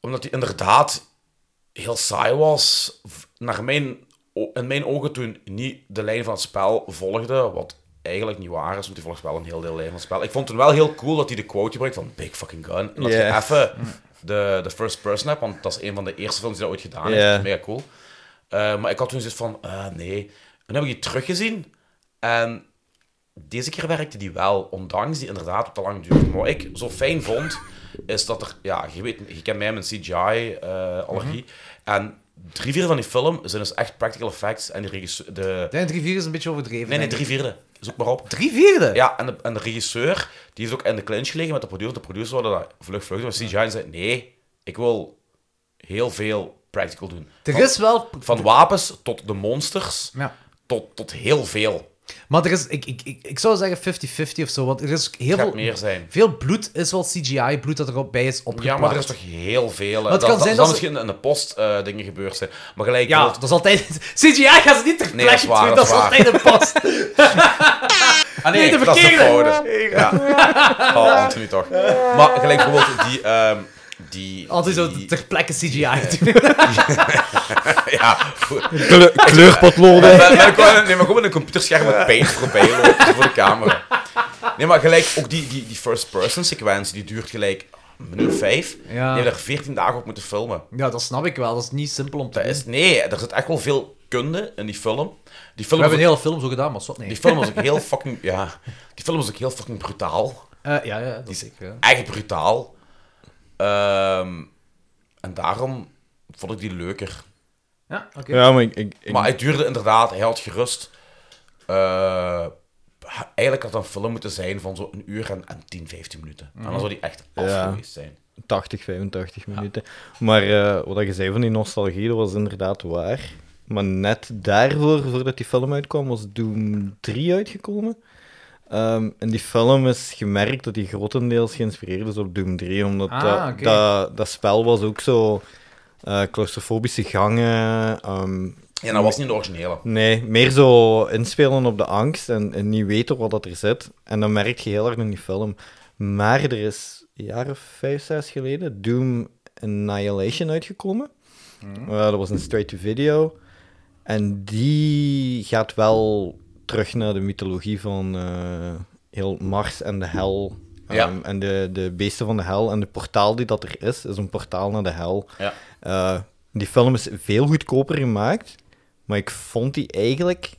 S6: omdat die inderdaad heel saai was. V- Naar mijn, o- in mijn ogen toen niet de lijn van het spel volgde. Wat eigenlijk niet waar is, want die volgt wel een heel deel lijn van het spel. Ik vond het wel heel cool dat hij de quote gebruikt van Big fucking gun. En dat
S3: Ja.
S6: je even de, de first person hebt, want dat is een van de eerste films die dat ooit gedaan heeft.
S3: Ja.
S6: Dat is Ah, mega cool. Eh, maar ik had toen zoiets van, eh, nee. En dan heb ik die teruggezien. En deze keer werkte die wel, ondanks die inderdaad wat te lang duurde. Maar wat ik zo fijn vond, is dat er... Ja, je, weet, je kent mij, mijn CGI-allergie. eh, En drie vierde van die film zijn dus echt practical effects. En de regisseur... De,
S5: Nee, drie vier is een beetje overdreven.
S6: nee, nee,
S5: denk
S6: drie
S5: ik.
S6: vierde. Zoek maar op.
S5: Drie vierde?
S6: Ja, en de, en de regisseur, die heeft ook in de clinch gelegen met de producer. De producer wilde dat vlug vlug doen. Maar CGI zei, nee, ik wil heel veel practical doen.
S5: Er
S6: Van-
S5: is wel...
S6: Van wapens tot de monsters,
S5: Ja.
S6: tot, tot heel veel.
S5: Maar er is... Ik, ik, ik, ik zou zeggen 50-50 of zo, want er is ook heel
S6: Het
S5: veel...
S6: gaat meer zijn.
S5: Veel bloed is wel CGI-bloed dat erop bij is opgeplakt.
S6: Ja, maar er is toch heel veel.
S5: het
S6: Dat,
S5: kan
S6: dat,
S5: zijn
S6: zal
S5: dat ze-
S6: misschien in de post eh, dingen gebeurd zijn. Maar
S5: Ja,
S6: gelijk, bijvoorbeeld-
S5: dat is altijd... [LAUGHS] CGI gaan ze niet ter
S6: Nee, dat is
S5: plekke
S6: waar,
S5: doen, dat
S6: dat
S5: is
S6: is waar.
S5: altijd een
S6: [LAUGHS]
S5: post.
S6: Ah,
S5: nee, de
S6: dat is de
S5: verkeerde.
S6: foute. Ja. Oh, Anthony toch. Maar gelijk bijvoorbeeld die... ehm die
S5: Altijd zo
S6: die-
S5: ter plekke CGI doen.
S6: [LAUGHS] Ja, goed.
S3: Kleur, kleurpotloden. [LAUGHS]
S6: Maar- maar- maar gewoon- Nee, maar gewoon een computerscherm met paint voorbij lopen voor de camera. Nee, maar gelijk ook die, die, die first-person sequentie, die duurt gelijk een minuut vijf.
S5: Ja.
S6: Die hebben er 14 dagen op moeten filmen.
S5: Ja, dat snap ik wel. Dat is niet simpel om te
S6: Dat
S5: doen.
S6: is, nee, er zit echt wel veel kunde in die film. Die
S5: We
S6: film
S5: hebben een
S6: is ook-
S5: hele film zo gedaan, maar zot nee.
S6: die film was ook heel fucking... Ja, die film was ook heel fucking brutaal.
S5: Eh, ja, ja, dat is zeker. ja.
S6: echt brutaal. Ehm, en daarom vond ik die leuker.
S5: Ja, oké.
S3: Ja, maar ik, ik, ik-
S6: Maar het duurde inderdaad, hij had gerust. eh, eigenlijk had dat een film moeten zijn van zo'n uur en, en 10, 15 minuten.
S5: Mhm.
S6: En dan zou die echt af
S3: Ja.
S6: geweest zijn.
S3: 80, 85 minuten. Maar eh, wat je zei van die nostalgie, dat was inderdaad waar. Maar net daarvoor, voordat die film uitkwam, was Doom 3 uitgekomen. Ehm, en die film is gemerkt dat die grotendeels geïnspireerd is op Doom 3, omdat
S5: Ah,
S3: dat,
S5: oké.
S3: dat, dat spel was ook zo eh claustrofobische gangen. ehm,
S6: Ja, dat was niet de originele.
S3: nee, meer zo inspelen op de angst en, en niet weten wat dat er zit. En dat merk je heel erg in die film. Maar er is een jaar of vijf, zes geleden Doom Annihilation uitgekomen. Eh, dat was een straight-to-video. En die gaat wel terug naar de mythologie van eh, heel Mars en de hel.
S6: Ja.
S3: Ehm, en de, de beesten van de hel. En de portaal die dat er is, is een portaal naar de hel.
S6: Ja.
S3: Eh, die film is veel goedkoper gemaakt. Maar ik vond die eigenlijk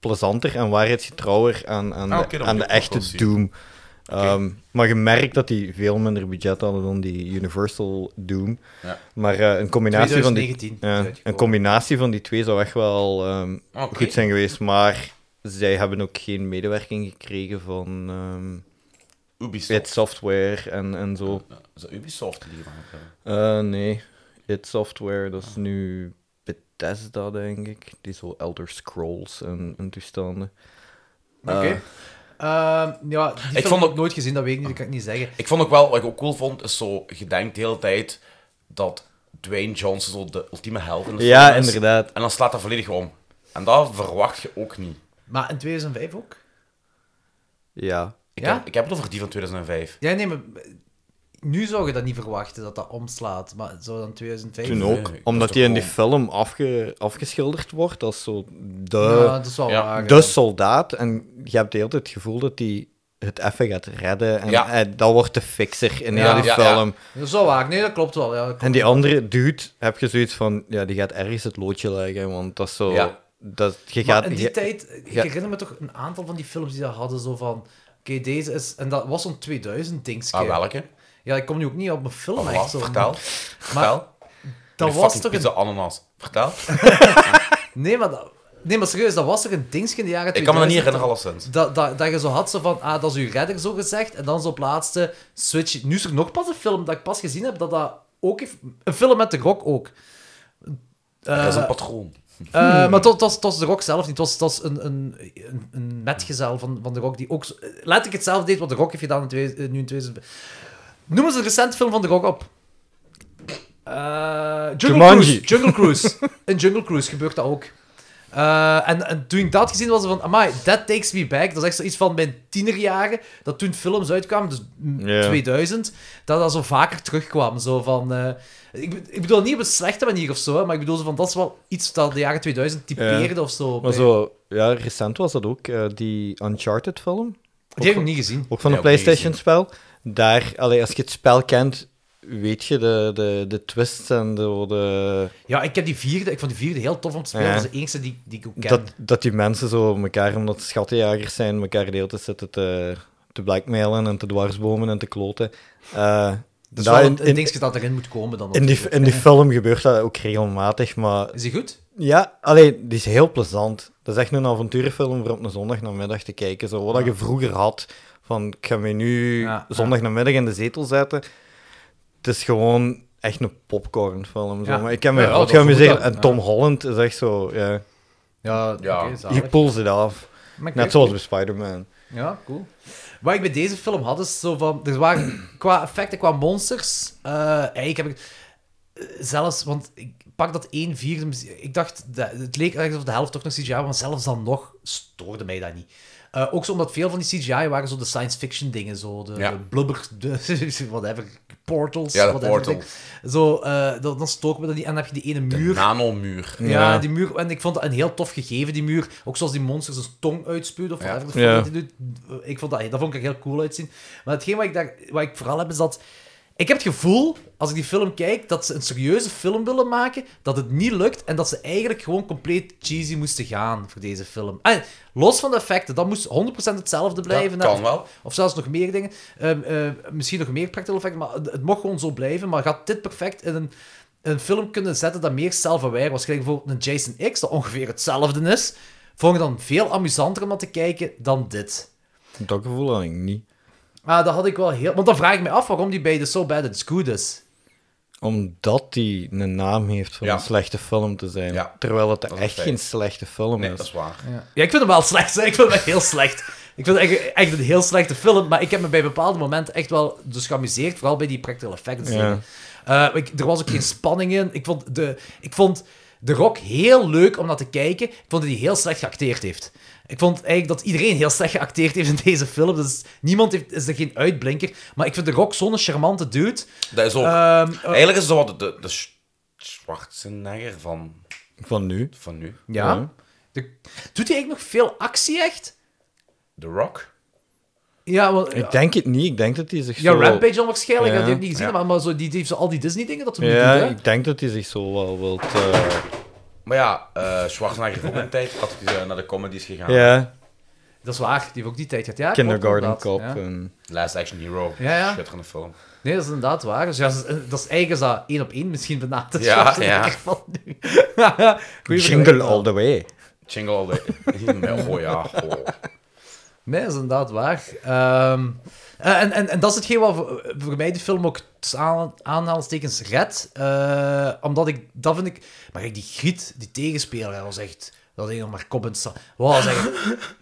S3: plezanter en waarheidsgetrouwer aan, aan
S6: Ah,
S3: de,
S6: oké, dat
S3: aan
S6: moet
S3: de
S6: ik ook
S3: echte
S6: wel zien.
S3: Doom. Ehm, maar je merkt dat die veel minder budget hadden dan die Universal Doom.
S6: Ja.
S3: Maar eh, een, combinatie van die,
S5: 2019
S3: ja,
S5: is uitgekomen.
S3: een combinatie van die twee zou echt wel ehm,
S6: Ah, Oké.
S3: goed zijn geweest. Maar zij hebben ook geen medewerking gekregen van ehm
S6: Ubisoft.
S3: id Software en, en zo.
S6: Ja, is dat Ubisoft die die gemaakt hebben?
S3: Eh, nee, id Software, dat
S6: Ah.
S3: is nu Bethesda, denk ik. Die zo Elder Scrolls en, en toestanden.
S5: Oké. Ehm, ja, die film
S6: vond
S5: heb ik
S6: ook-
S5: nooit gezien, dat weet ik niet, dat kan ik niet zeggen.
S6: Ik vond ook wel, wat ik ook cool vond, is zo, je denkt de hele tijd dat Dwayne Johnson zo de ultieme held in de
S3: Ja,
S6: film is.
S3: inderdaad.
S6: En dan slaat dat volledig om. En dat verwacht je ook niet.
S5: Maar in 2005 ook?
S3: Ja.
S6: Ik,
S5: Ja?
S6: heb, ik heb het over die van 2005.
S5: Ja, nee, maar eh, nu zou je dat niet verwachten, dat dat omslaat. Maar zo dan 2005...
S3: Toen
S6: ik
S3: ook.
S6: was
S3: Omdat
S6: toch
S3: die in die
S6: gewoon-
S3: film afge, afgeschilderd wordt als zo de,
S5: Ja, dat is wel
S6: ja, Dus-
S5: waar.
S3: de
S5: ja.
S3: soldaat. En je hebt de hele tijd het gevoel dat hij het even gaat redden. En
S6: Ja.
S3: eh, dat wordt de fixer in
S5: Ja.
S3: heel die
S6: Ja, ja.
S3: film.
S5: Dat is wel waar. Nee, dat klopt wel. Ja, dat klopt.
S3: En die andere dude, heb je zoiets van... Ja, die gaat ergens het loodje leggen, want dat is zo...
S6: Ja.
S3: Dat, je
S5: Maar
S3: gaat,
S5: in die
S3: je-
S5: tijd, ik
S3: ja.
S5: herinner me toch een aantal van die films die dat hadden, zo van... Oké, deze is... En dat was zo'n 2000 dingetje.
S6: Ah, welke?
S5: Ja, ik kom nu ook niet op mijn film
S6: Of
S5: Oh, echt
S6: wat?
S5: zo.
S6: Vertel. Vertel.
S5: Dat
S6: Die
S5: was
S6: fucking
S5: toch
S6: pizza
S5: een...
S6: ananas.
S5: [LAUGHS]
S6: Vertel.
S5: Nee, maar dat... Nee, maar serieus, dat was toch een dingetje in de jaren
S6: Ik kan me dat niet
S5: 2000?
S6: herinneren, alleszins.
S5: Dat, dat, dat je zo had, zo van, ah, dat is uw redder, zo gezegd. En dan zo op laatste switch. Nu is er nog pas een film dat ik pas gezien heb, dat dat ook heeft... Een film met de Rock ook.
S6: Dat is
S5: Eh,
S6: een patroon.
S5: eh,
S3: Hmm.
S5: maar het was- het was, het was de Rock zelf niet. Het was, het was een, een, een, een metgezel van, van de Rock die ook... zo- eh, Laat ik het zelf deed wat de Rock heeft gedaan in twee, eh, nu in 2000. Noem eens een recente film van de Rock op. Eh, Jungle
S3: Jumanji.
S5: Cruise. Jungle Cruise. [LAUGHS] in Jungle Cruise gebeurt dat ook. Eh, en, en toen ik dat gezien had, was, het van, amai, That Takes Me Back. Dat is echt zoiets van mijn tienerjaren, dat toen films uitkwamen, dus mm,
S3: Ja.
S5: 2000, dat dat zo vaker terugkwam. Zo van, eh, ik, be- ik bedoel niet op een slechte manier of zo, hè, maar ik bedoel zo van, dat is wel iets dat de jaren 2000 typeerde of zo. Eh,
S3: Maar
S5: Bij-
S3: zo... Ja, recent was dat ook. eh, die Uncharted-film.
S5: Die heb ik nog niet gezien.
S3: Ook van
S6: Ja,
S3: een
S6: ook niet
S3: PlayStation-spel. Daar, allee, als je het spel kent, weet je de, de, de twists en de, de-
S5: Ja, ik heb die vierde, ik vond die vierde heel tof om te spelen.
S3: Ja.
S5: Dat is de enige die, die ik ook ken.
S3: dat, dat die mensen zo elkaar, omdat ze schattenjagers zijn, elkaar de hele tijd zitten te, te blackmailen en te dwarsbomen en te kloten. Eh,
S5: dat is
S3: daar
S5: wel
S3: in,
S5: een, een
S3: in,
S5: dingetje dat erin moet komen dan.
S3: in die, in die film gebeurt dat ook regelmatig, maar
S5: Is die goed?
S3: ja, allee, die is heel plezant. Dat is echt een avonturenfilm voor op een zondagnamiddag te kijken. Zo, wat dat je vroeger had, van ik ga me nu
S5: Ja, ja.
S3: zondagnamiddag in de zetel zetten. Het is gewoon echt een popcornfilm. Zo.
S5: Ja.
S3: Maar ik heb me
S5: Ja,
S3: rot
S5: dat is goed
S3: geamuseerd.
S5: dan.
S3: En
S5: Ja.
S3: Tom Holland is echt zo, ja,
S5: Ja,
S6: Ja.
S5: oké, zalig.
S3: je pulls het af.
S5: Maar ik
S3: Net
S5: weet-
S3: zoals bij Spider-Man.
S5: Ja, cool. Wat ik bij deze film had, is zo van... Er waren [CLEARS THROAT] qua effecten, qua monsters... eh eigenlijk heb ik... eh, Zelfs, want ik pak dat 1 vierde... mis- Ik dacht, dat- het leek ergens of de helft toch nog CGI was, maar zelfs dan nog stoorde mij dat niet. Eh, ook zo omdat veel van die CGI waren zo de science fiction dingen, zo de,
S6: Ja.
S5: de blubber, de, [LAUGHS] whatever, portals,
S6: Ja, de
S5: whatever
S6: portal.
S5: ding. Zo, eh, dan, dan stoken we dat niet. En dan heb je die ene
S6: De
S5: muur.
S6: nanomuur.
S5: Ja,
S3: Ja.
S5: die muur. En ik vond dat een heel tof gegeven, die muur. Ook zoals die monsters een tong uitspuwden. Of
S6: Ja.
S5: whatever.
S3: Ja.
S5: Dat die doet. Ik vond dat, dat vond ik er heel cool uitzien. Maar hetgeen wat ik, daar, wat ik vooral heb, is dat... Ik heb het gevoel, als ik die film kijk, dat ze een serieuze film willen maken, dat het niet lukt en dat ze eigenlijk gewoon compleet cheesy moesten gaan voor deze film. En los van de effecten, dat moest 100% hetzelfde blijven.
S6: Ja, kan
S5: hè.
S6: wel.
S5: Of zelfs nog meer dingen. Ehm, eh, misschien nog meer practical effects, maar het, het mocht gewoon zo blijven. Maar gaat dit perfect in een, een film kunnen zetten dat meer self-aware was? Kijk bijvoorbeeld een Jason X, dat ongeveer hetzelfde is. Vond ik dan veel amusanter om naar te kijken dan dit.
S3: Dat gevoel had ik niet.
S5: Ah, dat had ik wel heel... Want dan vraag ik me af waarom die bij de So Bad It's Good is.
S3: Omdat die een naam heeft voor
S6: Ja.
S3: een slechte film te zijn.
S6: Ja.
S3: Terwijl het
S6: Dat is
S3: echt
S6: een
S3: geen
S6: feit.
S3: slechte film
S6: Nee,
S3: is.
S6: dat is waar.
S5: Ja, ik vind hem wel slecht. hè. Ik vind hem echt heel slecht. Ik vind het echt, echt een heel slechte film, maar ik heb me bij bepaalde momenten echt wel dus geamuseerd, vooral bij die practical effects.
S3: Ja.
S5: dingen. Eh, ik, er was ook geen spanning in. Ik vond, de, ik vond de Rock heel leuk om naar te kijken. Ik vond dat hij heel slecht geacteerd heeft. Ik vond eigenlijk dat iedereen heel slecht geacteerd heeft in deze film. Dus niemand heeft, is er geen uitblinker. Maar ik vind de Rock zo'n charmante dude.
S6: Dat is ook...
S5: Ehm, eh,
S6: Eigenlijk is het zo wat de, de Sch- Schwarzenegger van,
S3: Van nu.
S6: van nu.
S5: ja.
S3: Ja.
S5: De- doet hij eigenlijk nog veel actie echt?
S6: The Rock.
S5: Ja, want,
S3: Ik denk het niet. Ik denk dat hij zich
S5: Ja,
S3: zo...
S5: Rampage dan waarschijnlijk,
S3: Ja.
S5: dat heb ik niet gezien,
S6: Ja.
S5: maar, maar zo, die, die heeft zo al die Disney-dingen dat ze
S3: Ja,
S5: doen, hè?
S3: ik denk dat hij zich zo wel wilt... eh,
S6: Maar ja, eh Schwarzenegger heeft
S5: [LAUGHS]
S6: ook een tijd gehad dat hij eh, naar de comedy is gegaan.
S3: ja,
S5: Dat is waar, die heeft ook die tijd gehad. Ja, klopt
S3: Kindergarten
S5: inderdaad, ja.
S3: Cop. en-
S6: Last Action Hero.
S5: Ja, ja.
S6: Schitterende film.
S5: Nee, dat is inderdaad waar. Dus ja, dat is- dat is eigenlijk is dat één op één misschien benaderd. [LAUGHS] Dat is
S6: Ja,
S5: juist
S6: ja.
S5: echt van
S3: [LAUGHS]
S5: nu. Goeie vergelijking.
S3: Jingle all the way.
S6: Jingle all the... oh [LAUGHS] ja, oh.
S5: Nee, dat is inderdaad waar. Ehm, eh, en, en, en dat is hetgeen wat voor, eh, voor mij die film ook tussen aan- aanhalingstekens redt. Eh, omdat ik, dat vind ik... Maar kijk, die Griet, die tegenspeler, dat was echt Dat was echt nog maar kop en sta. Wow, dat was
S3: [LAUGHS]
S5: echt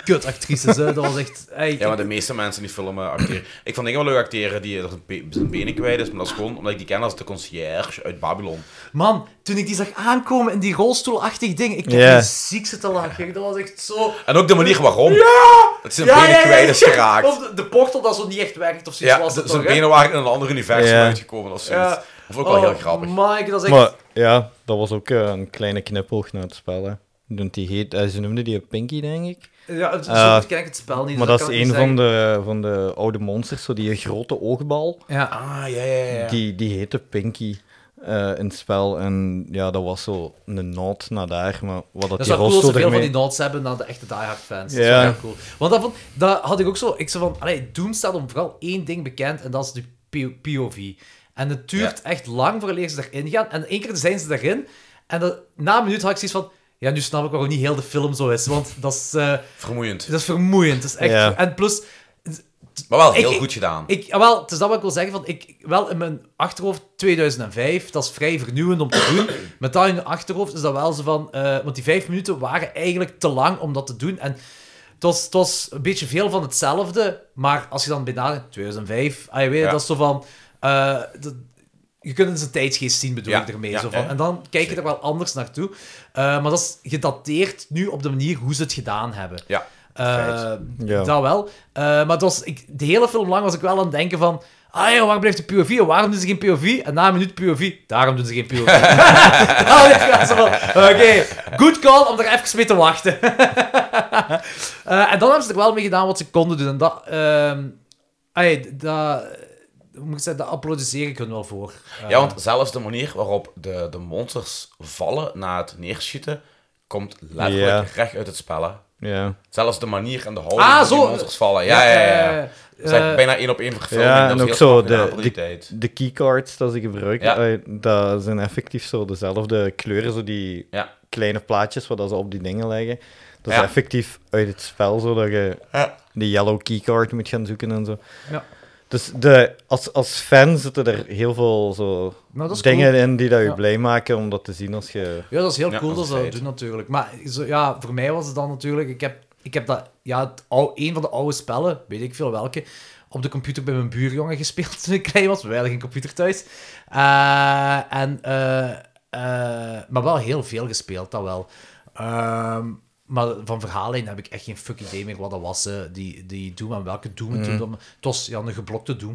S5: kutactrices, hè. Dat was echt... ey,
S6: Ja, maar de meeste mensen die filmen acteren. Ik vond dingen wel leuk acteren die er zijn pe- zijn benen kwijt is, maar dat is gewoon omdat ik die ken als de concierge uit Babylon.
S5: Man, toen ik die zag aankomen in die rolstoelachtig ding, ik heb
S3: Ja.
S5: die ziekste te lachen. Dat was echt zo...
S6: En ook de manier waarom. Dat zijn benen
S5: [LAUGHS]
S6: kwijt is geraakt.
S5: Of de, de portal dat zo niet echt werkt of zoiets
S6: Ja,
S5: was
S6: z-
S5: het
S6: zijn
S5: toch, hè?
S6: benen waren in een ander universum
S3: Ja.
S6: uitgekomen of zoiets.
S5: Ja.
S6: Dat vond ik wel
S5: Oh
S6: heel grappig.
S5: my, dat is echt...
S3: Maar ja, dat was ook eh, een kleine knipoog naar het spel. Hè. Want die heet, eh, ze noemden die Pinky, denk ik.
S5: Ja, zo
S3: Eh,
S5: goed ken ik het spel niet.
S3: maar
S5: dus
S3: dat
S5: kan
S3: is
S5: ik
S3: een
S5: niet
S3: van de, van de oude monsters, zo die grote oogbal.
S5: zeggen. Ja.
S6: Ah, ja, ja, ja.
S3: Die, die heette Pinky eh, in het spel. En ja, dat was zo een nood naar daar. Maar wat dat,
S5: Dat is
S3: die
S5: wel cool dat
S3: rolstoel
S5: ze veel van
S3: ermee...
S5: die notes hebben dan de echte Die Hard fans. Dat is
S3: Ja.
S5: wel heel cool. Want dat, vond- dat had ik ook zo... Ik zei van, allee, Doom staat om vooral één ding bekend en dat is de P- POV. En het duurt echt lang vooraleer ze erin gaan. En één keer zijn ze daarin en dat, na een minuut had ik zoiets van... Ja, nu snap ik waarom niet heel de film zo is. Want dat is, eh,
S6: Vermoeiend.
S5: dat is vermoeiend. Dat is echt,
S3: Ja.
S5: En plus,
S6: Maar wel heel
S5: Ik-
S6: goed gedaan.
S5: Ik, ah, wel, het is dat wat ik wil zeggen. Van, ik, wel in mijn achterhoofd 2005, dat is vrij vernieuwend om te
S6: [COUGHS]
S5: doen. Met dat in je achterhoofd is dat wel zo van... eh, want die vijf minuten waren eigenlijk te lang om dat te doen. En het was, het was een beetje veel van hetzelfde. Maar als je dan benadert, 2005, ah, je weet,
S6: Ja.
S5: dat is zo van... eh, dat- je kunt het in zijn tijdsgeest zien, bedoel
S6: Ja,
S5: ik ermee.
S6: ja,
S5: zo van.
S6: ja.
S5: En dan kijk je er wel anders naartoe. Eh, maar dat is gedateerd nu op de manier hoe ze het gedaan hebben.
S6: Ja,
S5: Eh,
S6: feit.
S3: Ja.
S5: Dat wel. Eh, maar het was, ik, de hele film lang was ik wel aan het denken van... Ah joh, waar blijft de POV? En Waarom doen ze geen POV? En na een minuut POV, daarom doen ze geen
S6: [LAUGHS]
S5: POV. [LAUGHS] Dan dacht ik wel zo van, Oké, good call om er even mee te wachten. [LAUGHS] Eh, en dan hebben ze er wel mee gedaan wat ze konden doen. En dat... ehm, ai, dat hoe moet ik zeggen, dat applaudisseer ik hun wel voor. Eh,
S6: Ja, want zelfs de manier waarop de, de monsters vallen na het neerschieten, komt letterlijk
S3: Ja.
S6: recht uit het spel. hè.
S3: Ja.
S6: Zelfs de manier en de houding
S5: Ah,
S6: waarop die
S5: zo.
S6: monsters vallen. Ja, ja, ja. ja.
S5: eh,
S6: Dat is eigenlijk
S5: eh,
S6: bijna één op één verfilming.
S3: Ja,
S6: dat
S3: en
S6: is
S3: ook
S6: heel
S3: zo
S6: knap
S3: de-
S6: gedaan voor die
S3: de-
S6: tijd.
S3: De keycards dat ze gebruiken,
S6: Ja.
S3: eh, dat zijn effectief zo dezelfde kleuren, zo die [LAUGHS]
S6: Ja.
S3: kleine plaatjes wat dat ze op die dingen leggen. Dat
S6: Ja.
S3: is effectief uit het spel, zodat je
S6: Ja.
S3: die yellow keycard moet gaan zoeken en zo.
S5: Ja.
S3: Dus de, als, als fan zitten er heel veel zo
S5: Nou, dat is
S3: dingen
S5: cool.
S3: in die dat je
S5: Ja.
S3: blij maken om dat te zien als je...
S5: Ja, dat is heel
S6: eh, Ja,
S5: cool
S6: dat
S5: dat
S6: is
S5: ze dat
S6: feit.
S5: doen natuurlijk. Maar zo, ja, voor mij was het dan natuurlijk... Ik heb, ik heb dat... Ja, het ou, een van de oude spellen, weet ik veel welke, op de computer bij mijn buurjongen gespeeld [LAUGHS] toen ik klein was. We hadden geen computer thuis. Eh, en, eh, eh, maar wel heel veel gespeeld, dat wel. Ehm, maar van verhaallijn heb ik echt geen fucking idee meer wat dat was, eh, die, die Doom en welke Doom
S6: Mm.
S5: het toen. dan- Het was ja, een geblokte Doom.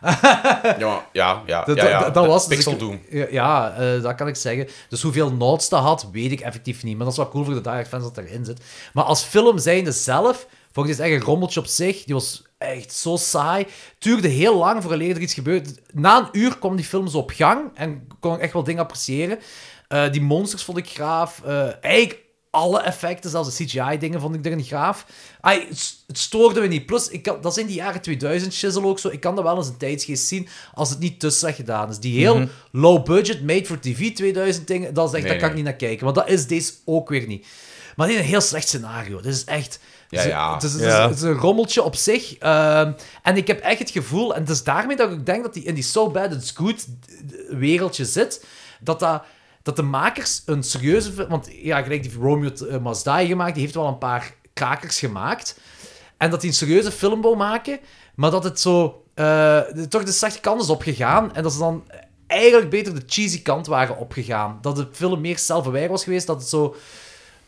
S6: Ja, maar- ja, ja.
S5: Dat,
S6: ja, ja.
S5: dat, dat
S6: De
S5: was dus
S6: Pixel
S5: ik-
S6: Doom.
S5: Ja, ja, eh, dat kan ik zeggen. Dus hoeveel notes dat had, weet ik effectief niet. Maar dat is wel cool voor de Die Hard fans dat erin zit. Maar als film zijnde zelf, vond ik dit echt een rommeltje op zich. Die was echt zo saai. Tuurde heel lang voor er iets gebeurde. Na een uur kwam die film zo op gang en kon ik echt wel dingen appreciëren. Eh, die monsters vond ik graaf. Eh eigenlijk alle effecten, zelfs de CGI-dingen, vond ik erin graaf. Ai, het s- het stoorde me niet. Plus, ik kan, dat is in die jaren 2000 shizzle ook zo. Ik kan dat wel eens een tijdsgeest zien als het niet te slecht gedaan is. Die heel low-budget, made-for-tv 2000 dingen, dat is echt,
S6: Mhm. Nee,
S5: daar kan ik
S6: nee.
S5: niet naar kijken. Want dat is deze ook weer niet. Maar dit is een heel slecht scenario. Dit is echt...
S6: Ja, ja.
S5: Het is, het is-
S3: Ja.
S5: het is een rommeltje op zich. Ehm, en ik heb echt het gevoel, en het is daarmee dat ik ook denk dat die in die So Bad It's Good wereldje zit, dat dat... Dat de makers een serieuze... fi- Want ja, gelijk die Romeo eh, Masdai gemaakt, die heeft wel een paar krakers gemaakt. En dat die een serieuze film wou maken, maar dat het zo... eh, de- toch de slechte kant is opgegaan. En dat ze dan eigenlijk beter de cheesy kant waren opgegaan. Dat de film meer zelfverwijder was geweest, dat het zo...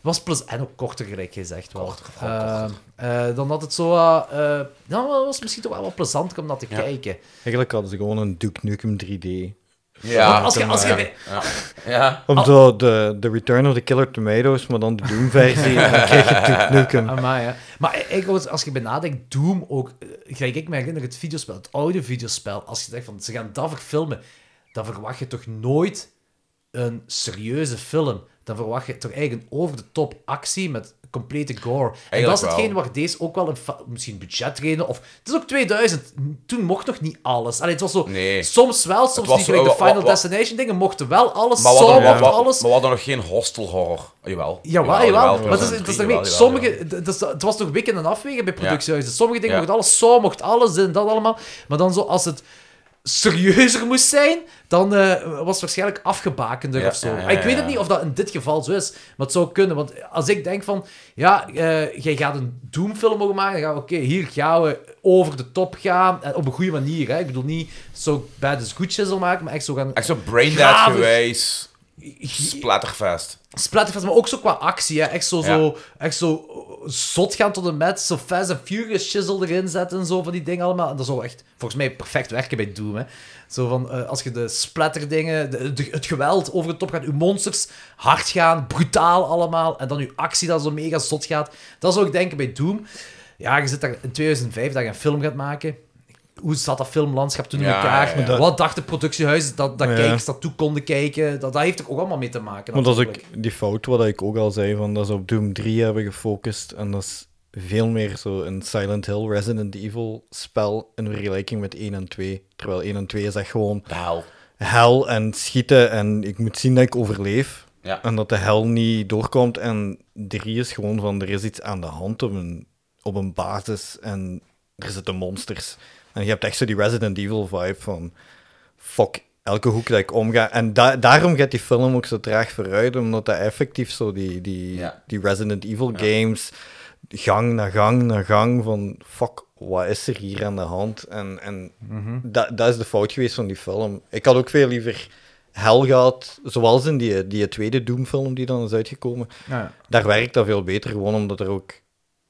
S5: Was plus en ook korter, gelijk gezegd. Wel. Eh, eh, dan dat het zo... eh eh, dan was het misschien toch wel wat plezant om naar te kijken.
S3: Eigenlijk hadden ze gewoon een Duke Nukem 3D.
S5: Want
S6: Ja.
S5: als je, als je,
S6: ja.
S3: Om zo de, de Return of the Killer Tomatoes, maar dan
S6: [LAUGHS]
S3: de Doom-versie, en dan krijg je Duke Nukem.
S5: Amai, hè. Maar ik, als je benadenkt, Doom ook... eh, Gelijk ik me herinner, het videospel, het oude videospel. Als je denkt van, ze gaan dat verfilmen, dan verwacht je toch nooit een serieuze film. Dan verwacht je toch eigenlijk een over-de-top actie met complete gore. en dat
S6: Eigenlijk
S5: is hetgeen
S6: wel.
S5: waar deze ook wel een fa- misschien budgetreden of... Het is ook 2000. Toen mocht nog niet alles. Allee, het was zo...
S6: Nee.
S5: Soms wel, soms
S6: was
S5: niet.
S6: zo,
S5: Gelijk de
S6: wa- wa-
S5: Final
S6: wa-
S5: Destination dingen mochten wel alles.
S6: Maar we
S5: Saw
S6: hadden,
S5: mocht
S6: maar, maar,
S5: alles.
S6: maar we hadden nog geen hostel horror. Jawel.
S5: Jawel, jawel. Maar het is,
S6: 2003,
S5: het is
S6: jawel,
S5: daarmee-
S6: jawel,
S5: sommige,
S6: jawel.
S5: het is- het was toch wikken en afwegen bij productiehuizen. Sommige dingen
S6: Ja.
S5: mocht alles, zo mocht alles, dit en dat allemaal. Maar dan zo als het serieuzer moest zijn, dan eh, was het waarschijnlijk afgebakender
S6: Ja,
S5: of zo.
S6: ja, ja,
S5: ik weet het
S6: ja.
S5: niet of dat in dit geval zo is, maar het zou kunnen. Want als ik denk van, ja, eh, jij gaat een Doom-film mogen maken, dan gaan we, oké, hier gaan we over de top gaan, en op een goede manier. Hè? Ik bedoel niet zo bad good shit zal maken, maar echt zo gaan...
S6: Echt zo braindead
S5: Graven.
S6: gewijs. Splatterfest.
S5: Splatterfest, maar ook zo qua actie. Hè. Echt, zo,
S6: Ja.
S5: zo, echt zo eh, zot gaan tot een met. Zo Fast and Furious shizzle erin zetten en zo van die dingen allemaal. En dat zou echt volgens mij perfect werken bij Doom. Hè. Zo van, eh, als je de splatterdingen, de, de- het geweld over de top gaat, uw monsters hard gaan, brutaal allemaal. En dan uw actie dat zo mega zot gaat. Dat zou ik denken bij Doom. Ja, je zit daar in 2005 dat je een film gaat maken. Hoe zat dat filmlandschap toen in
S6: Ja,
S5: elkaar?
S6: ja, ja.
S5: Wat dacht het productiehuis dat, dat
S3: Ja.
S5: kijkers dat toe konden kijken? Dat, dat heeft er ook allemaal mee te maken.
S3: Want als
S5: natuurlijk.
S3: ik die fout, wat ik ook al zei, van dat ze op Doom 3 hebben gefocust en dat is veel meer zo een Silent Hill, Resident Evil spel in vergelijking met 1 en 2. Terwijl 1 en 2 is echt gewoon
S6: De hel.
S3: hel en schieten en ik moet zien dat ik overleef.
S6: Ja.
S3: En dat de hel niet doorkomt. En 3 is gewoon van er is iets aan de hand op een, op een basis en er zitten monsters. En je hebt echt zo die Resident Evil vibe van fuck elke hoek dat ik omga. En da- daarom gaat die film ook zo traag vooruit, omdat dat effectief zo die, die,
S6: Ja.
S3: die Resident Evil games, gang na gang na gang van fuck, wat is er hier aan de hand? En, en
S5: Mhm.
S3: dat, dat is de fout geweest van die film. Ik had ook veel liever hel gehad, zoals in die, die tweede Doom-film die dan is uitgekomen.
S5: Ja.
S3: Daar werkt dat veel beter, gewoon omdat er ook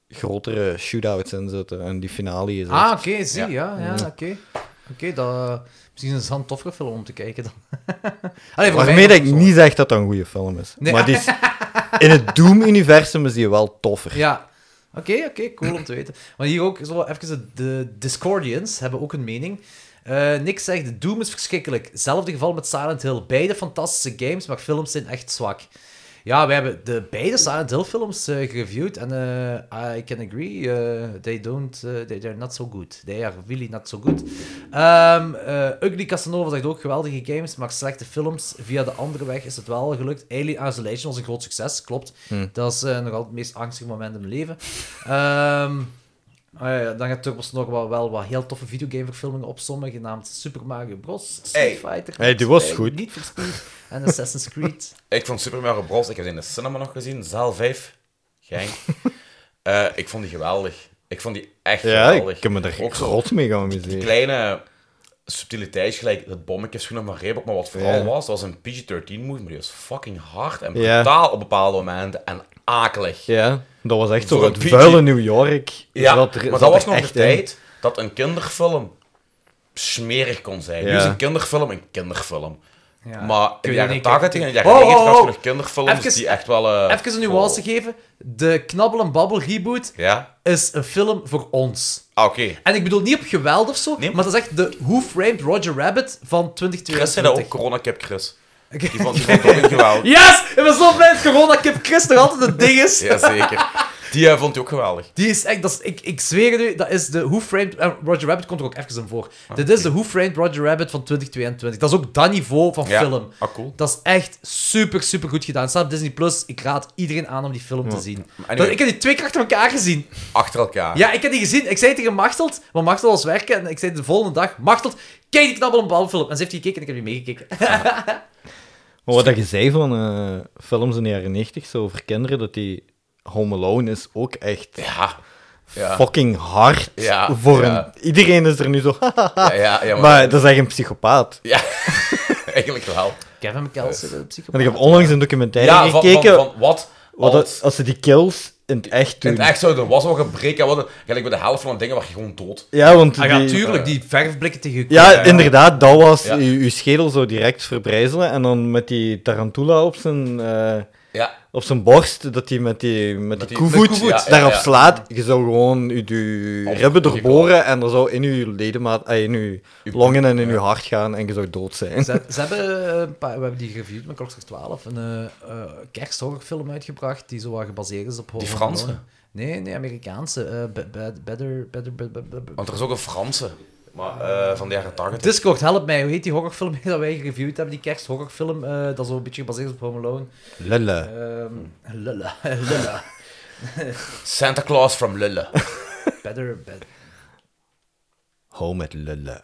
S3: grotere shootouts in zitten. En die finale is
S5: Ah,
S3: echt-
S5: oké, zie, ja, ja, oké. Oké, dat... Misschien is het een toffere film om te kijken dan. [LAUGHS] Allee, voor
S3: Waarmee
S5: mij
S3: dat ik
S5: was het
S3: niet zeg dat dat een goede film is.
S5: Nee.
S3: Maar die
S5: [LAUGHS]
S3: is, in het Doom-universum is die wel toffer.
S5: zo. Ja. Oké, oké, cool om te weten. Maar hier ook, zo even, de, de Discordians hebben ook een mening. Eh Nick zegt, Doom is verschrikkelijk. Hetzelfde geval met Silent Hill. Beide fantastische games, maar films zijn echt zwak. Ja, wij hebben de beide Silent Hill films eh, gereviewd. En eh, I can agree, eh, they don't, eh, they, they're not so good. They are really not so good. Ehm eh, Ugly Casanova zegt ook geweldige games, maar slechte films. Via de andere weg is het wel gelukt. Alien Isolation was een groot succes, klopt. Dat is eh, nog altijd het meest angstige moment in mijn leven. Ehm ah ja, ja, dan gaat Turbos nog wel, wel wat heel toffe videogameverfilmingen opzommen, genaamd Super Mario Bros, Street Fighter,
S3: Hey, die was
S5: eh,
S3: goed.
S5: Need for Speed en Assassin's Creed.
S6: [LAUGHS] Ik vond Super Mario Bros. Ik heb ze in de cinema nog gezien, zaal 5. Genk.
S3: [LAUGHS]
S6: Eh, ik vond die geweldig. Ik vond die echt
S3: Ja,
S6: geweldig.
S3: ik heb me daar
S6: Ook zo
S3: rot mee gaan amuseren.
S6: kleine subtiliteit, gelijk dat bommetje schoen nog maar reep op, maar wat vooral
S3: Ja.
S6: was, dat was een PG-13 movie, maar die was fucking hard en
S3: Ja.
S6: brutaal op bepaalde momenten en akelig.
S3: Ja, dat was echt zo
S6: Voor
S3: het
S6: een
S3: vuile
S6: PG.
S3: New York.
S6: Ja,
S3: Zat er-
S6: maar
S3: zat
S6: dat was
S3: er
S6: nog de
S3: echt in.
S6: tijd dat een kinderfilm smerig kon zijn. Nu
S3: Ja.
S6: is een kinderfilm een kinderfilm.
S5: Ja.
S6: Maar in
S5: Kun
S6: de
S5: je
S6: jaren
S5: niet-
S6: 80 en de jaren
S5: Ho, ho,
S6: 90 had
S5: ho.
S6: je nog kinderfilms
S5: Even-
S6: die echt wel... eh,
S5: Even een nuance geven. De Knabbel en Babbel reboot
S6: Ja?
S5: is een film voor ons.
S6: Ah, oké.
S5: En ik bedoel niet op geweld of zo,
S6: Nee,
S5: maar dat is echt de Who Framed Roger Rabbit van
S6: Chris zei dat ook,
S5: 2022.
S6: coronakip Chris.
S5: Oké.
S6: Die vond die vond
S5: [LAUGHS]
S6: ook niet geweldig.
S5: Yes! Ik ben zo blij dat corona Kip Chris nog altijd een ding is.
S6: Jazeker. Die eh, vond hij ook geweldig.
S5: Die is echt, dat is, ik, ik zweer het u, dat is de Who Framed... en Roger Rabbit komt er ook even in voor.
S6: Ah,
S5: Dit is de Who Framed Roger Rabbit van 2022. Dat is ook dat niveau van
S6: Ja.
S5: film.
S6: Ah, cool.
S5: Dat is echt super, super goed gedaan. Staat op Disney+. Plus. Ik raad iedereen aan om die film te zien.
S6: anyway.
S5: Dat- ik heb die twee keer achter elkaar gezien.
S6: Achter elkaar.
S5: Ja, ik heb die gezien. Ik zei tegen Machteld, want Machteld was werken, en ik zei de volgende dag, Machteld, kijk die knabbel een balfilm. En ze heeft die gekeken en ik heb die meegekeken.
S3: Maar wat dat je zei van eh, films in de jaren 90 zo over kinderen, dat die Home Alone is ook echt
S6: Ja. Ja.
S3: fucking hard.
S6: Ja,
S3: voor
S6: ja.
S3: een- Iedereen is er nu zo.
S6: Ja, ja, ja, maar,
S3: maar dat is echt een psychopaat.
S6: Ja, [LAUGHS] eigenlijk wel.
S5: Kevin McKells,
S6: eh,
S5: de
S3: En ik
S5: psychopaat.
S3: heb onlangs een documentaire
S6: Ja, van, van,
S3: gekeken.
S6: van wat?
S3: wat dat-
S6: als-
S3: als ze die kills in het echt
S6: in
S3: doen.
S6: het echt zouden doen. Was al gebreken. Wat, een- gelijk bij de helft van de dingen was je gewoon dood.
S3: Ja, want
S5: Ah ja,
S3: die- eh,
S5: tuurlijk, die verfblikken tegen je
S3: Ja, inderdaad, dat was
S6: Ja.
S3: uw uw schedel zo direct verbrijzelen. En dan met die tarantula op zijn, eh,
S6: Ja,
S3: op zijn borst, dat hij met die, met die,
S6: die-
S3: koevoet,
S6: met koevoet, ja,
S3: daarop
S6: ja, ja.
S3: slaat. Je zou gewoon je, je
S6: Of-
S3: ribben
S6: je
S3: doorboren en er zou in je ledemaat, eh, in je
S6: Je
S3: longen en in
S6: ja.
S3: je hart gaan en je zou dood zijn.
S5: Ze, ze hebben, eh, een paar- we hebben die geviewd met Klokslag 12, een eh, eh, kersthorrorfilm uitgebracht die zo wat gebaseerd is op horror.
S6: Die Franse?
S5: Alone. Nee, nee, Amerikaanse. eh, be- be- better, better, be- be- be- be-
S6: want er is ook een Franse. Maar eh, van de jaren 80.
S5: Discord, help mij. Hoe heet die horrorfilm [LAUGHS] dat wij gereviewd hebben? Die kersthorrorfilm, eh, dat is zo een beetje gebaseerd op Home Alone.
S3: Lille.
S5: Ehm
S6: Hm.
S5: lulla, [LAUGHS] lulla.
S6: Santa Claus
S3: [LAUGHS]
S6: from Lulle.
S5: Better, better.
S3: Home met Lille.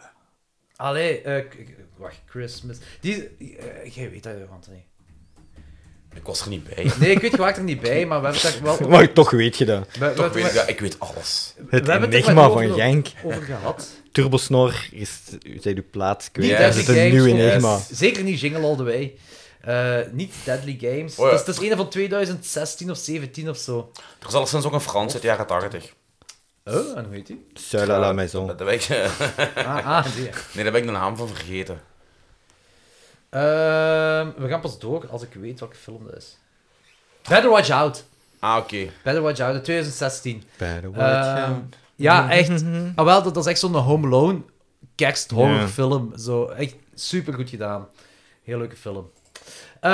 S5: Allee, eh, k- k- wacht, Christmas. Die, eh, jij weet dat, Anthony.
S6: Ik was er niet bij.
S5: Nee, ik weet, je waart er niet bij, maar we hebben het daar wel... We,
S3: Maar toch weet je dat.
S5: we-
S6: Toch
S5: we-
S6: weet ik dat, ik weet alles.
S3: Het
S5: We hebben het er
S3: enigma
S5: wel
S3: van
S5: over-
S3: Genk.
S5: over gehad.
S3: Turbosnor is zijn uw plaats kwijt.
S5: Niet
S6: Ja,
S3: Dat
S5: Deadly
S3: is
S6: het
S3: een
S5: Games.
S3: nieuw
S5: of-
S3: enigma.
S6: Yes.
S5: Zeker niet Jingle All The Way. Eh, niet Deadly Games.
S6: Oh ja.
S5: dat, is, dat is een van 2016 of 17 of zo.
S6: Er is al sinds ook een Frans uit de jaren 80.
S5: Oh, en hoe heet die?
S3: Suila la maison.
S6: Dat ben ik, [LAUGHS] nee,
S5: Ah, ah [LAUGHS] die. ja.
S6: daar ben ik de naam van vergeten.
S5: Ehm, we gaan pas door als ik weet welke film dat is. Better Watch Out.
S6: Ah, oké.
S5: Better Watch Out, uit 2016.
S3: Better
S5: Ehm, ja, echt. Ah, wel, dat, dat is echt zo'n Home Alone kersthorrorfilm. Zo, echt super goed gedaan. Heel leuke film. Eh,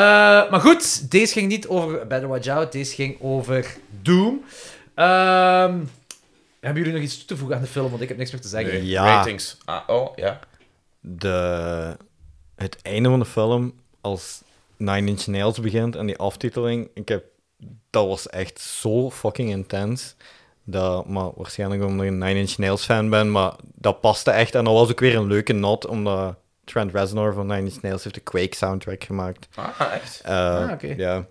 S5: maar goed, deze ging niet over Better Watch Out. Deze ging over Doom. Ehm, hebben jullie nog iets toe te voegen aan de film? Want ik heb niks meer te zeggen.
S6: Nee,
S3: Ja.
S6: Ratings. Ah, oh, ja.
S3: de, het einde van de film, als Nine Inch Nails begint en die aftiteling, ik heb, dat was echt zo fucking intens. Dat, maar waarschijnlijk omdat ik een Nine Inch Nails fan ben, maar dat paste echt. En dat was ook weer een leuke not, omdat Trent Reznor van Nine Inch Nails heeft de Quake soundtrack gemaakt.
S6: Ah, echt?
S3: Eh,
S5: oké.
S3: Ja.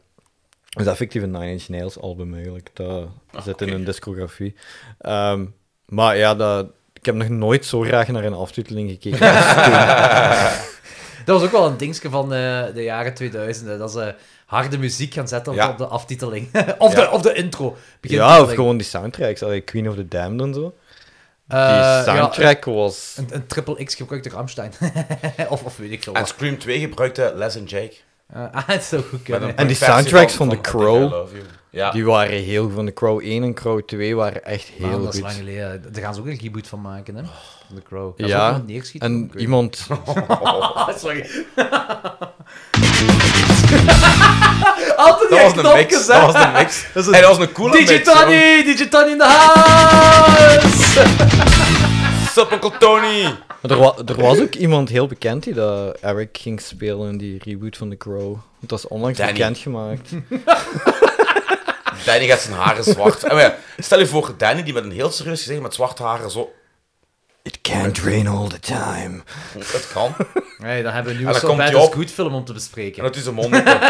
S3: Dus dat fictieve Nine Inch Nails album eigenlijk. Dat zit in een discografie. Ehm, maar ja, dat, ik heb nog nooit zo graag naar een aftiteling gekeken
S5: Dat was ook wel een dingetje van eh, de jaren 2000. hè, Dat ze harde muziek gaan zetten op,
S6: Ja.
S5: op de aftiteling. [LAUGHS] of, de,
S6: Ja.
S5: of de intro.
S3: ja, of
S5: Begintiteling.
S3: gewoon die soundtracks. Allee, Queen of the Damned en zo. Die
S5: Eh, ja,
S3: soundtrack was...
S5: een, een triple X gebruikte Ramstein. [LAUGHS] of, of weet ik veel.
S6: En
S5: wat.
S6: Scream 2 gebruikte Les and Jake.
S5: Eh, [LAUGHS] ah, het zou goed
S6: Met
S5: kunnen.
S6: een
S3: En die
S6: versie
S3: soundtracks van The
S6: I Think I
S3: Crow,
S6: Love You. Ja.
S3: Die waren heel... Van de Crow 1 en Crow 2 waren echt
S5: Man,
S3: heel
S5: dat is
S3: goed.
S5: lang geleden. Daar gaan ze ook een reboot van maken, hè?
S6: Oh,
S5: The Crow. Gaan ze ook
S3: Ja,
S5: iemand neerschieten?
S3: en
S5: Ik weet
S3: iemand...
S5: niet. Sorry. [LAUGHS] Altijd die
S6: Dat was een
S5: knopjes,
S6: mix.
S5: hè?
S6: Dat was een mix.
S5: Dat is
S6: En
S5: een-
S6: dat was een coole mix.
S5: DJ
S6: jong.
S5: Tony! DJ Tony in de house!
S6: Sup, onkel Tony!
S3: Maar er, wa- er was ook iemand heel bekend die dat Eric ging spelen in die reboot van The Crow. Want dat is onlangs
S5: [LAUGHS]
S6: Danny.
S3: bekendgemaakt.
S6: Danny gaat zijn haren zwart. En ja, stel je voor, Danny die met een heel serieus gezicht met zwarte haren zo...
S3: It can't rain all the time.
S6: Dat kan.
S5: Nee, dan hebben we nu
S6: En
S5: een
S6: dan
S5: So
S6: komt
S5: Bad
S6: die
S5: Is
S6: op.
S5: Good film om te
S6: En
S5: bespreken.
S6: dat is zijn mond. open.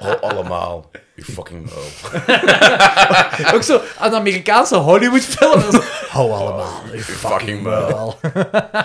S6: Oh, allemaal. U fucking oh.
S5: Ook zo een Amerikaanse Hollywood
S6: [LAUGHS]
S5: film. Dat is- Oh. Hou allemaal.
S6: U fucking muil.
S5: Wel.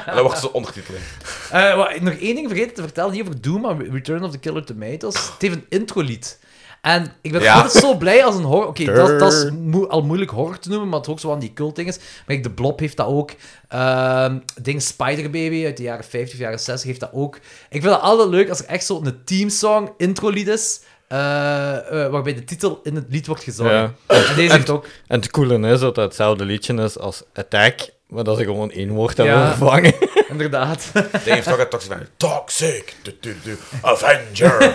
S6: En dan wordt ze ondertiteling.
S5: Eh, wa- nog één ding vergeten te vertellen hier over Doom en Return of the Killer Tomatoes. Het heeft een introlied. En ik ben
S6: Ja.
S5: altijd zo blij als een horror... Oké, dat, dat is moe- al moeilijk horror te noemen, maar het is ook zo aan die cult is. Maar kijk, De Blob heeft dat ook. Ehm ding Spider Baby uit de jaren 50 of jaren 60 heeft dat ook. Ik vind het altijd leuk als er echt zo'n teamsong introlied is, eh, eh, waarbij de titel in het lied wordt gezongen.
S3: Ja.
S5: En deze heeft ook...
S3: En het coole is dat dat hetzelfde liedje is als Attack, maar dat ze gewoon één woord hebben
S5: Ja.
S3: vervangen. [LAUGHS]
S5: Inderdaad.
S6: Ding heeft ook een toxic van... Toxic! Du, du, du,
S5: [LAUGHS]
S6: Avenger!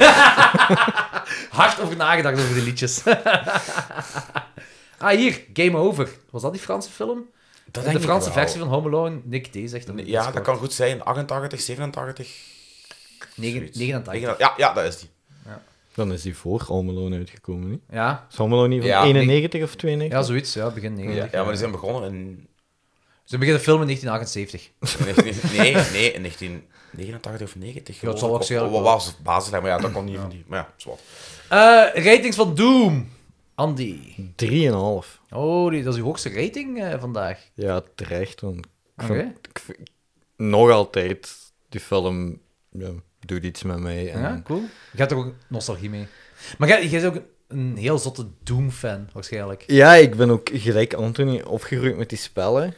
S5: Hard over nagedacht over de liedjes. [LAUGHS] ah, hier, Game Over. Was dat die Franse film?
S6: Dat
S5: de Franse versie van Home Alone. Nick D zegt dat.
S6: Ja, dat kan goed zijn. 88, 87...
S5: Negen-
S6: zoiets.
S5: 89.
S6: Ja, ja, dat is die.
S3: Dan is die voor Home Alone uitgekomen, niet?
S5: Ja.
S3: Is Home Alone niet van
S6: Ja.
S3: 91 of 92?
S5: ja, zoiets. Ja, begin 90.
S6: Ja, ja maar dus- die zijn begonnen in...
S5: Ze beginnen de film in 1978.
S6: in 19 nee, nee, in 1989 of 90.
S5: Ja, het zal ook
S6: Of-
S5: zeker
S6: of-
S5: wel.
S6: Wat was het basislijn? Maar ja, dat kon niet van die... Maar ja, zwart.
S5: Eh, ratings van Doom. Andy.
S3: 3,5.
S5: Oh, die, dat is uw hoogste rating eh, vandaag.
S3: Ja, terecht. Want ik
S5: Ah, Oké.
S3: vind- ik vind- nog altijd, die film ja, doet iets met mij. En
S6: eh,
S5: Ja, cool. Je hebt er ook nostalgie mee. Maar jij, jij is ook een heel zotte Doom-fan, waarschijnlijk.
S3: Ja, ik ben ook gelijk Anthony opgegroeid met die spellen.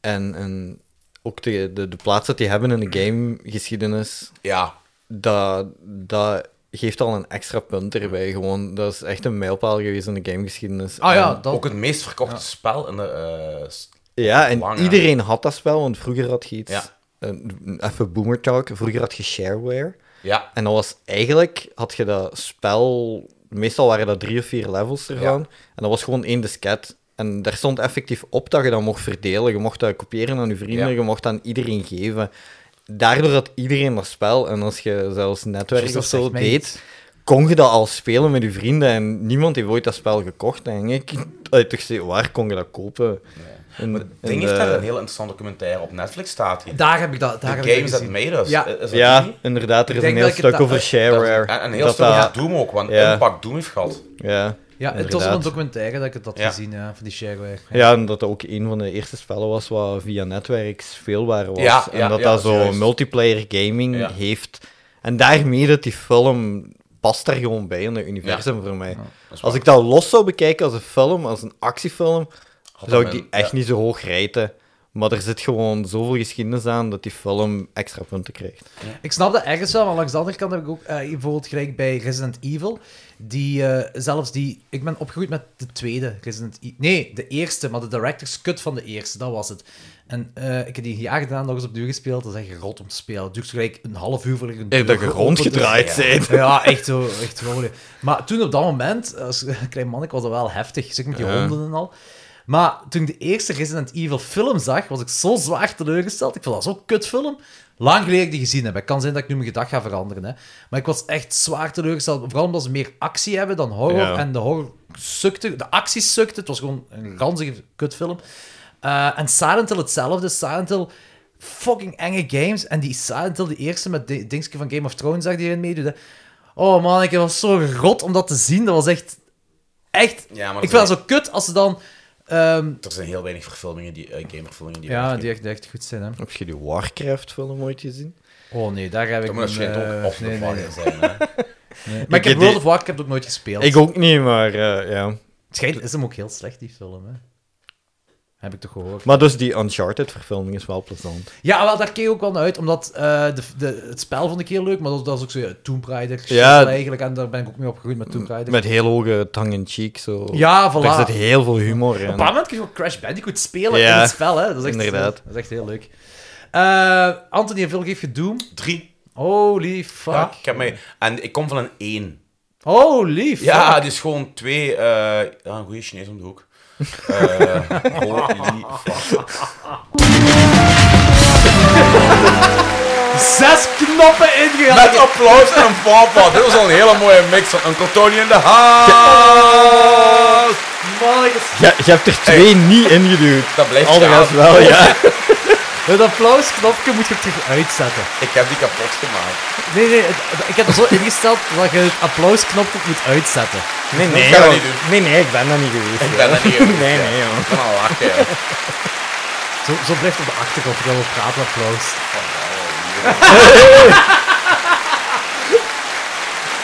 S3: En, en ook de, de, de plaats dat die hebben in de gamegeschiedenis,
S6: Ja,
S3: dat, dat geeft al een extra punt erbij. Gewoon, dat is echt een mijlpaal geweest in de gamegeschiedenis.
S5: Ah ja,
S3: En-
S5: dat...
S6: Ook het meest verkochte spel in de. eh, s-
S3: Ja, en
S6: Lang, hè?
S3: iedereen had dat spel, want vroeger had je iets...
S6: Ja.
S3: een- even boomer talk. Vroeger had je shareware.
S6: ja.
S3: En dat was eigenlijk, had je dat spel, meestal waren dat drie of vier levels ervan. En dat was gewoon één disket. En daar stond effectief op dat je dat mocht verdelen. Je mocht dat kopiëren aan je vrienden,
S6: Ja.
S3: je mocht dat aan iedereen geven. Daardoor had iedereen dat spel. En als je zelfs netwerk
S5: Jezus,
S3: of
S5: Dus dat
S3: zo
S5: zegt mij
S3: deed,
S5: iets.
S3: kon je dat al spelen met je [LAUGHS] vrienden. En niemand heeft ooit dat spel gekocht, denk ik. Allee, toch, waar kon je dat kopen? eh, In, in
S6: Ding heeft
S3: de-
S6: daar een heel interessant documentaire op Netflix staat hier.
S5: Daar heb ik dat.
S6: The
S5: Daar heb ik dat
S6: Games That
S5: gezien.
S6: Made Us.
S5: Ja.
S6: Is dat
S3: Ja,
S6: die?
S3: inderdaad. Er
S5: Ik
S3: is een
S5: denk
S3: heel
S5: dat ik het
S3: stuk
S5: da-
S3: over
S6: Dat-
S3: shareware.
S6: En een heel
S3: dat
S6: stuk
S3: dat-
S6: over Doom ook, want
S3: Ja.
S6: een pak Doom heeft gehad.
S3: Ja.
S5: Ja, het was
S3: Inderdaad.
S5: wel een documentaire dat ik het had
S6: Ja.
S5: gezien, ja, van die shareware.
S3: Ja, en dat dat ook een van de eerste spellen was wat via netwerk speelbaar was.
S6: Ja,
S3: en
S6: ja,
S3: dat
S6: ja,
S3: dat
S6: dat is
S3: zo
S6: juist.
S3: multiplayer gaming
S6: Ja.
S3: heeft. En daarmee dat die film past daar gewoon bij in het universum voor mij.
S6: Dat is
S3: Als
S6: waar.
S3: ik dat los zou bekijken als een film, als een actiefilm,
S6: Had
S3: zou ik
S6: dat
S3: die
S6: mijn-
S3: echt
S6: ja.
S3: niet zo hoog rijten. Maar er zit gewoon zoveel geschiedenis aan dat die film extra punten krijgt.
S5: Ik snap dat ergens wel, maar langs de andere kant heb ik ook eh, bijvoorbeeld gelijk bij Resident Evil. Die eh, zelfs die. Ik ben opgegroeid met de tweede Resident Evil. Nee, de eerste, maar de director's cut van de eerste, dat was het. En eh, ik heb die jaren daarna nog eens opnieuw gespeeld. Dat is echt rot om te spelen. Het duurt zo gelijk een half uur voor ik een deur
S3: dat je
S5: geopend is.
S3: rondgedraaid bent.
S5: Ja, echt zo. Echt rolig. Maar toen op dat moment, als [LAUGHS] klein manneke, was dat wel heftig. Zeker met die
S3: Ja.
S5: honden en al. Maar toen ik de eerste Resident Evil film zag, was ik zo zwaar teleurgesteld. Ik vond dat zo'n kutfilm. Lang geleden dat ik die gezien heb. Het kan zijn dat ik nu mijn gedacht ga veranderen. Hè. Maar ik was echt zwaar teleurgesteld. Vooral omdat ze meer actie hebben dan horror.
S3: Ja.
S5: En de horror sukte. De actie sukte. Het was gewoon een ranzige kutfilm. Eh, en Silent Hill hetzelfde. Silent Hill, fucking enge games. En die Silent Hill, die eerste met de- dingetje van Game of Thrones, zag die erin meedoet. hè. Oh man, ik was zo rot om dat te zien. Dat was echt... Echt...
S6: Ja, maar
S5: ik
S6: dat
S5: vind dat
S6: zijn-
S5: zo kut als ze dan... ehm,
S6: Er zijn heel weinig verfilmingen, die, eh, gameverfilmingen die
S5: ja,
S6: werken.
S5: die echt, die echt goed zijn, hè.
S3: Heb je die Warcraft-film ooit gezien?
S5: Oh nee, daar heb ik...
S6: Dan moet dat
S5: een,
S6: shit ook
S5: eh,
S6: off the
S5: nee, nee, nee.
S6: fucking zijn, hè.
S5: Maar ik heb
S3: Ik- die-
S5: World of Warcraft ook nooit gespeeld.
S3: Ik ook niet, maar eh, ja.
S5: Het schijnt, is hem ook heel slecht, die film, hè. Heb ik toch gehoord.
S3: Maar dus die Uncharted-verfilming is wel plezant.
S5: Ja, wel, daar keek ik ook wel naar uit, omdat eh, de, de, het spel vond ik heel leuk, maar dat, dat was ook zo ja, Tomb Raider shit
S3: Ja.
S5: eigenlijk, en daar ben ik ook mee opgegroeid met Tomb Raider.
S3: Met heel hoge tang-in-cheek, zo.
S5: Ja,
S3: Er
S5: voilà.
S3: zit heel veel
S5: Op
S3: humor
S5: een
S3: in.
S5: bepaald moment kun je ook Crash Bandicoot spelen
S3: Ja,
S5: in het spel, hè. Dat is echt,
S3: inderdaad.
S5: Dat is echt heel leuk. Eh, Anthony en Phil geeft je Doom.
S6: Drie.
S5: Holy fuck.
S6: Ja, ik heb mij... En ik kom van een één.
S5: Holy fuck.
S6: Ja, die is gewoon twee... eh ja, een goede Chinees om de hoek.
S3: [LAUGHS]
S6: Eh, holy fuck.
S5: Zes knoppen ingehaald.
S6: Met applaus en een fanfare. Dit was al een hele mooie mix van Uncle Tony in de house.
S5: Nice.
S3: Ja, je hebt er twee niet ingeduwd.
S6: Dat blijft
S3: Al de
S6: staan.
S3: rest wel,
S6: [LAUGHS]
S3: ja.
S5: Het applausknopje moet je terug uitzetten.
S6: Ik heb die kapot gemaakt.
S5: Nee, nee, het- ik heb het zo ingesteld dat je het applausknopje moet uitzetten.
S3: Nee,
S6: nee, Ik ga dat joh. niet
S3: nee, nee, ik ben dat niet geweest.
S6: Ik ben er niet geweest,
S3: [LAUGHS] Nee,
S6: ja.
S3: nee, joh.
S6: Ik ben al lachen, ja.
S5: Zo, zo blijft op de achtergrond terwijl we praten applaus.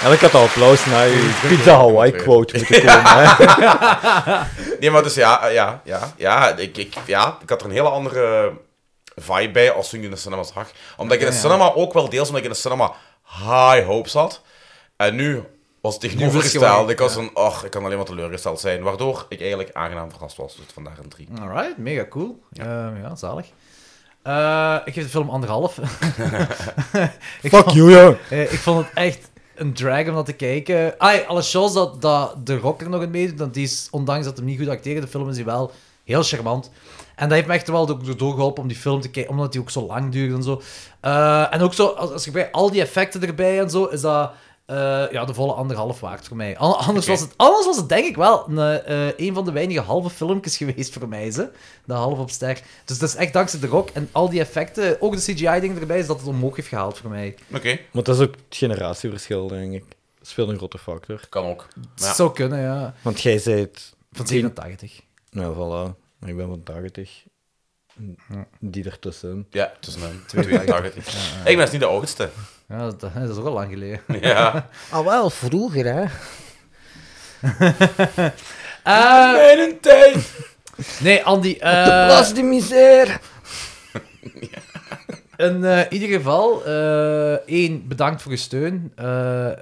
S3: En ik had al applaus naar je Pizza Hawaii quote
S6: [LAUGHS]
S3: moeten komen.
S6: Nee, maar dus ja, eh, ja, ja, ja, ik, ik, ja, ik had er een hele andere vibe bij als toen ik in de cinema zag. Omdat ik in de cinema ook wel deels, omdat ik in de cinema high hopes had. En nu was het tegenovergesteld. Ik was van, ach, ik kan alleen maar teleurgesteld zijn. Waardoor ik eigenlijk aangenaam verrast was. Dus vandaar een drie.
S5: Alright, mega cool. Ja, ja zalig. Eh, ik geef de film anderhalf. [LAUGHS] ik,
S3: Fuck you, joh.
S5: eh, ik vond het echt een drag om dat te kijken. Ai, alle shows dat, dat de rocker nog in meedoet, want die is, ondanks dat hem niet goed acteerde, de film is hij wel heel charmant. En dat heeft me echt wel do- do- doorgeholpen om die film te kijken, omdat die ook zo lang duurt en zo. Eh, en ook zo, als, als je bij al die effecten erbij en zo, is dat eh, ja, de volle anderhalf waard voor mij. An- anders,
S6: Oké.
S5: was het, anders was het denk ik wel een, eh, eh, een van de weinige halve filmpjes [LAUGHS] geweest voor mij, ze. De half op ster. Dus dat is echt dankzij de rock en al die effecten, ook de CGI-dingen erbij, is dat het omhoog heeft gehaald voor mij.
S6: Oké,
S3: Maar dat is ook het generatieverschil, denk ik. Dat speelt een grote factor.
S6: kan ook.
S5: Het
S6: Ja.
S5: zou kunnen, ja.
S3: Want jij zei
S5: Van 87.
S3: Nou, voilà. Maar ik ben van 80. Die ertussen.
S6: Ja, tussen een [LAUGHS] 82. Ik ben dus niet de oudste.
S5: Ja, dat, dat is ook al lang geleden.
S6: [LAUGHS] Ja.
S3: [LAUGHS] Ah, wel, vroeger, hè.
S5: [LAUGHS] Eh,
S6: In een tijd.
S5: nee, Andy. eh,
S3: de misère.
S5: in eh, ieder geval, eh één, bedankt voor je steun eh,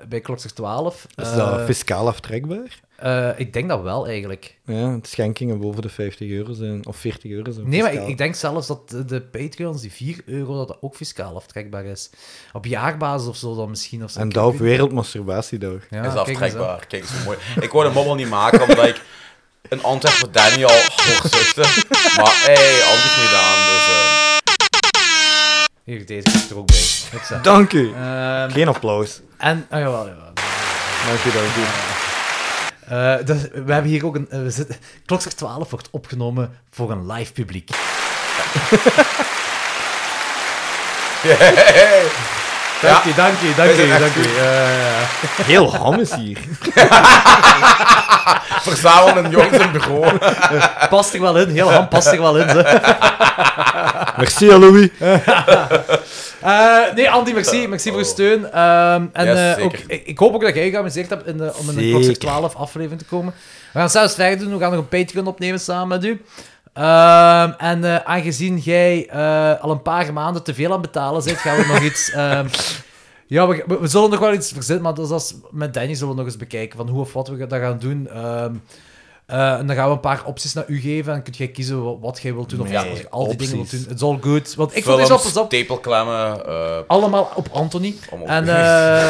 S5: bij Klokster 12.
S3: Is
S5: Eh,
S3: dat fiscaal aftrekbaar?
S5: eh, ik denk dat wel, eigenlijk.
S3: Ja, het schenkingen boven de 50 euro zijn, of 40 euro zijn
S5: Nee, maar ik,
S3: fiscaal.
S5: ik denk zelfs dat de- de Patreons, die 4 euro, dat dat ook fiscaal aftrekbaar is. Op jaarbasis of zo dan misschien. Of zo.
S3: En
S5: Ik-
S3: dat op
S5: ik-
S3: Wereldmasturbatiedag.
S5: Ja,
S6: is
S5: Ah, kijk eens, hè.
S6: aftrekbaar. Kijk, eens hoe mooi. Ik wou de mobbel niet maken, omdat ik een antwoord voor Daniel hoog zuchtte. Maar hé, hey, anders niet aan. Dus, eh,
S5: Hier, deze is er ook bij. Hupsa.
S3: Dank u.
S5: Ehm,
S3: Geen applaus.
S5: en, ah, jawel, jawel.
S3: Dank u, dank u.
S5: Eh, dus we hebben hier ook een... eh, we zitten, Klokslag 12 wordt opgenomen voor een live publiek. Dank je, dank je, dank je,
S6: zijn echt
S5: dank Eh, je.
S6: goed.
S5: Ja, ja, ja.
S3: Heel ham is hier.
S6: Verzamelen jongens in bureau.
S5: Past er wel in, [LAUGHS] heel ham past er wel in. Ze.
S3: [LAUGHS] Merci, hè, Louis.
S5: Eh, nee, Andy, merci. Merci voor je steun. Ehm, en
S6: oh. Yes,
S5: eh,
S6: zeker.
S5: ook, ik, ik hoop ook dat jij je geamuseerd hebt in de, om in de
S3: Zeker.
S5: Klokzak 12 aflevering te komen. We gaan zelfs verder doen. We gaan nog een Patreon opnemen samen met u. Ehm, en eh, aangezien jij eh, al een paar maanden te veel aan het betalen bent, gaan
S3: [LAUGHS]
S5: we nog iets... ehm, ja, we, we- we zullen nog wel iets verzinnen, maar dat is als, met Danny zullen we nog eens bekijken van hoe of wat we dat gaan doen. Ehm, eh, en dan gaan we een paar opties naar u geven en kun jij kiezen wat, wat jij wilt doen of
S3: Nee,
S5: wat- al die dingen wilt
S3: opties.
S5: doen. It's all good. Want [LAUGHS] ik vond deze
S6: Films,
S5: appels op.
S6: tepelklemmen. eh,
S5: Allemaal op Anthony.
S6: Om op-
S5: En, eh,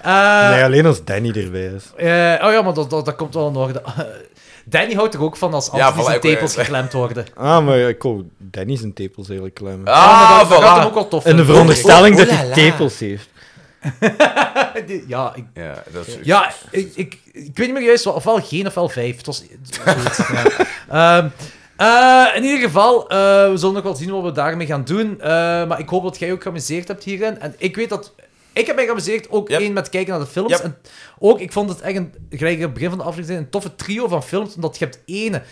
S5: eh,
S3: Nee, alleen als Danny erbij is.
S5: eh, oh ja, maar dat, dat, dat komt wel in orde. [LAUGHS] Danny houdt er ook van als
S6: Ja,
S5: Anthony
S6: voilà,
S5: zijn
S6: ik wou
S5: tepels
S6: zeggen.
S5: geklemd worden.
S3: Ah, maar ik wou Danny zijn tepels eigenlijk klemmen.
S5: Oh, maar
S6: Ah,
S5: dat, dat gaat hem ook
S6: voilà.
S5: wel tof
S3: In de
S5: vinden.
S3: veronderstelling dat hij tepels heeft.
S5: Die- Ja, ik,
S6: Ja, dat is...
S5: ja ik, ik, ik weet niet meer juist, wat- ofwel geen ofwel vijf. Het was, zoiets, ja. Ehm, eh, in ieder geval, eh, we zullen nog wel zien wat we daarmee gaan doen. Eh, maar ik hoop dat jij ook geamuseerd hebt hierin. En ik weet dat... Ik heb mij geamuseerd, ook
S6: Yep.
S5: één met kijken naar de films.
S6: Yep.
S5: En ook, ik vond het echt, een, gelijk in het begin van de aflevering, zei, een toffe trio van films. Omdat je hebt ene,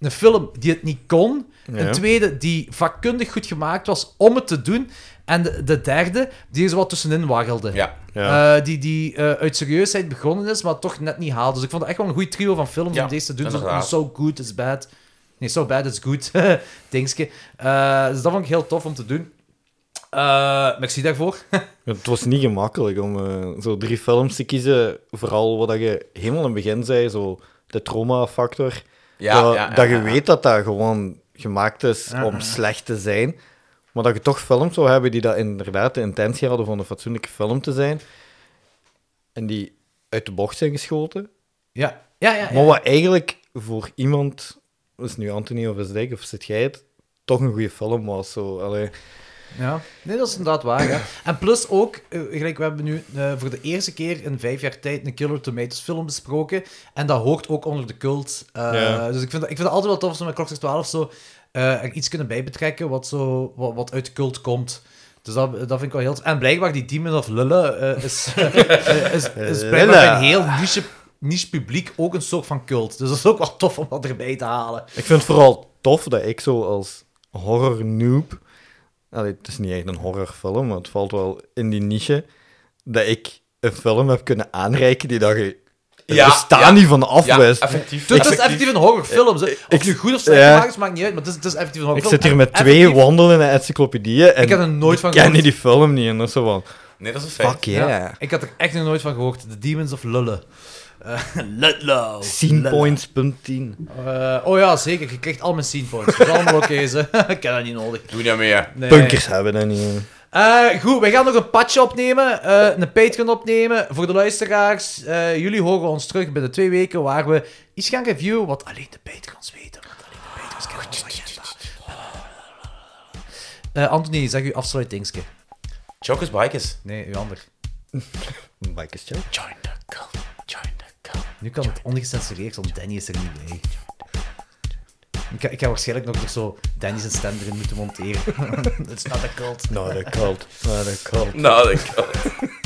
S5: een film die het niet kon. Een
S3: Ja.
S5: tweede, die vakkundig goed gemaakt was om het te doen. En de, de derde, die er zo wat tussenin waggelde.
S6: Ja.
S3: Ja.
S5: Eh, die die eh, uit serieusheid begonnen is, maar toch net niet haalde. Dus ik vond het echt wel een goed trio van films
S6: Ja,
S5: om deze te doen. Zo,
S6: inderdaad.
S5: so good is bad. Nee, so bad is good. [LAUGHS] Dingske. Eh, dus dat vond ik heel tof om te doen. Eh, merci daarvoor. [LAUGHS]
S3: Het was niet gemakkelijk om eh, zo drie films te kiezen. Vooral wat dat je helemaal in het begin zei, zo de trauma-factor.
S6: Ja,
S3: dat,
S6: ja, ja,
S3: dat je
S6: ja, ja.
S3: weet dat dat gewoon gemaakt is om slecht te zijn. Maar dat je toch films zou hebben die dat inderdaad de intentie hadden van een fatsoenlijke film te zijn. En die uit de bocht zijn geschoten.
S5: Ja, ja, ja. ja.
S3: Maar wat eigenlijk voor iemand, is het nu Anthony of is Dick of zit jij het, toch een goede film was. Zo. Allee,
S5: Ja. Nee, dat is inderdaad waar. hè. En plus ook, eh, gelijk, we hebben nu eh, voor de eerste keer in vijf jaar tijd een Killer Tomatoes film besproken. En dat hoort ook onder de cult. Eh,
S3: Ja.
S5: Dus ik vind, dat- ik vind het altijd wel tof als we met Klokster 12 zo eh, er iets kunnen bij betrekken wat, zo, wat, wat uit de cult komt. Dus dat, dat vind ik wel heel... En blijkbaar die Demon of Lulle eh, is, [LAUGHS] eh, is, is blijkbaar bij een heel niche, niche publiek ook een soort van cult. Dus dat is ook wel tof om dat erbij te halen.
S3: Ik vind het vooral tof dat ik zo als horror noob. Allee, het is niet echt een horrorfilm, maar het valt wel in die niche. Dat ik een film heb kunnen aanreiken die dat je. Het
S6: Ja,
S3: bestaan
S6: ja.
S3: niet van
S6: Ja,
S3: afwijst.
S6: effectief.
S5: Dus het is effectief een horrorfilm. zo. Of
S3: ik-
S5: nu goed of slecht
S3: ja.
S5: gemaakt is, maakt niet uit, maar het is, het is effectief een
S3: ik
S5: horrorfilm.
S3: zit hier
S5: En
S3: met twee
S5: effectief-
S3: wandelende encyclopedieën en
S5: Ik had er nooit van
S3: ken
S5: gehoord.
S3: die film niet. En dat is zo van,
S6: Nee, dat is een feit.
S3: fuck yeah.
S5: Ja, ik had er echt nog nooit van gehoord. The Demons of Lulle. Eh, [LAUGHS] Ludlow.
S3: Scene points, punt 10.
S5: Eh, oh ja, zeker. Je krijgt al mijn scene points. Dat is allemaal oké. ze. [LAUGHS] ik heb dat niet nodig.
S6: Doe niet mee. hè.
S5: Nee.
S3: Punkers hebben dat niet. hè.
S5: Eh, goed, wij gaan nog een patje opnemen. eh, een Patreon opnemen. Voor de luisteraars. eh, jullie horen ons terug binnen twee weken waar we iets gaan reviewen wat alleen de Patreons weten. Want alleen de Patreons kennen onze agenda. Eh, Anthony, zeg uw afsluitingske.
S6: Chokers, bikers.
S5: Nee, uw ander.
S3: Mike is chill.
S1: Join the cult. Join the cult.
S5: Nu kan het ongecensureerd, want Danny is er niet bij. Ik ga, ik ga waarschijnlijk nog eens zo Danny zijn stem erin moeten monteren. [LAUGHS] It's not a cult.
S3: Nou, dat kalt. Nou, dat kalt.
S6: Nou, dat kan.